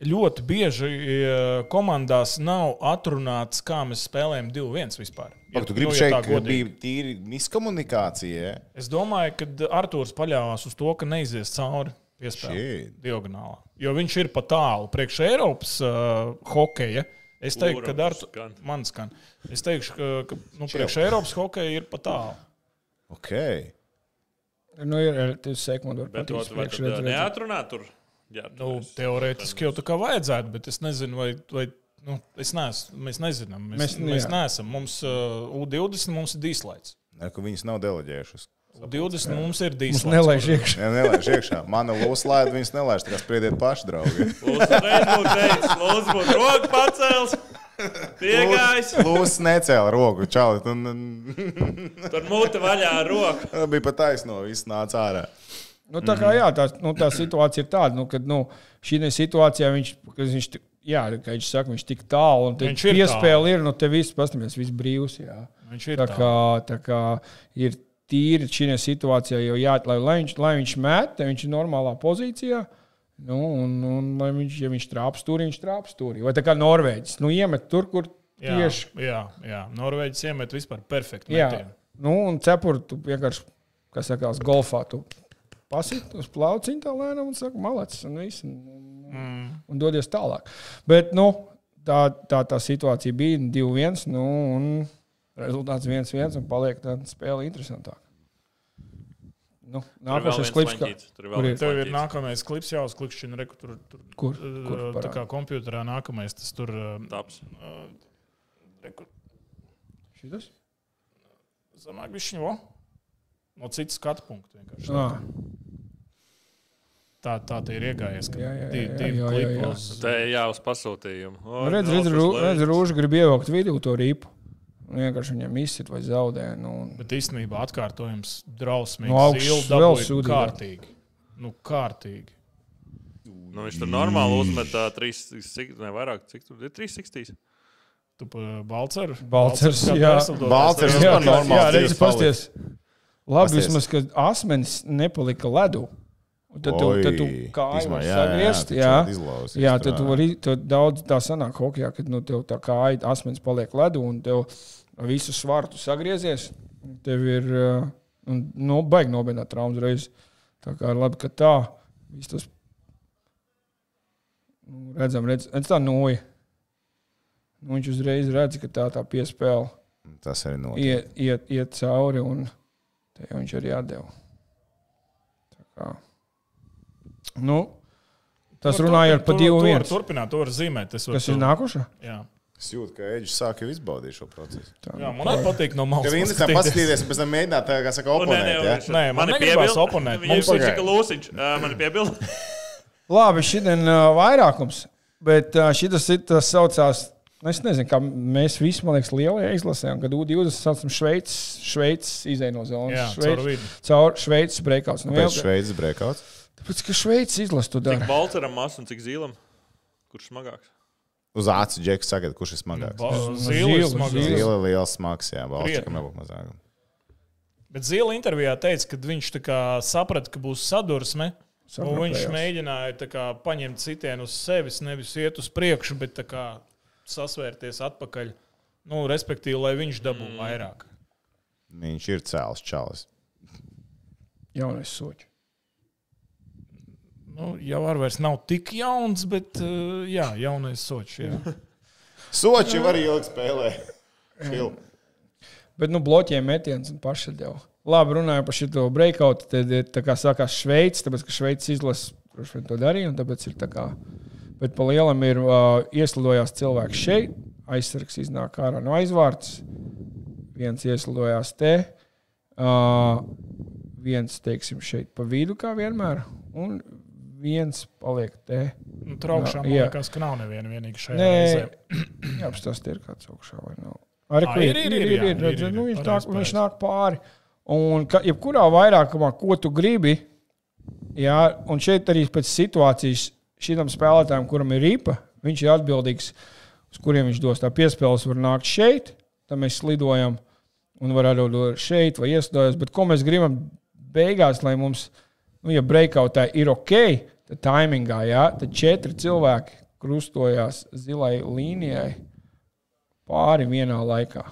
ļoti bieži e, komandās nav atrunāts, kā mēs spēlējam 2-1 vispār. Ja-
Pak, Tu gribi
nu, ja
šeit,
tā
ka
godīgi.
bija tīri miskomunikācija.
Es domāju, ka Arthurs paļāvās uz to, ka neizies cauri piespēlei
Shit.
diagonālā. Jo viņš ir pa tālu priekš Eiropas uh, hokeja. Es teiktu, ka
Ura,
Arthurs
skan.
man skan. Es teikšu, ka, ka nu, priekš Eiropas hokeja ir pa tālu.
Ok.
Nu, ir ir tas sekundārs,
Bet tu
kas
vari tur neatrunāt tur. Jā,
Nu, teorētiski jau tā kā vajadzētu, bet es nezinu, vai. vai nu, es neesmu, mēs nezinām. Mēs, mēs,
Mēs- nu,
mēs
jā.
neesam. Mums uh, U20 mums ir dīslaids.
Ne, ka viņas nav deleģējušas.
U20 mums ir
Mums
dīslaids.
nelaiž iekšā.
Jā, nelaiž iekšā. Mana lūslaida viņas nelaiž. Tā kā spriediet paši, draugi.
Lūdzu, reizes, lūdzu, būtu roka pacēls. Tiekais,
Lūs necēla roku. Čau, tu n-
tur mūte vaļā ar roku.
n- bija pat taisno, viss nāca ārā.
Nu, tā,
Mhm.
kā, jā, tā, nu, tā situācija ir tāda, nu, ka nu, šī situācijā viņš, kad viņš, tik- jā, kā viņš saka, viņš ir tik tālu un
Viņš ir
piespēle ir, nu, te viss, pastāvies, viss brīvs. Jā.
Viņš ir
Tā
tāds.
kā, tā kā ir tīri šī situācijā, jo jā, lai, lai, viņš, lai viņš met, lai viņš ir normālā pozīcijā. Nu, un, un, lai viņš, ja viņš trāpīs tur, viņš trāpīs tur. Vai tā kā Norvēģis, nu, iemet tur, kur
Jā,
tieši.
jā, jā. Norvēģis iemet vispār perfektu.
Jā,
metienu.
nu, un cepuri tu vienkārši, kas sakās, golfā. Tu. Pasit uz plauciņu tā lēnām un saka, malacis, un, viss, un, mm. un dodies tālāk. Bet, nu, tā, tā, tā situācija bija 2-1, nu, un rezultāts 1-1, un paliek tā spēle interesantāka. Nu,
Tur vēl
nākošais
viens
klips, kā,
laņķītis, Tur
Kur
vēl
ir?
viens
Tev ir
laņķītis.
nākamais klips jāuzklikšķina, re, ka tur, tur,
kur, kur
uh, tā
parāda?
kā kompjuterā nākamais tas tur. uh,
Taps.
re, kur-
Šitas?
Zemāk viņš jau no citas skatu punkta vienkārši.
Ā, nu,
Tā, tā tie ir iegājies, ka
Jā, jā, jā,
divi
jā,
divi
jā, jā,
klipi
jā.
uz
Te jā, uz pasūtījumu. O,
nu, Redz, redz,
zelta
rū,
slēdz.
redz, rūža grib ievākt vidū to rīpu. Un Vienkārši viņam izsit vai zaudē. Nu, un,
Bet īstenībā atkārtojums drausmīgi.
No augšas
Zīle
vēl
dabūja
sūdīgāk.
Kārtīgi. Nu, kārtīgi.
Nu, viņš tur normāli uzmet uh, 360, ne vairāk, cik tur ir 360.
Tu balcers.
Balcers, jā.
Balcers, Tas
Jā,
var
kā-
normāls
jā,
dzīves
redz, pasties. Labi,
Pasties.
vismaz, ka asmenis nepalika ledu. Un Tad tu, tad tu kāju vari sagriezt. Jā,
izlauzt.
jā tad tu vari tu daudz tā sanāk hokejā, kad nu, tev tā kāja asmenis paliek ledu un tev visu svaru tu sagriezies. un Tev ir uh, un, nu, baigi nobiedāt traumas reiz. Tā kā ir labi, ka tā. Viss tas Nu, redzam, redz, redz tā noja. Nu, viņš uzreiz redz, ka tā tā piespēle
Tas arī notiek.
iet, iet, iet cauri, un te jau viņš arī atdeva. Tā kā. Nu, tas runājot par
divu
divu vienu.
Nu, Turpināt, to var zīmēt. Es varu
Kas ir
tev-
nākuša?
Jā.
Es jūtu, ka Eģis sāk jau izbaudīt šo procesu.
Jā, man arī patīk no malas.
Tev interesanti paskatīties, un pēc tam mēģināt, tā, kā saka, oponēt. Ja?
Nē, man negribas oponēt.
Mums
Mums
ir
pagaid.
tikai lūsiņš. Ā, Mani piebilda.
Labi, šodien uh, vairākums, bet uh, šis ir tas saucās. nu, Es nezinu, kā mēs visi, man liekas, lielajā izlasē, kad U20 saucam Šveices, Šveices izēja no
Jā,
zonas.
caur vidi.
caur Šveices breakouts. Nu,
Pēc
jau-
Šveices breakouts.
Tāpēc, ka Šveices izlasa to
Cik
dara.
Baltaram maz un cik zīlam? Kurš smagāks?
Uz acu džeku sagad, kurš ir smagāks.
Zila
Zila,
smagāk.
zila.
Liela, liela smags, jā,
Krietni.
balstikam nebūtu mazāk.
Bet Zila intervijā teica, ka viņš tā kā saprata, ka būs sadursme. un
Saprata,
Viņš
jā.
mēģināja tā kā paņemt sitienu uz sevis, nevis iet uz priekšu, bet tā kā sasvērties atpakaļ. Nu, respektīvi, lai viņš dabūtu vairāk.
Viņš ir cēlis čalis.
Jaunais soķis.
Nu, jau ar vairs nav tik jauns, bet uh, jā, jaunais sočs. jā.
Soči var ilgi spēlēt.
Bet, nu, bloķiem metiens un pašaļdeva. Labi, runājot par šo breakoutu, tad ir tā kā sākās Šveice, tāpēc, ka Šveice izlasa droši vien to darīja, un tāpēc ir tā kā. Bet pa lielam ir uh, ieslidojās cilvēks šeit, aizsargs iznāk ārā no aizvārds, viens ieslidojās te, uh, viens, teiksim, šeit pa vidu, kā vienmēr, un viens paliek te.
Nu, Traukšām
Jā.
man liekas, ka nav neviena vienīga šajā
Nē,
reizē.
jā, bet tas ir kāds augšā vai nav. Arī
Ā,
kur
ir, ir, ir, jā, ir,
redzi,
ir,
nu,
ir,
viņš, nāk,
pareizi,
viņš
pareizi.
nāk pāri. Un ka, jebkurā vairākumā, ko tu gribi, jā, un šeit arī pēc situācijas šim spēlētājam, kuram ir ripa, viņš ir atbildīgs, uz kuriem viņš dos tā piespēles, var nākt šeit, tad mēs lidojam un var arī dot šeit vai iestājas. Bet ko mēs gribam beigās, lai mums, nu, ja breakoutā ir ok, tad timingā, jā, tad četri cilvēki krustojās zilai līnijai pāri vienā laikā.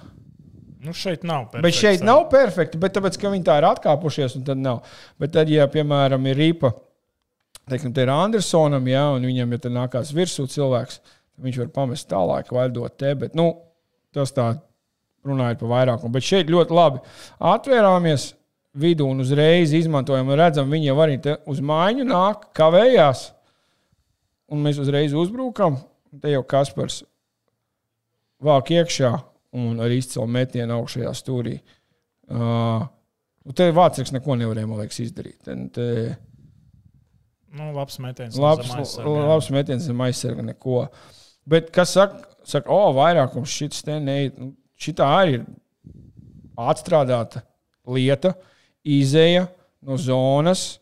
Nu, šeit nav.
Bet
perfekts, eh,
šeit
jā.
nav perfekti, bet tāpēc, ka viņi tā ir atkāpušies, un tad nav. Bet tad, ja, piemēram, ir rīpa, teiksim, te ir Andersonam, ja, un viņam, ja te nākās virsū cilvēks, tad viņš var pamest tālāk, valdot te. Bet, nu, tas tā runājot par vairākumu. Bet šeit ļoti labi atvērāmies vidū un uzreiz izmantojam, un redzam, viņi jau arī te uz mājiņu nāk, kavējās, un mēs uzreiz uzbrukam. un Te jau Kaspars vāk iekšā un ar izcilu metienu augšējā stūrī. Uh, Te Vācijā neko nevarēja, man liekas, izdarīt. Te, te,
Nu, labs metiens. no
labs,
zem aizsarga, jā.
labs metiens, zem aizsarga neko. Bet kas saka, saka o, vairākums šis te neiet. Nu, Šitā arī ir atstrādāta lieta, izēja no zonas,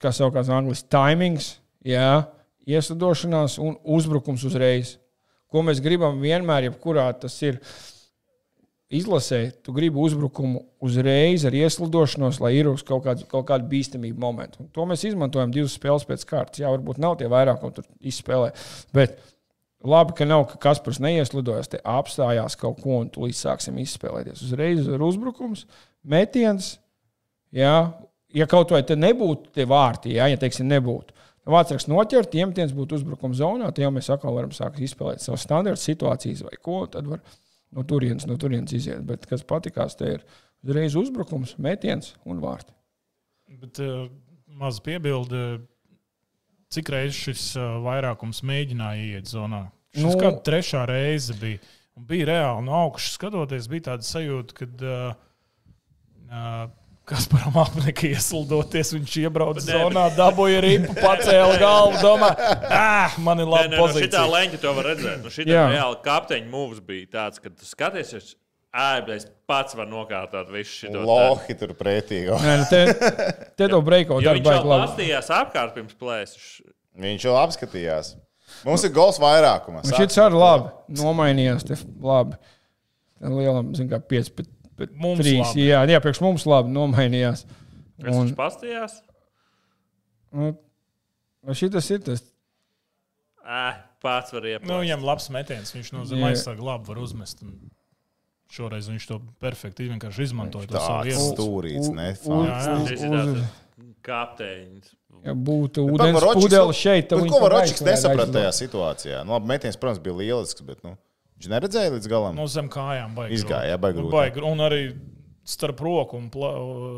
kā saucās angļuiski, timings, jā, ieslidošanās un uzbrukums uzreiz. Ko mēs gribam vienmēr, jebkurā tas ir izlasē, tu gribi uzbrukumu uzreiz ar ieslidošanos, lai ir uz kaut kādu, kaut kādu bīstamību momentu. Un to mēs izmantojam divas spēles pēc kārtas. Jā, varbūt nav tie vairākumi tur izspēlē, bet labi, ka nav, ka Kaspars neieslidojas, te apstājās kaut ko un tūlīt sāksim izspēlēties. Uzreiz ir uzbrukums, metiens, jā, ja kaut vai te nebūtu tie vārti, jā, ja teiksim, nebūtu. Vācis noķert, iemetiens būtu uzbrukuma zonā, tad jau mēs atkal varam sākt izspēlēt savas standarta situācijas vai ko. Tad var no turienes, no turienes nu, iziet. Bet kas patīkās, te ir uzreiz uzbrukums, metiens un vārti.
Bet uh, maz piebildi, cik reizes šis uh, vairākums mēģināja iet zonā. Šis nu,
Nu-
kāda trešā reize bija. Un bija reāli no augšas skatoties, bija tāda sajūta, ka uh, uh, kas param apnika ieslidoties, viņš iebrauca
Bet nē,
zonā, dabūja ripu, pacēla galvu, domā, ah, man ir
Nē,
laba
nē, no šitā
pozīcija.
leņķa to var redzēt. No šitā
Jā.
reāli kapteiņa mūvis bija tāds, ka tu skaties, es ēbēs pats var nokārtāt visu šo
Lohi tur pretīgi.
Nē, nu te, te to breiko
Jo viņš
darbu
jau
baigi labi.
lastījās apkārt pirms plēsas.
Viņš jau apskatījās. Mums ir gols vairākumā.
Un šis arī labi nomainījās. Te, labi. Tam Lielam, zin, kā 5 pret
Mums
3.
labi.
Jā, jā, priekš mums labi nomainījās.
Kas viņš pastījās?
Šis Nu, ir tas
Ē, pats var
Nu,
iepazīt.
viņam labs metiens, viņš no
Jā.
zemes aizsarga labi var uzmest. Un šoreiz viņš to perfekti vienkārši izmantoja. to savu
Tāds
iespēju.
stūrīts,
U-
ne?
u-
fans.
jā.
Šis ir tāds kapteiņš.
Ja būtu
Bet
ūdens
Pavaročis-
pudele šeit, tad
bet
viņš
Ko
to
Varočiks
aizvarētu,
nesaprata
aizvarētu.
tajā situācijā? Nu, labi, metiens, protams, bija lielisks, bet nu, viņš neredzēja līdz galam.
No zem kājām baigi.
Izgāja, jā, baigi grūti.
Baigi, un arī starp roku un, pla,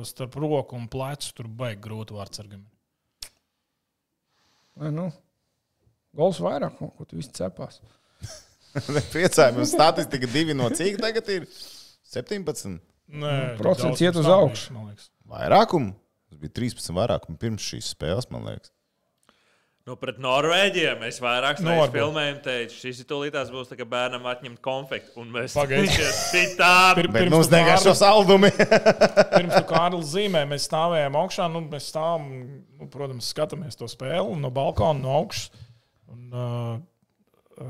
starp roku un plecu tur baigi grūti vārdsargam.
Vai Nu, Gols vairāk, no ko tu viss cepās.
Priecājamies, statistika divi no cik tagad ir 17.
Nē, tik
procents
daudz
iet
mums
uz
nav
augšu.
bijis, man liekas.
Vairākumu? Tas bija 13 vairākumu pirms šīs spēles, man liekas.
Nu, pret Norvēģiem mēs vairāk
Norvēģi.
spēlējām, teicu, šis ir tūlītās būs tā, ka bērnam atņemt konfekti. Un mēs
Pagaidi.
citādi.
Pir-
Bet
pirms
mums
tu
vienkārši
Kārli-
šos aldumi.
Pirms tam Kārlis zīmē, mēs stāvējām augšā. Nu, mēs stāvam, nu, protams, skatāmies to spēli un no balkona, no augšas. Un, uh, uh,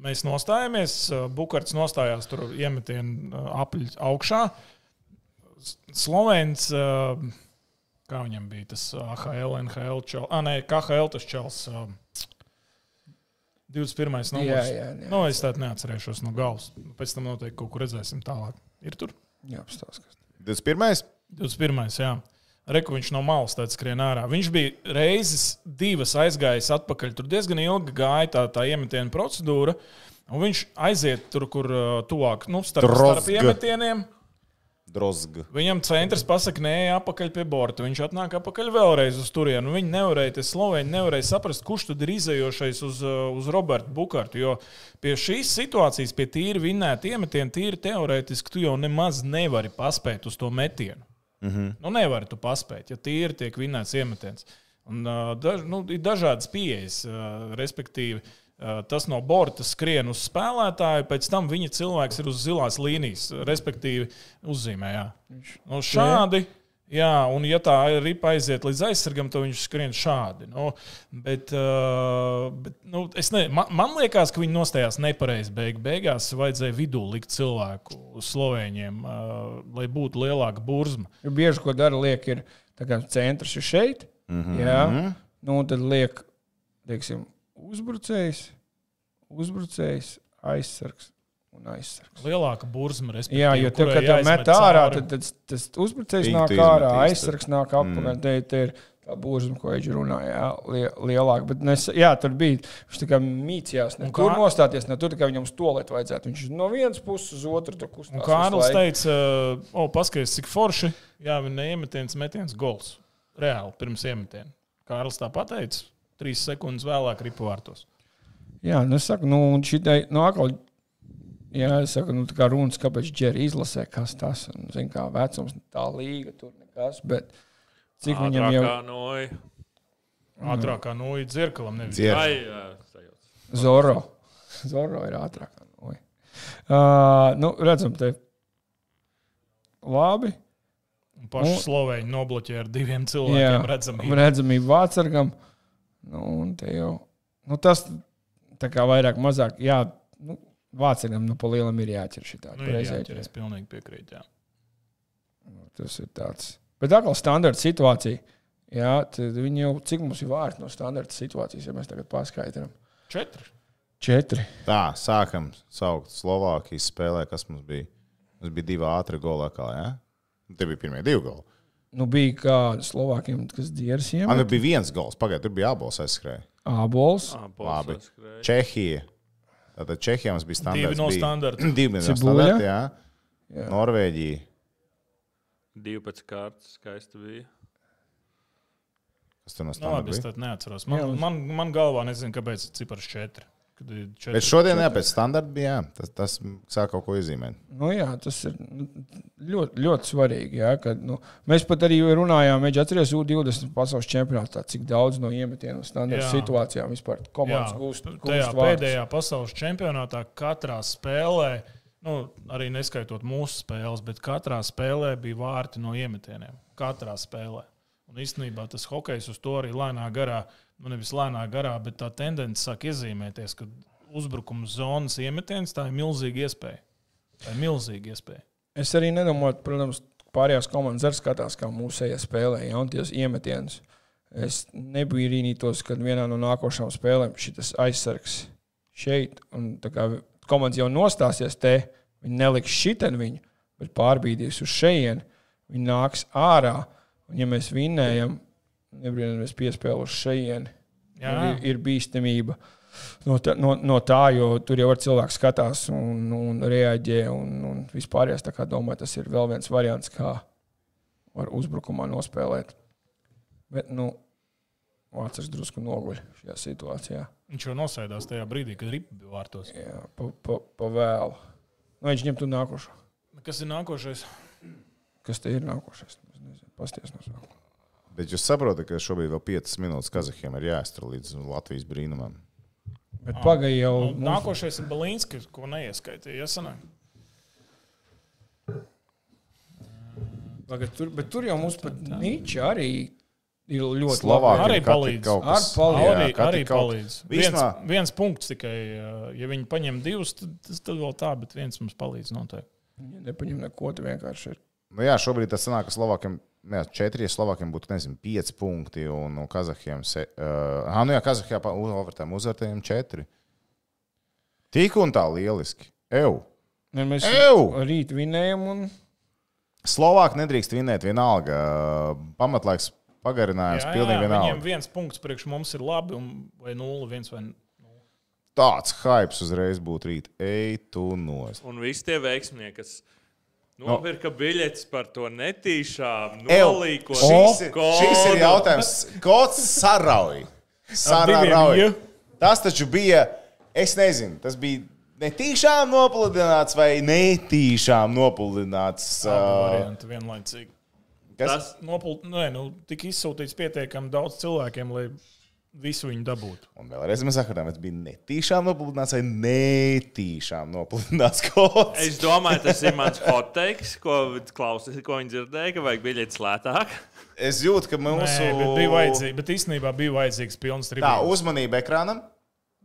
mēs nostājāmies. Uh, Bukarts nostājās tur iemetienu uh, apli augšā. S- Slovēns, uh, kā viņam bija tas uh, AHL, NHL, čels, ah, nē, KHL tas čels. Uh, 21. numurs.
jā, jā.
Nu, es tādu neatcerēšos no galvas. Pēc tam noteikti kaut kur redzēsim tālāk. Ir tur?
Jā, apstāsta.
21.
21. Jā. Reku viņš no malas tāds skrien ārā. Viņš bija reizes divas aizgājis atpakaļ. Tur diezgan ilgi gāja tā, tā iemetiena procedūra. Un viņš aiziet tur, kur ā, tuvāk, nu, starp, starp
Drozga.
iemetieniem.
Drozga.
Viņam centrs pasakā, nē, apakaļ pie borta. Viņš atnāk apakaļ vēlreiz uz turieni. Viņi nevarēja, tie slovēni nevarēja saprast, kurš tad ir izējošais uz, uh, uz Roberta Bukārtu. Jo pie šīs situācijas, pie tīri vinnēta iemetiena, tīri teorētiski, tu jau nemaz nevari paspēt uz to metienu. Mm -hmm. Nu, nevari tu paspēt, ja tīri tiek vinnēts iemetiens. Un, uh, daž, nu, ir dažādas pieejas, uh, respektīvi. uh, Tas no borta skrien uz spēlētāju, pēc tam viņa cilvēks ir uz zilās līnijas, respektīvi, uzzīmējā. Nu, šādi. Jā, un ja tā ripa aiziet līdz aizsargam, tad viņš skrien šādi. Nu, bet, uh, bet, nu, es ne, man, man liekas, ka viņi nostājās nepareizi. Beig, beigās vajadzēja vidū likt cilvēku slovēņiem, uh, lai būtu lielāka burzma.
Jo bieži ko dara, liek, ir tā kā centrs ir šeit. Mm -hmm. Jā, nu, un tad liek, teiksim, uzbrucējs, uzbrucējs, aizsargs un aizsargs.
Lielāka burzma, respektīvi.
Jā, jo tev,
kurai
kad jau
jāizmet
met ārā,
cauri.
tad, tad tas uzbrucējs
Tik
nāk
tu
ārā,
izmet īsti.
aizsargs nāk apakaļ. Mm. Te ir tā burzma, ko viņš runāja, lielāka. Bet, nes, jā, tur bija, viņš tā kā mīcījās, ne
Un
tur
kā-
nostāties, ne tur, tā kā viņam uz to lietu vajadzētu. Viņš no vienas puses uz otru tur kustās.
Un
visu
Kārlis
laiku.
teica, uh, o, paskaties, cik forši. Jā, viņa neiemetiens metiens gols. Reāli pirms iemetiena. Kārlis tā pateica, trīs sekundes vēlāk ripu vārtos.
Jā, nu es saku, nu, un šī te nu, atkal. Jā, es saku, nu, tā kā runas, kāpēc Džeri izlasē, kas tas ir. Zinu, kā vecums, tā līga tur nekas. Bet cik viņam jau
noja?
Ātrākā noja dzirkalam nevis.
Dzier.
Ai, jā, sajūta.
Zoro. Zoro ir ātrāk. Oi. Uh, nu, redzam, te. Labi.
Un Paši
Nu.
Slovēņi nobloķē ar diviem cilvēkiem redzamību.
Redzamība vācargam. Nu, un te jau. Nu, tas tā kā vairāk, mazāk. Jā, nu, vācargam, nu, pa lielam ir jāķer šī tāda.
Nu, jā, jā, jā, es pilnīgi piekrītu. jā.
Tas ir tāds. Bet atkal standarta situācija. Jā, tad viņi jau cik mums ir vārti no standarta situācijas, ja mēs tagad paskaidrojam.
Četri.
Četri.
Tā, sākam saukt Slovākijas spēlē, kas mums bija. Mums bija divi ātri goli, kā jā. Te bija pirmie divi goli.
Nu, bija kā Slovākiem, kas diersiem.
Man nu bija viens gols, pagaidiet, tur bija abos aizskrēja.
Ābols,
Ah.
Labi. Čehija. Tātad Čehijā mums bija standarts.
Divi no
bija-
standarta.
Divi no
Cibuļa.
standarta, jā.
Jā.
Norvēģija.
12 kārtas, skaisti bija.
Kas tur no
Nu,
standarta
labi, es
bija?
tādu neatceros.
Jā,
Man,
uz-
man, man galvā nezinu, kāpēc ir cipars četri. Kad ir četri.
Bet šodien, jā, pēc standarta bija, jā. Tas, tas sāk kaut ko iezīmēt.
Nu, jā, tas ir nu, ļoti, ļoti svarīgi. Jā, kad, nu, mēs pat arī runājām, mēģinājām atcerēties U20 pasaules čempionātā, cik daudz no iemetieniem un standarta
Jā.
situācijām vispār komandas gūst.
nu, tajā
gūst vārdus.
pēdējā pasaules čempionātā katrā spēlē, nu, arī neskaitot mūsu spēles, bet katrā spēlē bija vārti no iemetieniem. Katrā spēlē. Un īstenībā tas hokejs uz to arī lēnā garā, nu nevis lēnā garā, bet tā tendence sāk iezīmēties, ka uzbrukuma zonas iemetiens tā ir milzīga iespēja. Tā ir milzīga iespēja.
Es arī nedomāju, protams, pārējās komandas arī skatās, kā mūsējie spēlē, ja un tās iemetienas. Es nebrīnītos, kad vienā no nākošām spēlēm šis aizsargs šeit, un tā kā komandas jau nostāsies te, viņi neliks šitien viņu, bet pārbīdīs uz šejienu, viņi nāks ārā, un ja mēs vinnējam, nebrīnīties piespēlu uz šejienu
Jā,
Nu, ir, ir bīstamība. No tā, no, no tā, jo tur jau ir cilvēks, kas skatās un, un reaģē. Un, un vispār, es domāju, tas ir vēl viens variants, kā var uzbrukumā nospēlēt. Bet, nu, Vācis drusku noguļ šajā situācijā.
Viņš jau nosēdās tajā brīdī, kad rips bija vārtos.
Jā, pa, pa, pa vēlu. Nu, viņš ņemtu nākošo.
Kas ir nākošais?
Kas te ir nākošais? Es nezinu, pasties no sākuma.
Bet jūs saprotat, ka šobrīd vēl 5 minūtes Kazahiem ir jāiztur līdz Latvijas brīnumam.
Bet pagaidi jau.
Nu,
mums-
Nākošais ir Balinskis, ko neieskaitīja. Iesanē.
Tagad tur, bet tur jau mums pat Nīča arī ir ļoti
Slovākija
Arī
ir katru
palīdz.
kaut
Ar
kas-
palīdz.
Jā,
Arī,
katru
arī
kaut-
palīdz. Viens,
Vismā-
viens punkts tikai, uh, ja viņi paņem divus, tad, tas- tad vēl tā, bet viens mums palīdz noteikti.
Ja nepaņem neko, tad vienkārši ir.
Nu, jā, šobrīd tas sanāk, ka Slovākiem nu ir 4, Slovākiem būtu nezinu, 5 punkti, un no Kazahiem se- uh, ah, nu jā, Kazahijā pa- uz- overtime uzvarētājiem 4. Tik un tā lieliski. Eju!
Ne, mēs
Ew!
rīt vinējam un
Slovāki nedrīkst vinēt vienalga. uh, Pamatlaiks pagarinājums jā, pilnīgi jā, vienalga.
viņiem viens punkts priekš mums ir labi, un vai nulle, viens vai
Tāds hypes uzreiz būtu rīt. Ej, tu nos.
Un visi tie veiksmnieki, kas
Nu.
nopirka biļetes par to netīšām,
Ew.
nolīko
Šis, ir- šis ir jautājums. Kots sarauj. Sarauj.
diviem,
Tas taču bija, es nezinu, tas bija netīšām nopludināts vai netīšām nopludināts. Uh,
variants vienlaicīgi.
kas?
Tas,
Nopul, nē, nu, tik izsūtīts pietiekami daudz cilvēkiem, lai visu viņu dabūtu.
Un vēlreiz mēs sakām, tas bija netīšām nopludināts vai netīšām nopludināts kots.
es domāju, tas ir mans hot teiks, ko, klausies, ko viņi dzirdēja, ka vajag biļetes lētāk.
Es jūtu, ka
Nē,
mums
bet bija vajadzīgs, bet īstenībā bija vajadzīgs pilns
Tā,
tribīns.
uzmanība ekrānam.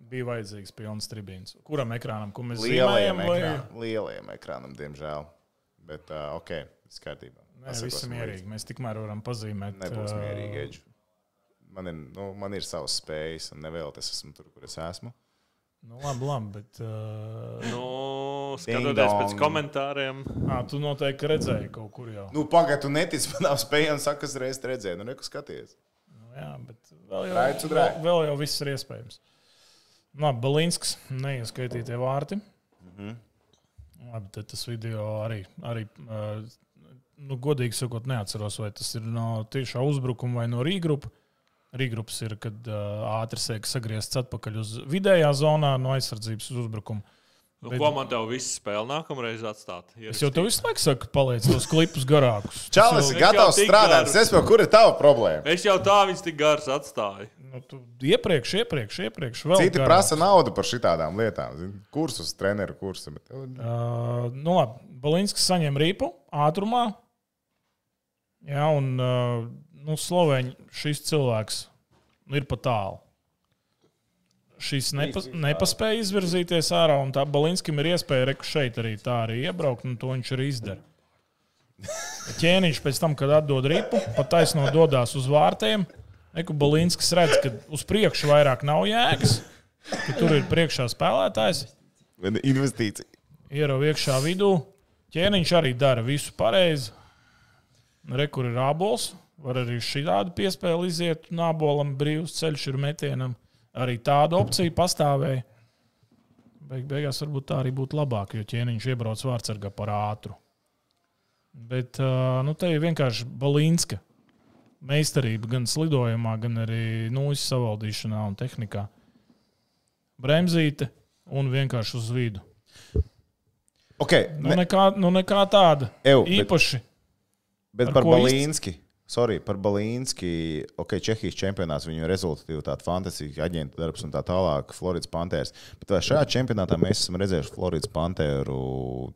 Bija vajadzīgs pilns tribīns. Kuram ekrānam, ko mēs
Lielajam
zīmējam?
ekrānam, lielajam ekrānam, diemžēl. Bet, uh, ok, viss kārtībā.
Nē, viss
Pasakosim
mierīgi. Mēs tikmēr varam pazīmēt.
Nebūs
ā,
mierīgi, Edž. Man ir, nu, man ir savas spējas, un nevēl tas esmu tur, kur es esmu.
Nu, labi, labi, bet uh,
Nu,
Ding
skatoties pēc
dong.
komentāriem,
à, tu noteikti redzēji kaut kur jau.
Nu, pagaidu, tu netici manām spējām, saka, es reiz redzēju, nu, neko skaties.
Nu, jā, bet vēl jau,
Drive to drive.
vēl, vēl jau viss ir iespējams. Nu, Labi, Balinskis, neieskaitītie vārti. Labi, tad tas video arī, arī eh, nu, godīgi sakot, neatceros, vai tas ir no tiešā uzbrukuma vai no rīgrupa. Rīgrups ir, kad uh, ātri sēž sagriezts atpakaļ uz vidējā zonā, no aizsardzības uz uzbrukumu.
nu,
Bet-
ko man tev viss spēle nākamreiz atstāt?
Es jau tev visu laiku saku, paliec tos klipus garākus.
Čalis ir
jau- Viņš jau
gatavs
tik
strādāt,
garu.
es saprotu, kur ir tava problēma.
Es jau tā viņas tik gars atstāju.
Nu, tu iepriekš, iepriekš, iepriekš. vēl
Citi
garāk.
prasa naudu par šitādām lietām, zini, kursus, treneru kursu. Bet...
Uh, nu labi, Balinskis saņem rīpu ātrumā. Jā, un uh, nu, Slovēņi šis cilvēks ir pa tālu. Šis nepa, nepaspēja izvirzīties ārā, un tā Balinskam ir iespēja reku šeit arī tā arī iebraukt, un to viņš arī izdara. Ķēniņš pēc tam, kad atdod ripu, pa taisno dodas uz vārtiem. Eku Balinskis redz, ka uz priekšu vairāk nav jēgas, ka tur ir priekšā spēlētājs
Investīcija.
ierauga iekšā vidū. Ķēniņš arī dara visu pareizi. Rekur ir rābols. Var arī šādu piespēli iziet. Nābolam brīvs ceļš ir metienam. Arī tāda opcija pastāvēja. Beig beigās varbūt tā arī būtu labāk, jo ķēniņš iebrauc vārtsargā par ātru. Bet ā, nu, te ir vienkārši balīnska meistarība gan slidojumā, gan arī nūjas savaldīšanā un tehnikā. Bremzīte un vienkārši uz vidu.
Ok,
Nu,
ne,
nekā, nu nekā tāda.
Ev, bet-
Īpaši.
Bet
Ar
par
ko izc-
Balīnski. Sorry, par Balīnski. Ok, Čehijas čempionāts viņu rezultātīvi tāds fantastisks aģentu darbs un tā tālāk. Floridas Pantērs. Bet vai šajā čempionātā mēs esam redzējuši Floridas Pantēru?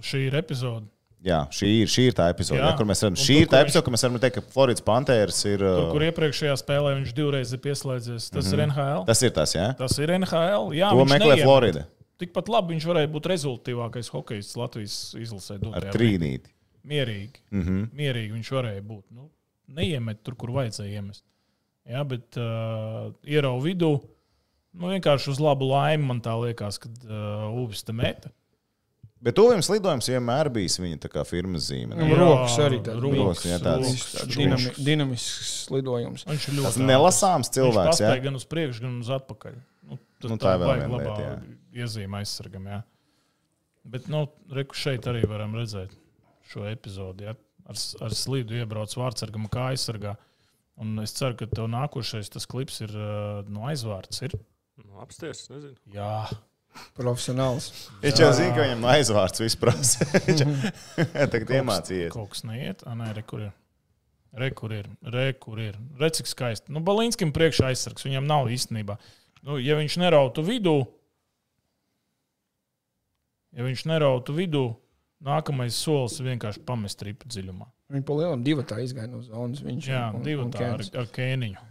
Šī ir epizode.
Jā, šī ir, šī ir tā epizode,
Jā.
jā. kur mēs redzam.
Un
Šī
tur,
ir tā
kur
epizode, kur mēs varam teikt, ka Floridas Pantērs ir.
Tur,
uh,
kur iepriekšējā spēlē viņš divreiz ir pieslēdzies. Tas mm -hmm. ir NHL.
Mhm. Tas ir tas, jā.
Tas ir NHL. Jā,
To
viņš
meklē
neiemet.
Florida
Tikpat labi viņš varēja būt rezultātīvākais hokejs Latvijas izlasē.
ar
dotajā brīdī.
trīnīti. Mhm.
Mierīgi. Mm -hmm. Mierīgi viņš varēja būt. Nu, neiemet tur, kur vajadzēja iemest. Jā, bet uh, ierauga vidū. Nu, vienkārši uz labu laimi man tā liekas, kad uh, Uvis te meta.
Bet tuvējums lidojums vienmēr bijis viņa tā kā firmas zīme. nu.
Jā,
rokas arī tādas
rokas,
Rokas, jā, tādas.
rokas,
Viss
rokas.
dinami- dinamisks lidojums.
Viņš ir ļoti
Tas
ātrs.
nelasāms
Viņš
cilvēks, jā.
pastāja gan uz priekšu, gan uz atpakaļ. Nu, tas
Nu,
nu, tā
tā
ir
vēl
baigi
viena
labā
lieta,
iezīme aizsargam. Jā. Bet, nu, reku šeit arī varam redzēt šo epizodi. Jā. Ar, s- ar slīdu iebrauc vārdsargam, kā aizsargā. Un es ceru, ka tev nākošais tas klips ir uh, no aizvārds. Ir?
Nu, Apsties, nezinu.
Jā,
Profesionāls.
Viņš jau zina, ka viņam aizvārds vispār prasa. Tagad iemācījies.
Kaut kas neiet, ah, nē, re, kur ir. Re, kur ir, re, kur ir. Re, cik skaisti. Nu, Balīnskim priekšā aizsargs, viņam nav īstenībā. Nu, ja viņš nerautu vidū, ja viņš nerautu vidū, nākamais solis ir vienkārši pamest ripu dziļumā.
Viņa pa lielam divu tā izgāja no zonas. Viņš
Jā,
un-
divi
un
tādi ar,
Kēns.
ar kēniņu.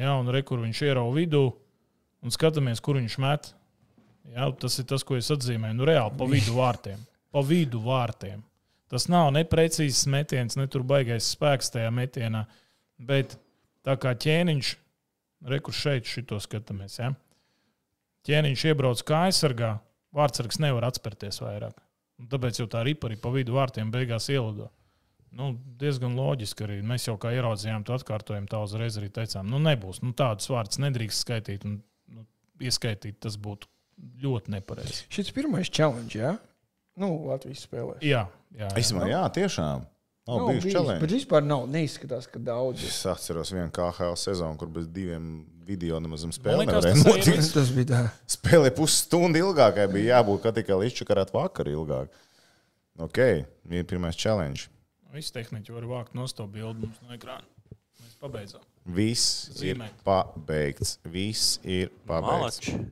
Jā, un re, kur viņš ierauga vidū, un skatāmies, kur viņš met. Jā, tas ir tas, ko es atzīmēju. Nu, reāli pa vidu vārtiem. Pa vidu vārtiem. Tas nav neprecīzs metiens, ne tur baigais spēks tajā metienā. Bet tā kā ķēniņš, re, kur šeit šito skatāmies, jā. ķēniņš iebrauc kā aizsargā, vārtsargs nevar atspērties vairāk. Un tāpēc jau tā ripa arī pa vidu vārtiem beigās ielido. Nu, diezgan loģiski arī. Mēs jau kā ieraudzījām, to atkārtojam, tā uzreiz arī teicām, nu nebūs. Nu, tādus vārdus nedrīkst skaitīt un nu, ieskaitīt. Tas būtu ļoti nepareizi.
Šis pirmais challenge, jā? Nu, Latvijas spēlē.
Jā, jā, jā.
Īsumā, jā, tiešām. Nav bijuši
Bet
čelēni.
vispār nav, neizskatās, ka daudz.
Es atceros vienu KHL sezonu, kur bez diviem video nemaz
Man
spēlēm
liekas,
nevarēja
tas arī
notikt.
viss.
Tas bija tā.
Spēlē pusstundu ilgākai bija jābūt, kā tikai izčakarāt vakar ilgāk. Ok, bija pirmais challenge.
Visi Nu, tehniķi var vākt no stūra bildi mums no ekrāna. Mēs pabeidzām.
Viss ir
Zīmēt.
pabeigts. Viss ir pabeigts.
Malači.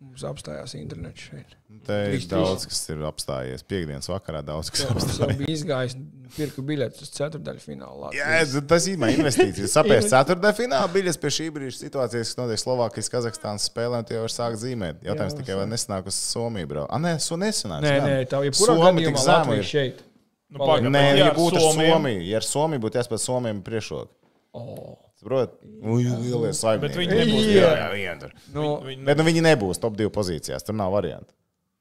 Mums apstājās internets šeit.
Te ir
Trīs, trīs.
daudz, kas ir apstājies. Piektdienas vakarā daudz, kas ir apstājies.
Es jau biju izgājis, pirku biļetes uz ceturdaļu finālu.
Jā, es- tas ir mans investīcijas. Sapēs ceturtajā finālā biļets pie šī brīža situācijas, kas notiek Slovākijas, Kazahstānas spēlē, un tie jau var sākt zīmēt. Jautājums
Jā,
tikai, vai nesanāk uz Somiju, bro. Ah, nē, so nesanāk.
Nē, nē, tā jau kurā gadījumā Latvija
ir.
šeit.
Nu,
Palaid.
pagaid,
Nē,
jā,
ja
ar
būtu ar
Somiem.
Somiju, ja ar Somiju būtu jāspēlē Somijam priekšroka.
O,
Saprot? Ui, lielie saimnieki.
Bet viņi nebūs.
Jā, jā, viņi tur.
Nu,
Viņi
Bet nu, viņi nebūs top 2 pozīcijās, tur nav variantu.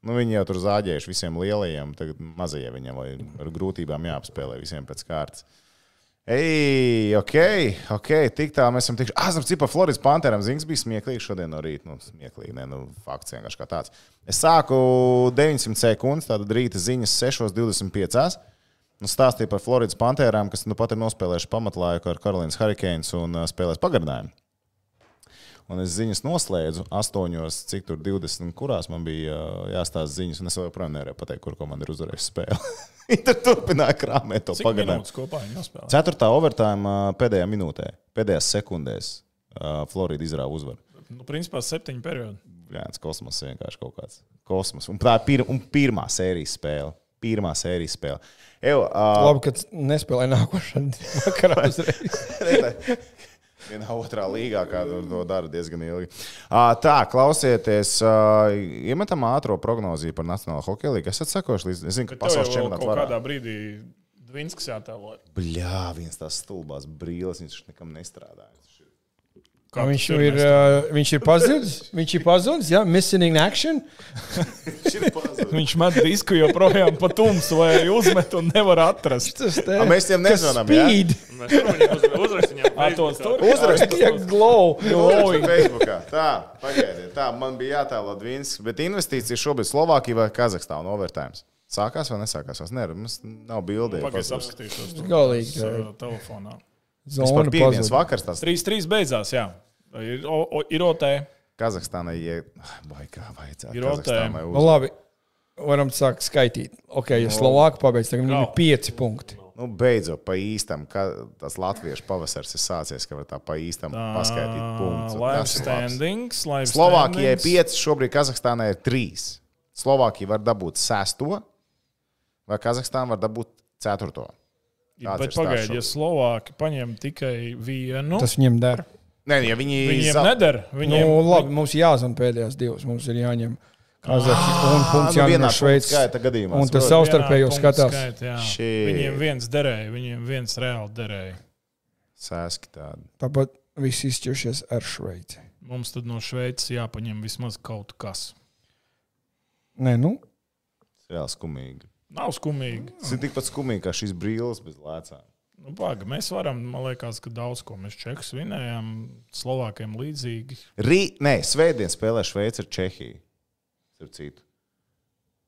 Nu, viņi jau tur zāģējuši visiem lielajiem, tagad mazajiem viņam vai ar grūtībām jāapspēlē visiem pēc kārtas. Ei, ok, ok, tik tā mēs esam tikuši. Ah, zinu, cik par Floridas panterām zings bija smieklīgi šodien no rīta. Nu, smieklīgi, ne, nu, fakts vienkārši kā tāds. Es sāku 900 sekundes, tātad rīta ziņas 6.25. Nu, stāstīja par Floridas panterām, kas nu pat ir nospēlējuši pamatlaiku ar Karolīnas Hurricanes un uh, spēlēs pagarinājumu. Un es ziņas noslēdzu astoņos, cik tur 20, kurās man bija uh, jāstāsta ziņas, un es vēl joprojām nevarēju pateikt, kur komanda ir uzvarējusi spēli. Viņi tur turpināja krāpēt to
Cik
pagarinājumu.
minūtes kopā viņi nospēlē?
Ceturtā overtājuma pēdējā minūtē, pēdējās sekundēs uh, Florida izrāva uzvaru.
Nu, principā septiņu periodu.
Jā, tas kosmos vienkārši kaut kāds. Kosmos. Un tā ir pir un pirmā sērijas spēle. Pirmā sērijas spēle. Evo, uh,
labi, ka nespēlēja nākošā vakarā uzreiz.
Vienā otrā līgā, kā to, to dara diezgan ilgi. Uh, tā, klausieties, uh, iemetam ātrā prognozija par Nacionālo hokeja līniju. Es atsakošu, līdz, es zinu, ka
Bet tev
pasaules
jau
čempionāts
kaut
varētu.
kādā brīdī Dvinskas jātēlo.
Bļā, viens tās stulbās brīles, viņš nekam nestrādā.
Kā viņš
tur
ir, uh, viņš ir pazudis. Viņš ir pazudis, jā, missing in action.
Viņš ir pazudis.
Viņš met disku joprojām pa tumsu vai arī uzmet un nevar atrast.
Tas te
A, mēs tiem nezvanām, jā?
Speed,
Mēs tur viņam uz- uzrakstījām.
Ar to
Facebookā.
stūri.
Uzrakst
ja glow.
Lūdzu, Facebookā. Tā, pagaidiet, tā man bija jātēlo Dvīnskis, bet investīcijas šobrīd Slovākijā vai Kazahstānā novērtējums. Sākās vai nesākās? Vairs? Nē, mums nav bildi.
Pagaidies, apskatīšos. to
Galīgi,
s-
jā.
Telefonā.
Vispār
Zona
piekdienas
pazuda.
vakars tās
3-3 beidzās, jā. Ir, o, o, ir OT.
Kazahstānai ie... Ai, Vai kā vajadzētu?
Ir
Kazahstānai
Nu,
uz...
labi, varam sākt skaitīt. Ok, ja Slovākija pabeigts, tad viņam ir pieci punkti.
Nu, beidzot, pa īstam, ka tas latviešu pavasars ir sācies, ka var tā pa īstam paskaidrot punktus.
Uh, Live
Tas ir labs.
standings. live
Slovākijai
standings.
5, šobrīd Kazahstānai ir 3. Slovākija var dabūt 6, vai Kazahstāna var dabūt 4.
Ja,
Tāds
Bet
ir stāsts
pagaidiet, ja Slovāki paņem tikai vienu, tas
Tas viņam der.
Nē, nu, ja viņi
viņiem
zau-
neder.
Nu,
Viņiem
labi, mums jāzvan pēdējās divas. Mums ir jāņem Kazahstāna un
Ā, nu vienā
punkts jāņem no
punktu
Šveices.
skaita gadījumā.
Un tas
saprot.
vienā
savstarpējo
punktu
skatās.
skaitā, jā.
Shit.
Viņiem viens derēja, viņiem viens reāli derēja.
Sēski tādi.
Tāpat viss izšķiršies ar Šveici.
Mums tad no Šveices jāpaņem vismaz kaut kas.
Nē, nu,
Reāli skumīgi.
Nav skumīgi.
Tas ir tikpat skumīgi, kā šis brīlis bez lēcām.
Nu, Paga, mēs varam, man liekas, ka daudz ko mēs čekus vinējām, Slovākiem līdzīgi.
Rī, nē, svētdien spēlē Šveice ar Čehiju. Starp citu.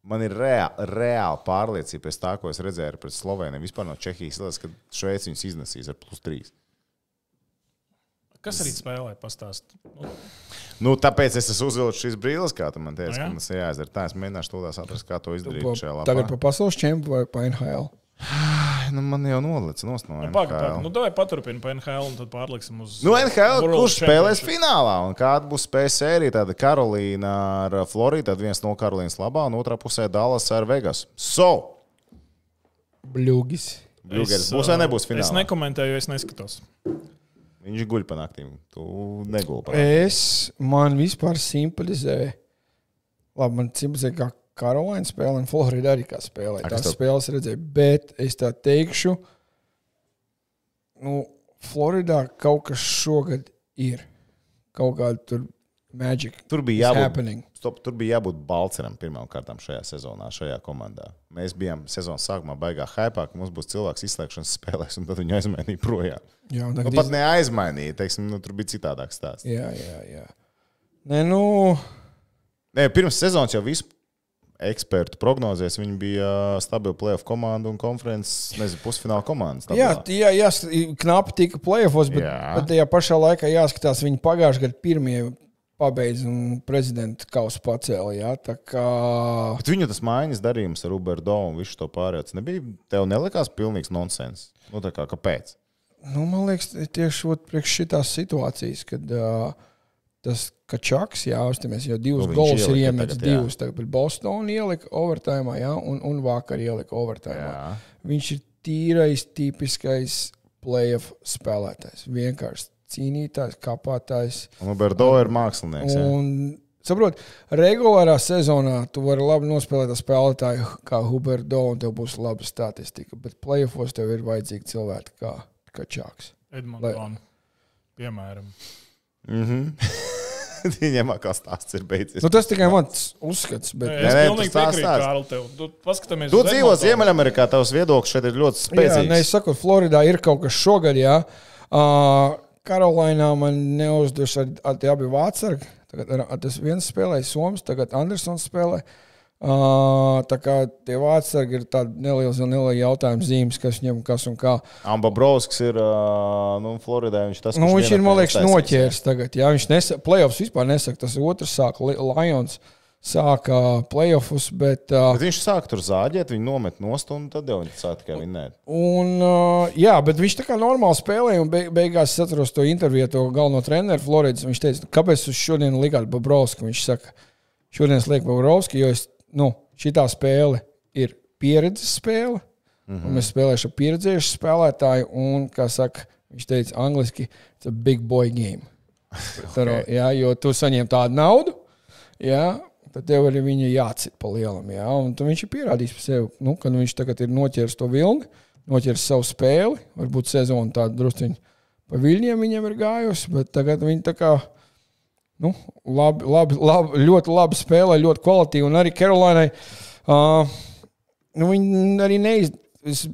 Man ir reāli, reāli pārliecība pēc tā, ko es redzēju pret Sloveniju. Vispār no Čehijas lietas, ka Šveici viņus iznesīs ar plus trīs.
Kas arī spēlē, pastāst. Nu,
Nu, tāpēc es esmu uzvilcis šīs brīvības, kā tu man teici,
Jā.
ka mums ir jāizdara. Tā es mēģināšu to atrast, kā to izdarīt.
Pa-
šajā
Tagad
lapā.
par pasaules čempionu vai par NHL.
Nu, man jau nolicis no stūra.
Pagaid, pagaid. Nu, davai paturpini pa NHL un tad pārliksim uz.
Nu, NHL,
World
kurš spēlēs
Championship.
finālā? Un kāda būs spēja sērija? Tāda Karolīna ar Floridu, tad viens no Karolīnas labā, un otrā pusē Dallas ar Vegas. So,
Bļūgis.
Bļūgers,
Es,
būs vai
uh,
nebūs
Es
finālā?
nekomentēju, jo es neskatos.
Viņš guļ pa naktīm. Tu negulēji pa naktīm.
Es man vispār simpatizēju. Labi, man simpatizē, kā Karolīna spēlē, un Florida arī kā spēlē.
Ak,
Tās
es tev-
spēles redzēju, bet es tā teikšu, nu, Floridā kaut kas šogad ir. Kaut kāda tur maģika.
Tur bija jābūt.
happening.
Stop, tur bija jābūt Balčūskam pirmām kārtām šajā sezonā, šajā komandā. Mēs bijām sezonas sākumā baigā hypā, ka mums būs cilvēks izslēgšanas spēlēs, un tad viņu aizmainīja projām.
Jā, un
Nu,
tagad
pat neaizmainīja, teiksim, nu, tur bija citādāk stāsts.
Jā, jā, jā. Nē, nu,
Nē, pirms sezonas jau visu ekspertu prognozēs viņi bija stabili plēsoņu komanda un konferences, nezinu, pusfināla komandas.
jā,
tabulā.
t- jā, jā, knapi tika plēfos, bet,
Jā.
bet tajā pašā laikā jāskatās, viņi pagājušajā gadā pirmie pabeidz un prezidenta kausu pacēla. Jā, tā kā
Bet viņu tas mājiņas darījums ar Uber Dome un visu to pārējo, tas nebija, tev nelikās pilnīgs nonsens. Nu, tā kā kāpēc?
Nu, man liekas, tieši ot priekš šīs situācijas, kad uh, tas kačaks, jā, uztamies, jau divus
Nu, viņš
nu, gols ir
ielika
iemetis.
tagad, jā.
Divus tagad pret Bostonu ielika overtājumā, jā, un, un vakar ielika overtājumā.
Jā.
Viņš ir tīrais, tipiskais playoff spēlētājs. Vienkārši cīnītājs, kapātājs.
Un Uber Dome ir mākslinieks. jā.
Un, saprot, regulārā sezonā tu vari labi nospēlēt ar spēlētāju kā Huberto, un tev būs laba statistika. Bet playoffos tev ir vajadzīgi cilvēki kā Kačāks.
Edmonton. Piemēram.
Viņiem atkal stāsts ir beidzies.
Nu, tas tikai mans uzskats. Bet,
Es
nē,
pilnīgi
tu stāsti,
piekrītu,
stāsti.
Kārl, tev. Tu paskatāmies.
Tu
uz
dzīvo
Edmontonu.
Ziemeļamerikā, tavs viedoklis šeit ir ļoti
jā, nē,
spēcīgs.
es saku, Floridā ir kaut kas šogad, jā. Uh, Karolainā man neuzduši ar, ar tie abi vācargi. Tagad ar, ar tas viens spēlēja Somijas, tagad Andersons spēlē. Uh, tā kā tie vācargi ir tādi nelieli, nelieli jautājumi zīmes, kas viņam kas un kā.
Ambabrovskis ir ā, nu, Floridā. Viņš, tas,
Nu,
kurš
viņš ir,
vienatnē
man liekas,
uztaisīs.
noķēris tagad. Jā, viņš nesaka, playoffs vispār nesaka. Tas otrs sāka, Li- Lions sāka playoffs, bet. Uh,
Bet viņš sāk tur zāģēt, viņu nomet nost, un tad jau viņš sāk
Nu,
tikai vinnēt.
Un, uh, jā, bet viņš tā kā normāli spēlēja, un beig beigās es atceros to interviju ar to galveno treneru Floridas. Viņš teica, "Nu, kāpēc jūs šodien likāt Babrovski? Viņš saka, šodien es lieku Babrovski, jo es, nu, šitā spēle ir pieredzes spēle. Mm -hmm. Mēs spēlējām ar pieredzējušu spēlētāju, un, kā saka, viņš teica, angliski, it's a big boy game. okay. jā, jo tu saņem tādu naudu, jā, tad tev arī viņa jācīt pa lielam. Jā, un tu- viņš ir pierādījis par sevi, nu, ka nu, viņš tagad ir noķēris to vilni, noķēris savu spēli. Varbūt sezona tāda drusciņa pa viļņiem viņam ir gājusi, bet tagad viņi tā kā. Nu, labi, labi, labi, ļoti labi spēlē, ļoti kvalitīvi. Un arī Karolīnai uh, nu, viņi arī neiz,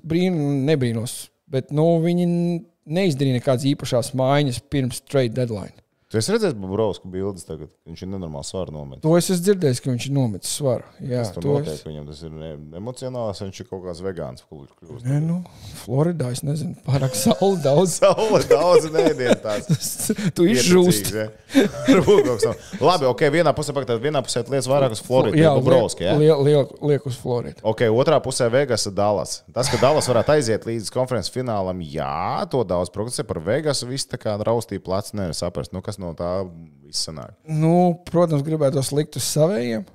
brīnu, nebrīnos, bet nu, viņi neizdarīja nekādas īpašās mājas pirms trade deadline.
Tu esi redzējis Babrovsku bildes tagad. Viņš ir nenormāli svaru nometis.
To es esmu dzirdējis, ka viņš ir nometis svaru. Jā,
Tas tur
to
notiek,
es.
es... viņam tas ir ne, emocionāls, viņš ir kaut kāds vegāns. Kļūst.
Nē, nu, Floridā es nezinu, pārāk saule daudz.
Saula daudz nedēļas tāds.
tu izžūsti.
Pieticīgs, ja? Varbūt kaut kas nav. Labi, ok, vienā pusē pakāpē, vienā pusē lietas vairāk uz Floridu. Jā, Babrovski. Ja?
liek, liek, liek uz Floridu.
Ok, otrā pusē Vegas ir Dallas. Tas, ka Dallas varētu aiziet līdz konferences finālam, jā, to daudz prognozē par Vegas. Viss tā kā raustīja plecs, nevar saprast, nu, kas no tā viss sanāk.
Nu, protams, gribētu tos likt uz saviem,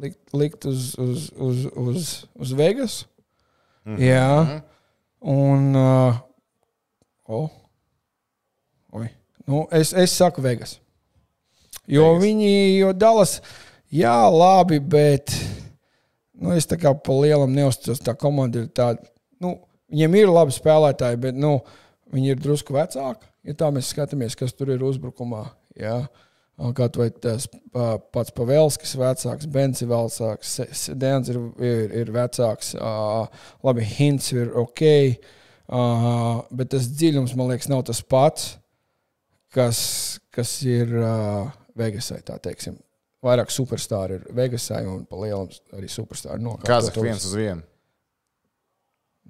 likt, likt uz, uz, uz, uz, uz Vegas. Mm -hmm. Jā, un. Uh, oh. Oi. Nu, es, es saku, Vegas. Jo Vegas. viņi, jo Dallas, jā, labi, bet. Nu, es tā kā pa lielam neuzticos. Tā komanda ir tāda, nu, viņiem ir labi spēlētāji, bet nu, viņi ir drusku vecāki. Ja tā mēs skatāmies, kas tur ir uzbrukumā, jā, kaut vai tas ā, pats Pavelskis ir vecāks, Bens ir vecāks, Se- Se- Dēns ir, ir, ir vecāks, ā, labi, Hints ir ok, ā, bet tas dziļums, man liekas, nav tas pats, kas, kas ir ā, Vegasai, tā teiksim. vairāk superstarri ir Vegasā un pa lielam arī Nu, superstarri nokāpst.
Kazahs viens uz vienu.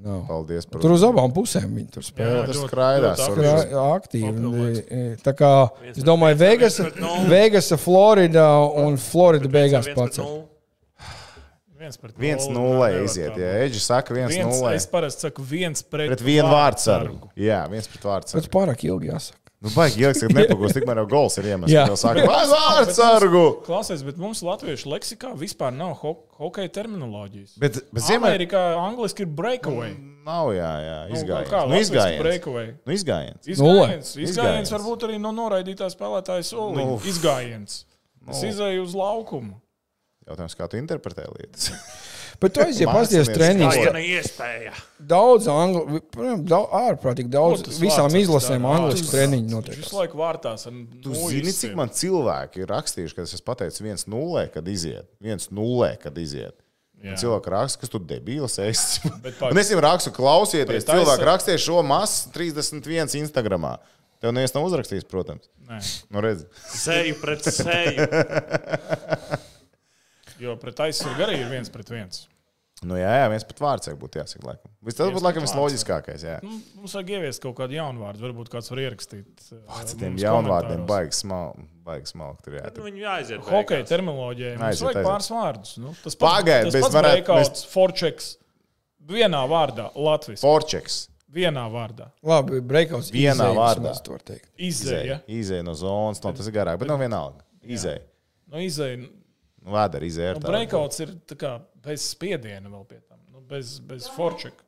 No.
Paldies par
Tur uz abām pusēm viņi tur spēlē.
tas skraidās,
Tur
Jā.
ā- aktīvi.
Papildināts.
un, e, Tā kā es domāju, Vegas,
viens pret nulli.
Vegasa, Florida un Florida beigās pats. ir.
Tur
viens nulle iziet. Ja Eģis saka, viens
Viens,
nulle.
es parasti saku, viens pret,
Pret vienu vārdu sargu.
sargu.
Jā, viens pret vārdu
Tas
sargu.
pārāk ilgi jāsaka.
Nu, baigi ieliks, ka nepagūs, tikmēr jau gols ir iemests.
Jā.
Jā, saka, vai vārdu sargu!
Klausies, bet mums latviešu leksikā vispār nav ho hokeja terminoloģijas.
Bet, bet Ziemeļ...
Amerikā angliski ir breakaway.
Nav, jā, jā, izgājiens.
kā
Nu,
latviešu
izgājiens.
breakaway?
Nu, izgājiens.
Izgājiens,
Nulle.
izgājiens
Izgājiens.
varbūt arī no noraidītā spēlētāja soliņa.
Uf.
Izgājiens. Es izēju uz laukumu.
Jautājums, kā tu interpretē lietas?
Bet tu aizies pasties
Mācāmies
treniņus.
ir iespēja.
Daudz angļu, protams, daudz- ārprātīgi
Ko
daudz
Nu, tas
visām
vārds
izlasēm
dara?
angļu treniņu notiek.
Visu laiku vārtās.
Tu zini, cik man cilvēki ir rakstījuši, kad es pateicu, viens nulle, kad iziet. Viens nulle, kad iziet. Un Cilvēki raksta, kas tu debīlis esi.
Bet pagaid.
Un es jau rakstu, klausieties,
Pret
cilvēki
aizsardz-
rakstīja šo masu 31 Instagram. Tev neviens nav uzrakstījis, protams.
Nē,
Nu, redz,
Seju pret seju.
jo pret aizsardzību arī ir viens pret viens.
nu, jā, jā, viens pat vārds būtu jāsaka. Laikam. Vis- Tas
Viens
būtu
pat
laikam
vārds,
visloģiskākais. Jā.
Nu, Mums vajag ieviest kaut kādu jaunu vārdu. Varbūt kāds var ierakstīt. eh,
Pats tiem jaunvārdiem baigi smalki. Baigi smalki tur jāatrod.
Viņu Nu, jāaiziet.
Hokeja terminoloģijai mums
Aiziet,
vajag
aiziet.
pāris vārdus. Nu, tas
Pagaid,
pats,
mēs
tas pats
varētu-
breakouts, forčeks. Vienā vārdā, Latvijas.
Forčeks.
Vienā vārdā.
Labi, breakouts
Vienā
izējas,
vārdā.
mēs to var teikt.
Izēja.
Izēja no zonas, no tas ir garāk, bet nav vienalga. Izēja.
Nu, izēja.
Nu, Vēdera izēja.
Nu, breakouts ir tā kā bez spiediena vēl pie tam. Nu, bez bez forčeka.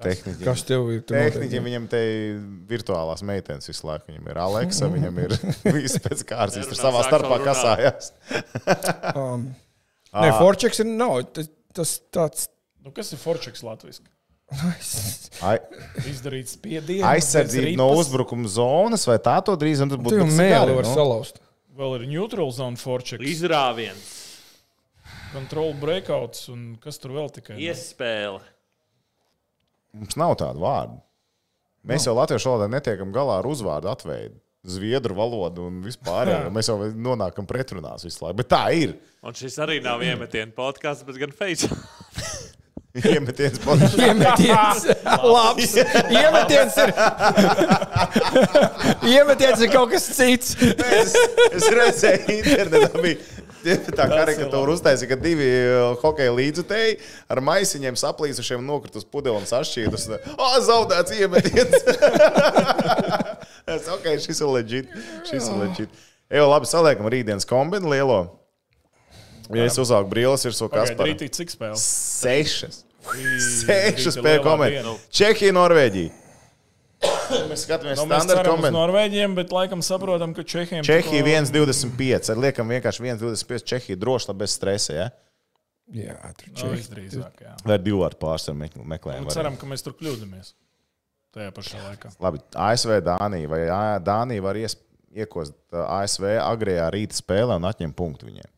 Tehniķi.
Kas tev ir? tur
Tehniķi
notiek?
viņam te ir virtuālās meitenes visu laiku. Viņam ir Aleksa, viņam ir viss pēc kārtas. Viņš tur savā
Nerunā, sāk
starpā
savu runāt.
kasājās.
Um, Nē, Forčeks ir nav. Tas, tas tāds.
Nu, kas ir forčeks latviešu?
Ai,
Izdarīt spiedienu.
aizsardzība
bez
no
ripas.
uzbrukuma zonas, vai tā to drīz un tas
Tu
būtu
jau
bet
mēli
citādi,
var
nu.
salauzt.
Vēl ir neutral zone forčeks,
Izrāviens,
control breakouts un kas tur vēl tikai. nav.
iespēja.
Mums nav tādu vārdu.
Nu.
Mēs jau latviešu valodā netiekam galā ar uzvārdu atveidu. Zviedru valodu un vispār. Mēs jau nonākam pretrunās visu laiku. Bet tā ir.
Un šis arī nav iemetiens podkāsts, bet gan face.
Iemetiens podkāstā.
Iemetiens. Labs. Iemetiens ir. Iemetiens ir kaut kas cits.
Es, es redzēju, internetā bija tā karikatūra uztaisīta, ka divi eh, hokeja līdzutēji ar maisiņiem saplīsušiem nokrita uz pudeli un sašķīdus. O, zaudēts iemetiens! es, ok, šis ir leģit. Šis ir leģit. Evo, labi, saliekam rītdienas kombinu lielo. Ja es uzaugu brīvas virsū, kas
Pagaid,
par
rītī, cik spēles?
sešas.
Rīta
Sešas pēc
lielā diena.
komentāru. Čehija, Norvēģija. Mēs skatāmies
Nu,
no,
mēs
standarta
ceram uz
komentāru.
Norvēģiem, bet laikam saprotam, ka Čehijam
Čehija 1,25. Ar liekam, vienkārši 1,25. Čehija droši vien bez stresa. Ja?
Jā, tur
ir
čehi.
visdrīzāk. jā.
Vai ar divu ar pārsvaru me- meklējam?
Un
variantu?
Nu, ceram, ka mēs tur kļūdāmies. Tajā pašā laikā.
Labi, ASV Dānija. Vai Ā- Dānija var ies, iekost uh, ā, ASV agrējā rīta spēlē un atņemt punktu viņiem?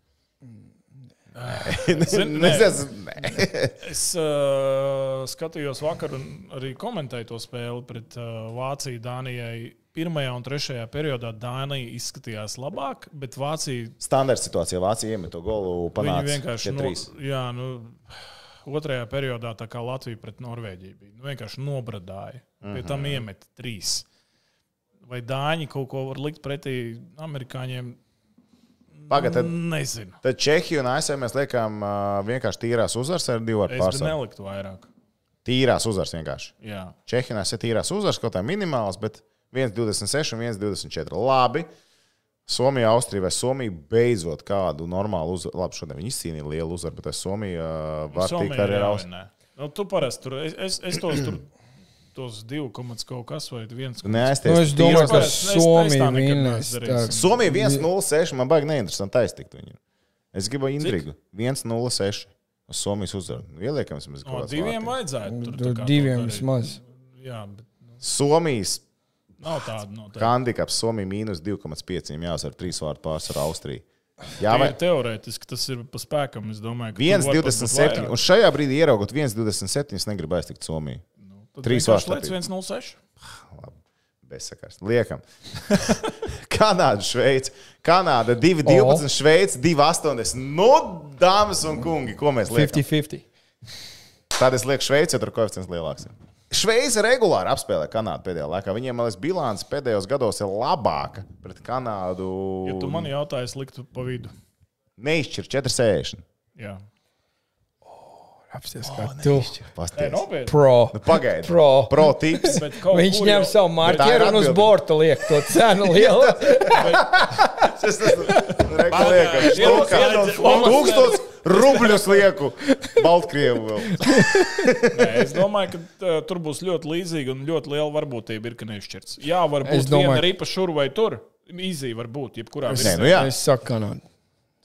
Zin,
Nē,
nē,
es, nē.
es uh, skatījos vakar un arī komentēju to spēli pret uh, Vāciju, Dānijai. Pirmajā un trešajā periodā Dānija izskatījās labāk, bet Vācija
Standarta situācija Vācija iemet to golu.
Viņa
Panāca,
vienkārši no,
trīs.
jā, nu, otrajā periodā, tā kā Latvija pret Norvēģiju bija, nu, vienkārši nobradāja.
Mhm.
Pie tam iemeta trīs. Vai dāņi kaut ko var likt pretī amerikāņiem?
Pagaidā, tad,
Nezinu.
tad Čehija un ASV mēs liekam ā, vienkārši tīrās uzvaras ar divu ar
Es pat
pārsvaru.
neliktu vairāk.
Tīrās uzvaras vienkārši.
Jā.
Čehijā ir tīrās uzvaras, kaut kā minimāls, bet 1,26 un 1,24. Labi. Somija, Austrija vai Somija beidzot kādu normālu uzvaru. Labi, šodien viņi izcīnīja lielu uzvaru, bet vai Somija uh, var
Somija
tikt arī
ir
ar
jā,
Austriju.
vai nē? Nu, tu parasti tur, es, es, es tos tur, tos divu komats kaut kas vai viens.
Nē, es
Nu, es
teicu,
domāju,
ka
ka
Es- es tā
Somija
nekad
vinnēs.
nedarīšu.
tā.
Somija 1,06 man baigi neinteresanti aiztikt viņu. Es gribu intrigu. 1,06. uz Somijas uzvaru. Nu, Ieliekam, mēs
No
kaut kādā
diviem vajadzētu. Tur, tā kā
Nu, Diviem
to darīt.
vismaz.
Jā, bet
Somijas
nav tāda. No tā.
handikaps Somija mīnus 2,5. Viņam jāsver trīs vārdu pārsvaru Austriju. Jā,
Vai...
vai,
Teorētiski tas ir pa spēkam. Es domāju, ka
1,27. Un šajā brīdī ieraugot 1,27. Es negribu aiztikt Somiju.
Tad
Trīs
vienkārši
vārti
lec 106.
Labi, bezsakars. Liekam. Kanāda, Šveice. Kanāda 2,12,
O.
Šveice 2,80. Nu, dāmas un kungi, ko mēs liekam?
50-50.
Tad es lieku Šveici, jo tur koeficients lielāks. ir. Šveice regulāri apspēlē Kanādu pēdējā laikā. Viņiem, man liekas, bilants pēdējos gados ir labāka pret Kanādu.
Ja tu man jautāji, es liktu pa vidu.
Neizšķir 4,60.
Jā,
Apsies, kā tu.
Pasties.
nopietni.
Pro.
Nu, Pagaidi.
Pro.
Pro tips.
Bet kaut
Viņš
kur
ņem
jau-
savu
Tā ir
marķieru un uz
atbilde.
borta liek to cenu lielu.
Es domāju,
Pagaidi.
ka
Iedod
lomas.
tūkstoš rubļus lieku Baltkrievu vēl.
Nē, es domāju, ka tā, tur būs ļoti līdzīga un ļoti liela varbūtība ir, ka nešķirts. Jā,
Es
varbūt
domāju,
domāju... arī pa šur vai tur. Īzī var būt, jebkurā
Nē,
brīdī.
nu jā.
Es saku, Kanāda.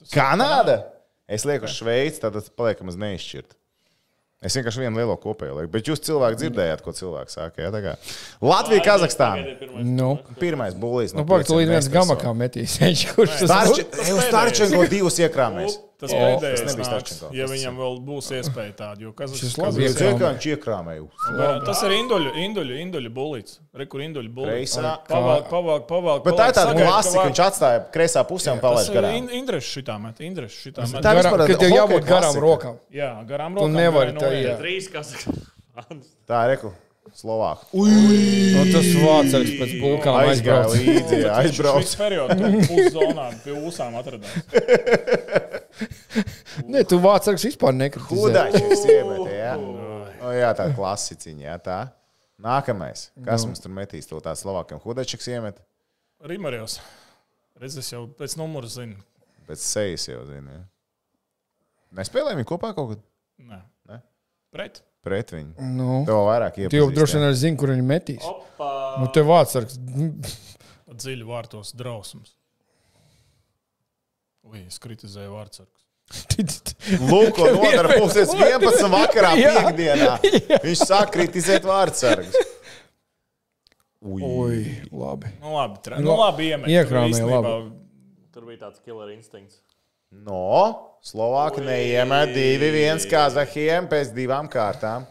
Kanāda? Es lieku uz Šveici, tad paliekam uz neizšķirt. Es vienkārši vienu lielo kopēju lieku. Bet jūs cilvēki dzirdējāt, ko cilvēks saka. Jā, tā kā. Latvija, Kazahstāna.
Nu,
Pirmais bulīs.
nu pagaid, tu līdz viens gamakā metīs. Viņš kurš tas būs?
Starčenko divus iekrāmēs.
Tas
O,
pēdējais
tas nebija
nāks,
Starčenko.
ja
Tas-
viņam vēl būs iespēja tāda, jo
Šis
Kazahstānā
labi
Viens
Iekrāmē.
iekrāmēs, iekrāmēju.
Tas ir induļu, induļu, induļu bulīts. Re, kur induļu bulīts.
Kreisā.
Pavēl, pavēl, pavēl.
Bet tā ir tāda klasika, viņš atstāja kreisā pusē un
Tas
palaiž
ir
garām.
Indrišs šitā met, Indrišs šitā met.
Tā
Garām,
vispār
ka tev
hokeja
jābūt garām
klasika.
rokām.
Jā, garām
Tu
rokām.
nevari
garai
tā,
noiet.
jā.
Trīs Kazahstānas.
Tā ir reku. Slovāku.
Nu, tas vācis pēc bulkām
Aizgāja
aizbrauc.
līdzi, jā,
Viņš
aizbrauc.
visu periodu tur puszonā pie ūsām atradās.
Nē, tu vācis vispār nekritizē.
Udaņķis iemetē. Jā. O, jā, tā ir klasiciņa. Jā, tā. Nākamais.
Nu.
Kas mums tur metīs to tādu slovākiem? Hudačiks iemet,
Rimarjos. Redz, es jau pēc numura zinu.
bet sejas jau zina. jā. Nespēlēja viņi kopā kaut kad
Nē.
Ne?
Pret.
pret viņu.
Nu,
Tev vairāk
tu jau droši
iepazīstināt.
vien arī zini, kur viņi metīs.
Opa!
Nu, te vācis.
Dziļi vārtos drausmas. Ui, es kritizēju vārdsargus.
Lūk, ko nodara pusēs 11 vakarā
Jā.
piekdienā. Viņš sāk kritizēt vārdsargus. Ui.
Oi, labi.
Nu labi, tra... nu, labi iemet.
Iekrāmē,
Īstenībā
labi.
Tur bija tāds killer instinkts.
No, Slovāki neiemet 2-1 Kazahiem pēc divām kārtām.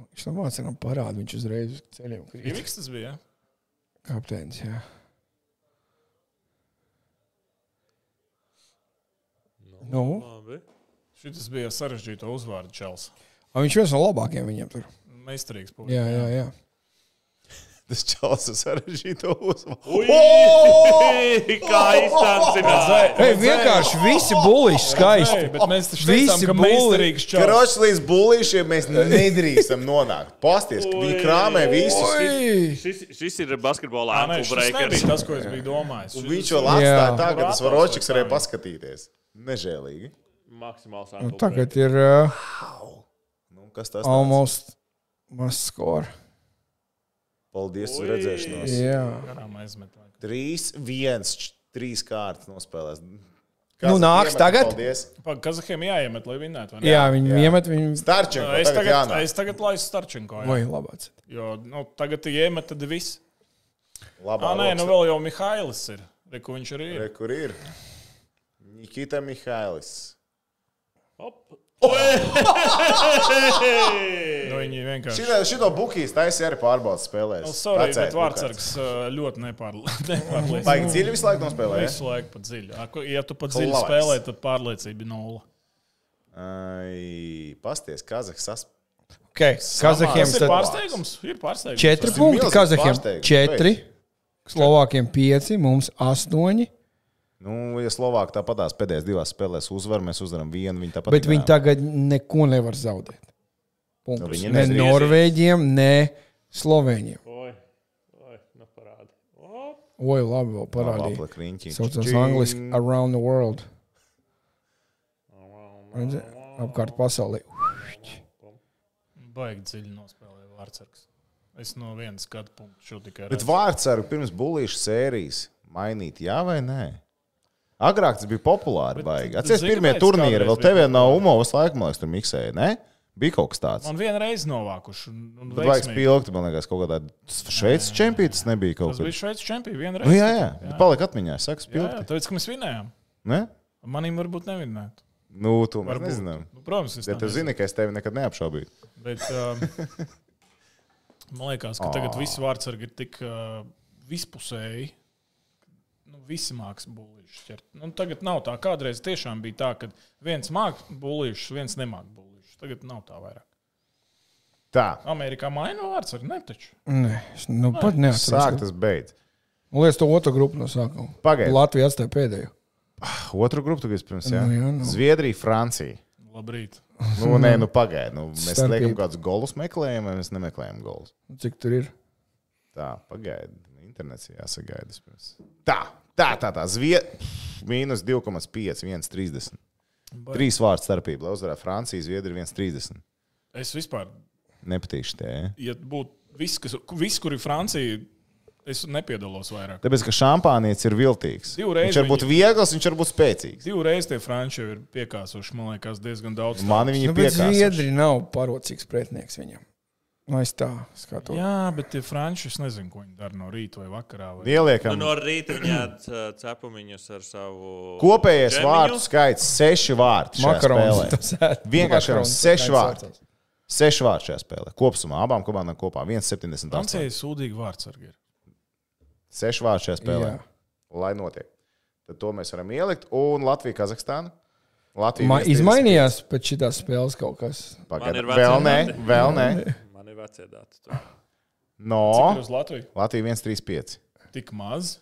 Viņš tam vācis parāda, viņš uzreiz uz ceļiem krīt.
Iviks tas bija. ja?
Kapteinis, jā. Nu,
Labi.
Šis bija sarežģīto uzvārdu čels.
A, viņš viens no labākajiem viņiem tur.
Meistarīgs
Jā,
puisis.
jā, jā.
Tas čels ir sarežģīts uzvārds.
Ui! Kā izsācināt?
Ei, vienkārši visi buļļi
Ei,
skaisti.
bet mēs taču
Visi
teicām, ka
bulli.
meistarīgs čels.
Kroķis līdz bulīšiem mēs nedrīkstam nonākt. Pasties, ka viņi krāmē visus.
Ui!
Šis, šis ir basketbolā
Nē,
ankle
šis
breakers.
nebija tas, ko es biju domājis.
Un
Šis-
Viņš jau atstāja
Jā.
tā, ka tas varočiks varēja paskatīties. Nežēlīgi.
Maksimāls ankle breakers.
Nu, Tagad ir uh,
Nu, kas tas ir?
almost must score.
Paldies uz redzēšanos.
Jā.
Garām aizmet. laikam.
3, 1, 3 kārtas nospēlēs.
Nu, nāks
Iemet,
tagad?
Paldies.
Pag, Kazahiem jāiemet, lai vinnētu. vai ne?
jā, viņi iemet viņu.
Nu,
Starčenko,
Es
tagad
tagad,
jānāk.
es tagad laisu Starčinko. jā.
Vai labāk?
Jo, nu, tagad tu iemet, tad viss.
Labā
Ah, nē, nu
rokas.
vēl jau Mihailis ir. Reku viņš arī ir.
Re, Kur ir? Nikita Mihailis.
Hop.
Oh!
Nu, viņi vienkārši.
Šito, šito bukīs taisīja arī pārbaudas spēlēs.
Nu, sorry,
Vecais
bet
bukārs.
vārdsargs ā, ļoti nepārliecināts.
Baigi dziļi visu laiku nospēlēja.
Visu laiku pa dziļu. Ā, ko- Ja tu pa dziļu
Klavais.
spēlē, tad pārliecība ir nulle.
Ai, pasties, Kazahstāns.
Okay. Kazahiem
Tas ir
tad
pārsteigums. Ir pārsteigums.
4
ir
punkti,
milzīgs
Kazahiem
pārsteigums,
4, Slovākiem 5, mums 8.
Nu, ja Slovākija tāpatās pēdējās divās spēlēs uzvar, mēs uzvaram vienu. Viņa tāpat
Bet viņi tagad neko nevar zaudēt.
Nu,
Punktus.
viņi
Ne
nezina.
Norvēģiem, ne Slovēņiem.
Oi, oi, nu parādi. Hop.
Oi, labi, vēl parādīja. Saucās
apgleznota.
angliski around the world. Redzi, Apkārt pasaulē.
Baigi dziļi nospēlēja vārdsargs. Es no vienas skatu punktu šo tikai
Bet
redzu.
vārds ar pirms bulīšu sērijas mainīt, jā vai nē? Agrāk tas bija populāri. baigi. Atceries,
zini,
pirmie
kāpēc
turnīri
kādreiz
vēl
bija
tev no Umovas laika, man liekas, tur miksēja. Ne? Bija kaut kas tāds.
Man vienreiz novākuši. Un, un
Tad vajag
veiksmīgi.
spilgt, man liekas, kaut kādā Šveices čempionāts nebija kaut
Tas bija
kas.
Šveices čempions. Vienreiz.
Nu, jā, jā, palika atmiņā, saka,
jā,
spilgt.
jā. Tāpēc, ka mēs vinējām.
Ne?
Manim varbūt nevinētu.
Nu, to mēs
Varbūt.
nezinām.
Nu, protams, es
Ja tu
nezinu.
zini, ka es tevi nekad neapšaubīju.
Bet, um, man liekas, ka tagad viss vārdsargi ir tik uh, vispusēji. nu, visi mākslas būlīši ķert. Nu, tagad nav tā. Kādreiz tiešām bija tā, ka viens mākslas būlīšs, viens nemākslas būlīšs. Tagad nav tā vairāk.
Tā,
Amerikā maina vārds arī netaču.
Nē, es nu, pat neatsāku.
sāktas beidz.
Man liekas, to otru grupu no sākuma.
Pagaid.
Latvija atstāja pēdējo.
Otru grupu tu gribi pirms, jā?
Nu jā, nu.
Zviedrija, Francija.
Labrīt.
Nu, nē, nu pagaidi. Nu, mēs
Starpība.
liekam kādus golus meklējam, vai mēs nemeklējam golus.
Nu, Cik tur ir?
Tā, pagaidi. Internets ir jāsagaida. vispirms. Tā, tā, tā. tā. Zvie... Mīnus 2,5, 1,30.
Bai.
Trīs vārdu starpība. Lai uzvarētu Franciju, Zviedriju 1,30.
Es vispār,
Nepatīk eh? tie. ja?
ja būtu viss, kas, viss, kur ir Francija, es nepiedalos vairāk.
Tāpēc, ka šampānietis ir viltīgs.
Divreiz
viņš var būt viegls, viņš var būt spēcīgs.
Divreiz tie franči jau ir piekāsuši, man liekas, diezgan daudz.
Man
Nu,
viņa
bet
piekāpst.
Zviedri nav parocīgs pretinieks viņam. Nu, es tā skatos.
Jā, bet tie franči, es nezinu, ko viņi dara no rīta vai vakarā. Vai...
Nu,
Ieliekam.
no rīta viņi ēda cepumiņus ar savu.
Kopējais
džemiņu.
vārdu skaits - seši vārdi. šajā spēlē.
Makarons.
Vienkārši jau seši vārdi. Seši vārdi šajā spēlē. Kopumā abām komandām kopā 1,78.
Francijai sūdīgi vārds arī ir.
Seši vārdi šajā spēlē.
Jā.
Lai notiek. Tad to mēs varam ielikt. Un Latvija, Kazahstāna. Latvija
Ma,
1,30.
izmainījās pēc šīs spēles kaut kas.
Pagaid,
Man ir
Vēl nē,
vecāki
vēl nē.
Man ir vecie dati. tur.
No.
Uz Latviju
Latvija 1,35.
tik maz,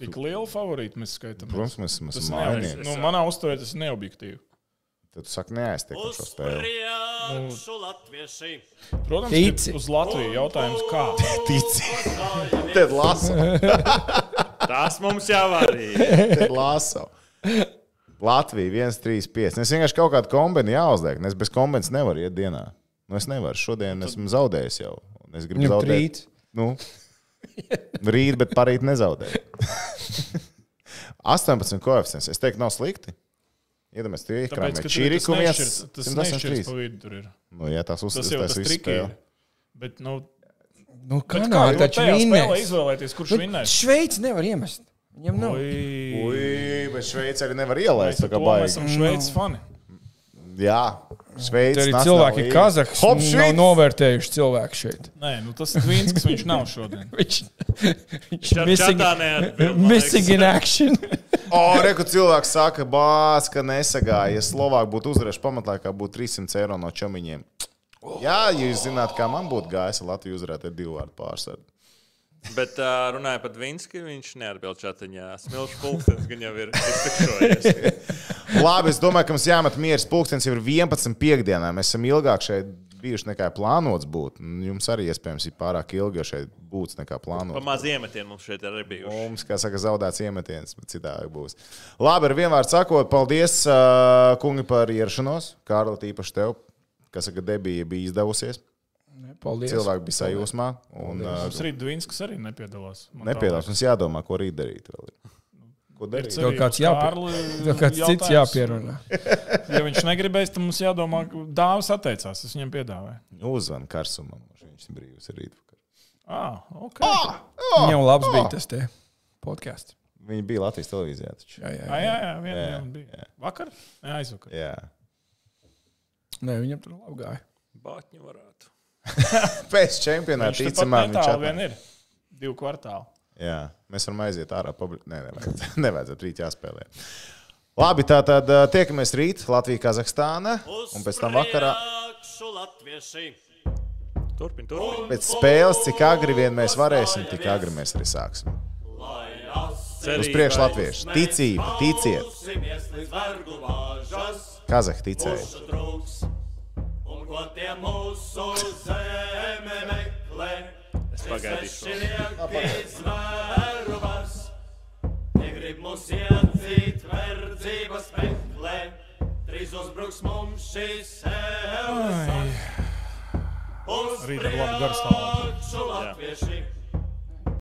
tik liela favorīta mēs skaitām.
Protams, mēs esam
tas
mainījušies.
ir. Nu, manā uztverē tas ir neobjektīvi.
Tad tu saki, neaiztiek šo
Uz
spēli.
priekšu, latvieši!
Protams,
Tici.
ka uz Latviju jautājums kā.
Tici. Tad lasu.
Tas mums jau arī.
Tad lasu. Latvija 1,35. Nu, Es vienkārši kaut kādu kombinu jāuzliek. un Es bez kombinas nevaru iet dienā. Nu, es nevaru. Šodien esmu zaudējis jau. Un Es gribu
Nu,
zaudēt.
rīt.
Nu, rīt, bet parīt nezaudēju. 18 koeficients. Es teiktu, nav slikti. Iedomājieties, tie ir
Tāpēc,
krāpniecība.
ka
Šī
tur
ir
tas nešķirs, tas nešķirs
183.
pa vidu tur ir.
Nu, jā, tās
Tas jau
uzskatās,
tas
tas viss
triki ir.
spēlē.
Bet, nu,
Nu,
bet
Kanāda
kā jau
taču Nu,
tajā spēlē
vinnēs.
izvēlēties, kurš
Bet
vinnēs?
Šveice nevar iemest. Viņam nav.
Ui,
Ui, bet Šveice arī nevar ielaist. tā kā
to
baigi.
Mēs esam
Nu.
Šveices fani.
Jā, Šveice.
Tur arī
Nacionāla
cilvēki
līga.
Kazahstānā.
Hop,
Hopšs nav
Šveice!
novērtējuši cilvēku šeit.
Nē, nu tas ir viens, kas viņš nav šodien.
Viņš ir
ar
missing,
čatā neatbild, man
missing in action.
O, reku cilvēks saka, bāz, ka nesagāja. Ja Slovākija būtu uzvarējusi pamatlaikā, būtu 300 eiro no čomiņiem. Jā, ja jūs zināt, kā man būtu gājis, ja Latvija uzvarētu ar divu vārdu pārsvaru.
Bet uh, runājot par Vinski, viņš neatbild čatiņā. Smilšu pulkstenis gan jau ir iztukšojies.
Labi, es domāju, ka mums jāmet mieras pulkstenis jau ir 11 piekdienā. Mēs esam ilgāk šeit bijuši nekā plānots būt. Un Jums arī iespējams ir pārāk ilgi jau šeit būts nekā plānots.
Pa maz iemetieniem mums šeit arī bijuši.
Mums, kā saka, zaudēts iemetiens, bet citādi būs. Labi, ar vienvārdu sakot, paldies, ā, kungi, par ierašanos. Kārli, tīpaši tev, kas saka, debija bija izdevusies.
Paldies.
Cilvēki bija sajūsmā un ā,
Mums rīt Dvinskis arī nepiedalās. Man tā Nu,
nepiedalās. Mums jādomā, ko rīt darīt. Vēl. Ko
liekas.
darīt?
Ir cerība
Vēl kāds
uz
jāpie-
Kārli
Vēl kāds Nu, cits
jautājums.
jāpierunā.
Ja viņš negribēs, tad mums jādomā, ka dāvāts atteicās. Es viņam piedāvāju.
Uzvan karsumam, viņš ir brīvs rīt.
Ah, ok. Oh!
Viņam labs bija tas te podkāsts.
Viņi bija Latvijas televīzijā. Taču.
Jā, jā.
Jā, jā, jā, vien,
Jā,
jā, bija. Vakar? Jā, aizvakar.
Jā.
Nē, viņam tur labi gāja.
Bāķi varētu.
Pēc čempionāta,
Viņš
ticamāk, viņš
turpat netālu
atnāk.
vien ir. Divu kvartālu.
Jā, mēs varam aiziet ārā. Publi... Nē, nevajadzētu. nevajadzētu rīt jāspēlē. Labi, tā tad ā, tiekamies rīt Latvijā, Kazahstānā. Un pēc tam vakarā,
priekšu, latvieši!
Turpin, turpin.
pēc spēles, cik agri vien mēs varēsim, tik agri mēs arī sāksim.
Lai asti
Uz priekšu latvieši. Ticība, ticiet,
Klausimies līdz vergu vāžas!
Kazahstānā ticēt.
Mūsu draugs, un ko tie mūsu zeme meklē? Es
pagaidīšu.
Pagaidīšu. Negrib mūs iedzīt verdzības meklē. Trīs uzbruks mums šīs sevis. Uz
Rīt ar labu garu stāvokli.
priekšu, latvieši!